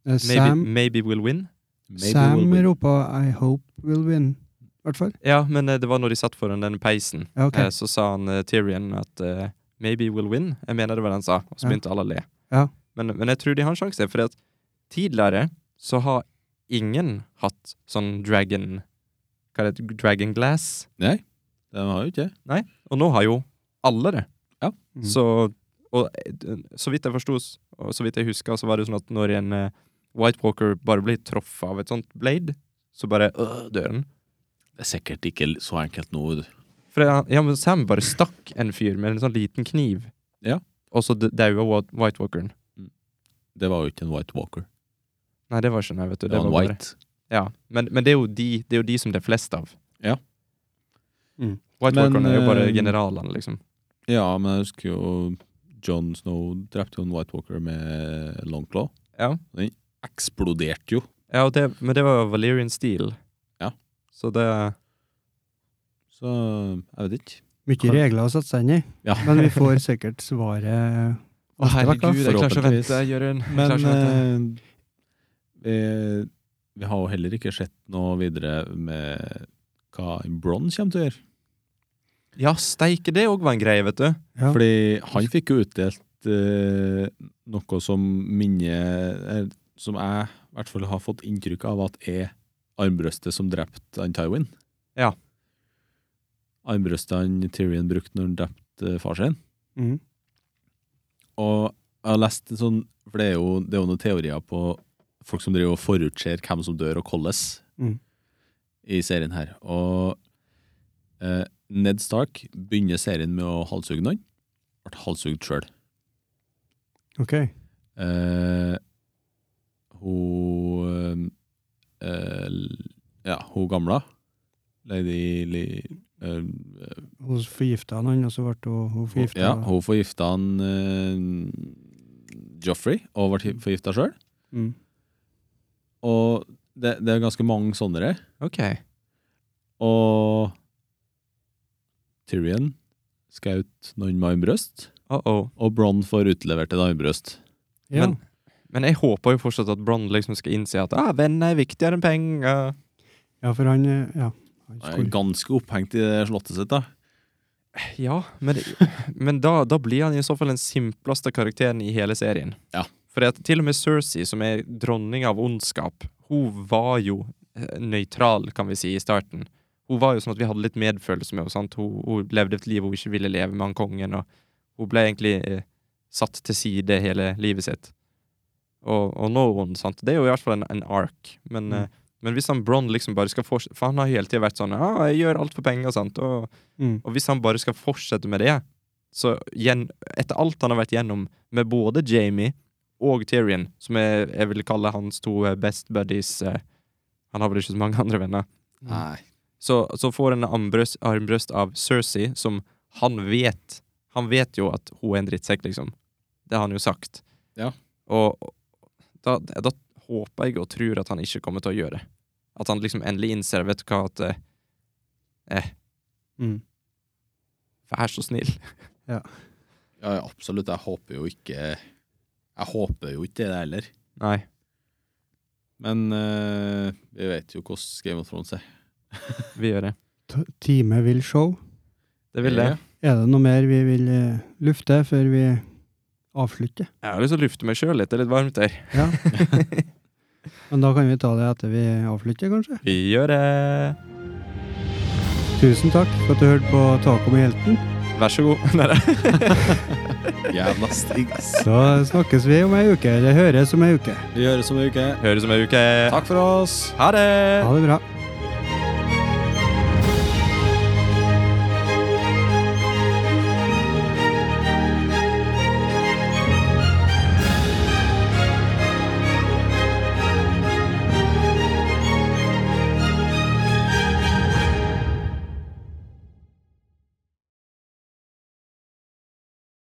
Eh,
'Maybe,
Sam,
maybe we'll win'?
Maybe we'll
Sam
win.
ropa 'I hope will win', i hvert fall.
Ja, men eh, det var når de satt foran den peisen.
Ja, ok.
Eh, Så sa han eh, Tyrion at eh, 'maybe we'll win'. Jeg mener det var det han sa, og så
Ja.
begynte alle å le.
Ja.
Men, men jeg tror de har en sjanse, for at tidligere så har ingen hatt sånn dragon Hva er det? Dragon glass?
Nei, de har jo ikke det.
Og nå har jo alle det.
Mm.
Så, og, eh, så vidt jeg forsto, s- og så vidt jeg husker, så var det jo sånn at når en eh, White Walker bare blir truffet av et sånt blade, så bare øh, dør den.
Det er sikkert ikke så enkelt nå. vet du.
For ja, ja, men Sam bare stakk en fyr med en sånn liten kniv.
Ja.
Og så d- daua Wa- White Walkeren.
Det var jo ikke en White Walker.
Nei, det var ikke nei, vet du.
Det var en
bare-
White.
Ja, men, men det, er jo de, det er jo de som det er flest av.
Ja.
Mm.
White
Men,
Walkeren er jo bare
eh,
generalene, liksom.
Ja, men jeg husker jo John Snow drepte jo en White Walker med longclaw.
Ja.
Den eksploderte jo.
ja og det, men det var Valerian Steel.
Ja.
Så det
Så jeg vet ikke.
Mye regler å sette seg inn i,
Ja.
men vi får sikkert svaret. eh,
Å,
neste vekk, da.
herregud, jeg klarer ikke å
Forhåpentligvis.
vente, Jørund. Jeg
Men
klarer ikke å vente.
eh, vi, vi har jo heller ikke sett noe videre med hva Bron kommer til å gjøre.
Ja, steike, det òg var en greie, vet du.
Ja.
Fordi han fikk jo utdelt eh, noe som minner eh, Som jeg i hvert fall har fått inntrykk av at er armbrøstet som drepte han Tywin.
Ja.
Armbrøstet han Tyrion brukte når han drepte eh, far sin.
Mm.
Og jeg har lest en sånn For det er jo, det er jo noen teorier på folk som driver og forutser hvem som dør, og hvordan
Mm.
i serien her. Og eh, Ned Stark begynner serien med å halshugge noen. Ble halshugd sjøl.
Ok.
Eh, hun eh, hun gamla. Lady Li... eh,
Hun forgifta han, og så ble hun, hun forgifta
Ja, hun forgifta han eh, Joffrey, og ble forgifta sjøl.
Mm.
Og det, det er ganske mange sånne.
Ok.
Og Tyrion skjøt noen med armbrøst,
Uh-oh.
og Bronn får utlevert et armbrøst.
Ja.
Men- Men jeg håper jo fortsatt at Bron liksom skal innse at ah, venner er viktigere enn penger.
ja, for han eh, Ja. Han
Han er
skulle,
ganske opphengt i det slottet sitt, da.
Ja, men, men da, da blir han i så fall den simpleste karakteren i hele serien.
Ja.
For at til og med Cersei, som er dronning av ondskap, hun var jo eh, nøytral, kan vi si, i starten. Hun var jo sånn at vi hadde litt medfølelse med henne. sant? Hun, hun levde et liv hun ikke ville leve med han kongen, og hun ble egentlig eh, satt til side hele livet sitt. Og, og nå er hun, sant? Det er jo i hvert fall en, en ark. Men,
Mm.
eh, men hvis han Bron liksom bare skal fortsette For han har hele tida vært sånn ah, 'Jeg gjør alt for penger', sant? og
mm.
og hvis han bare skal fortsette med det, så gjen, etter alt han har vært gjennom med både Jamie og Tyrion, som jeg, jeg vil kalle hans to eh, best buddies eh, Han har vel ikke så mange andre venner.
Nei.
Så, så får han en armbrøst, armbrøst av Cersei, som han vet Han vet jo at hun er en drittsekk, liksom. Det har han jo sagt.
Ja.
Og og da, da håper jeg og tror at han ikke kommer til å gjøre det. At han liksom endelig innser Vet du hva, at eh,
Mm.
Vær så snill.
Ja, ja, absolutt. Jeg håper jo ikke Jeg håper jo ikke det heller.
Nei.
Men eh, vi vet jo hvordan Game of Thrones er.
Vi gjør det.
T- Time vil show.
Det vil det.
Er det noe mer vi vil eh, lufte før vi avslutter?
Jeg har lyst til å lufte meg sjøl litt. Det er litt varmt her.
Ja. Men da kan vi ta det etter vi avslutter, kanskje.
Vi gjør det.
Tusen takk for at du hørte på Taco med helten.
Vær så god. Nei, nei.
Jævla stig.
Så snakkes vi om ei uke, eller høres om ei uke.
Vi høres om ei uke.
Høres om ei uke.
Takk for oss.
Ha det.
Ha det bra.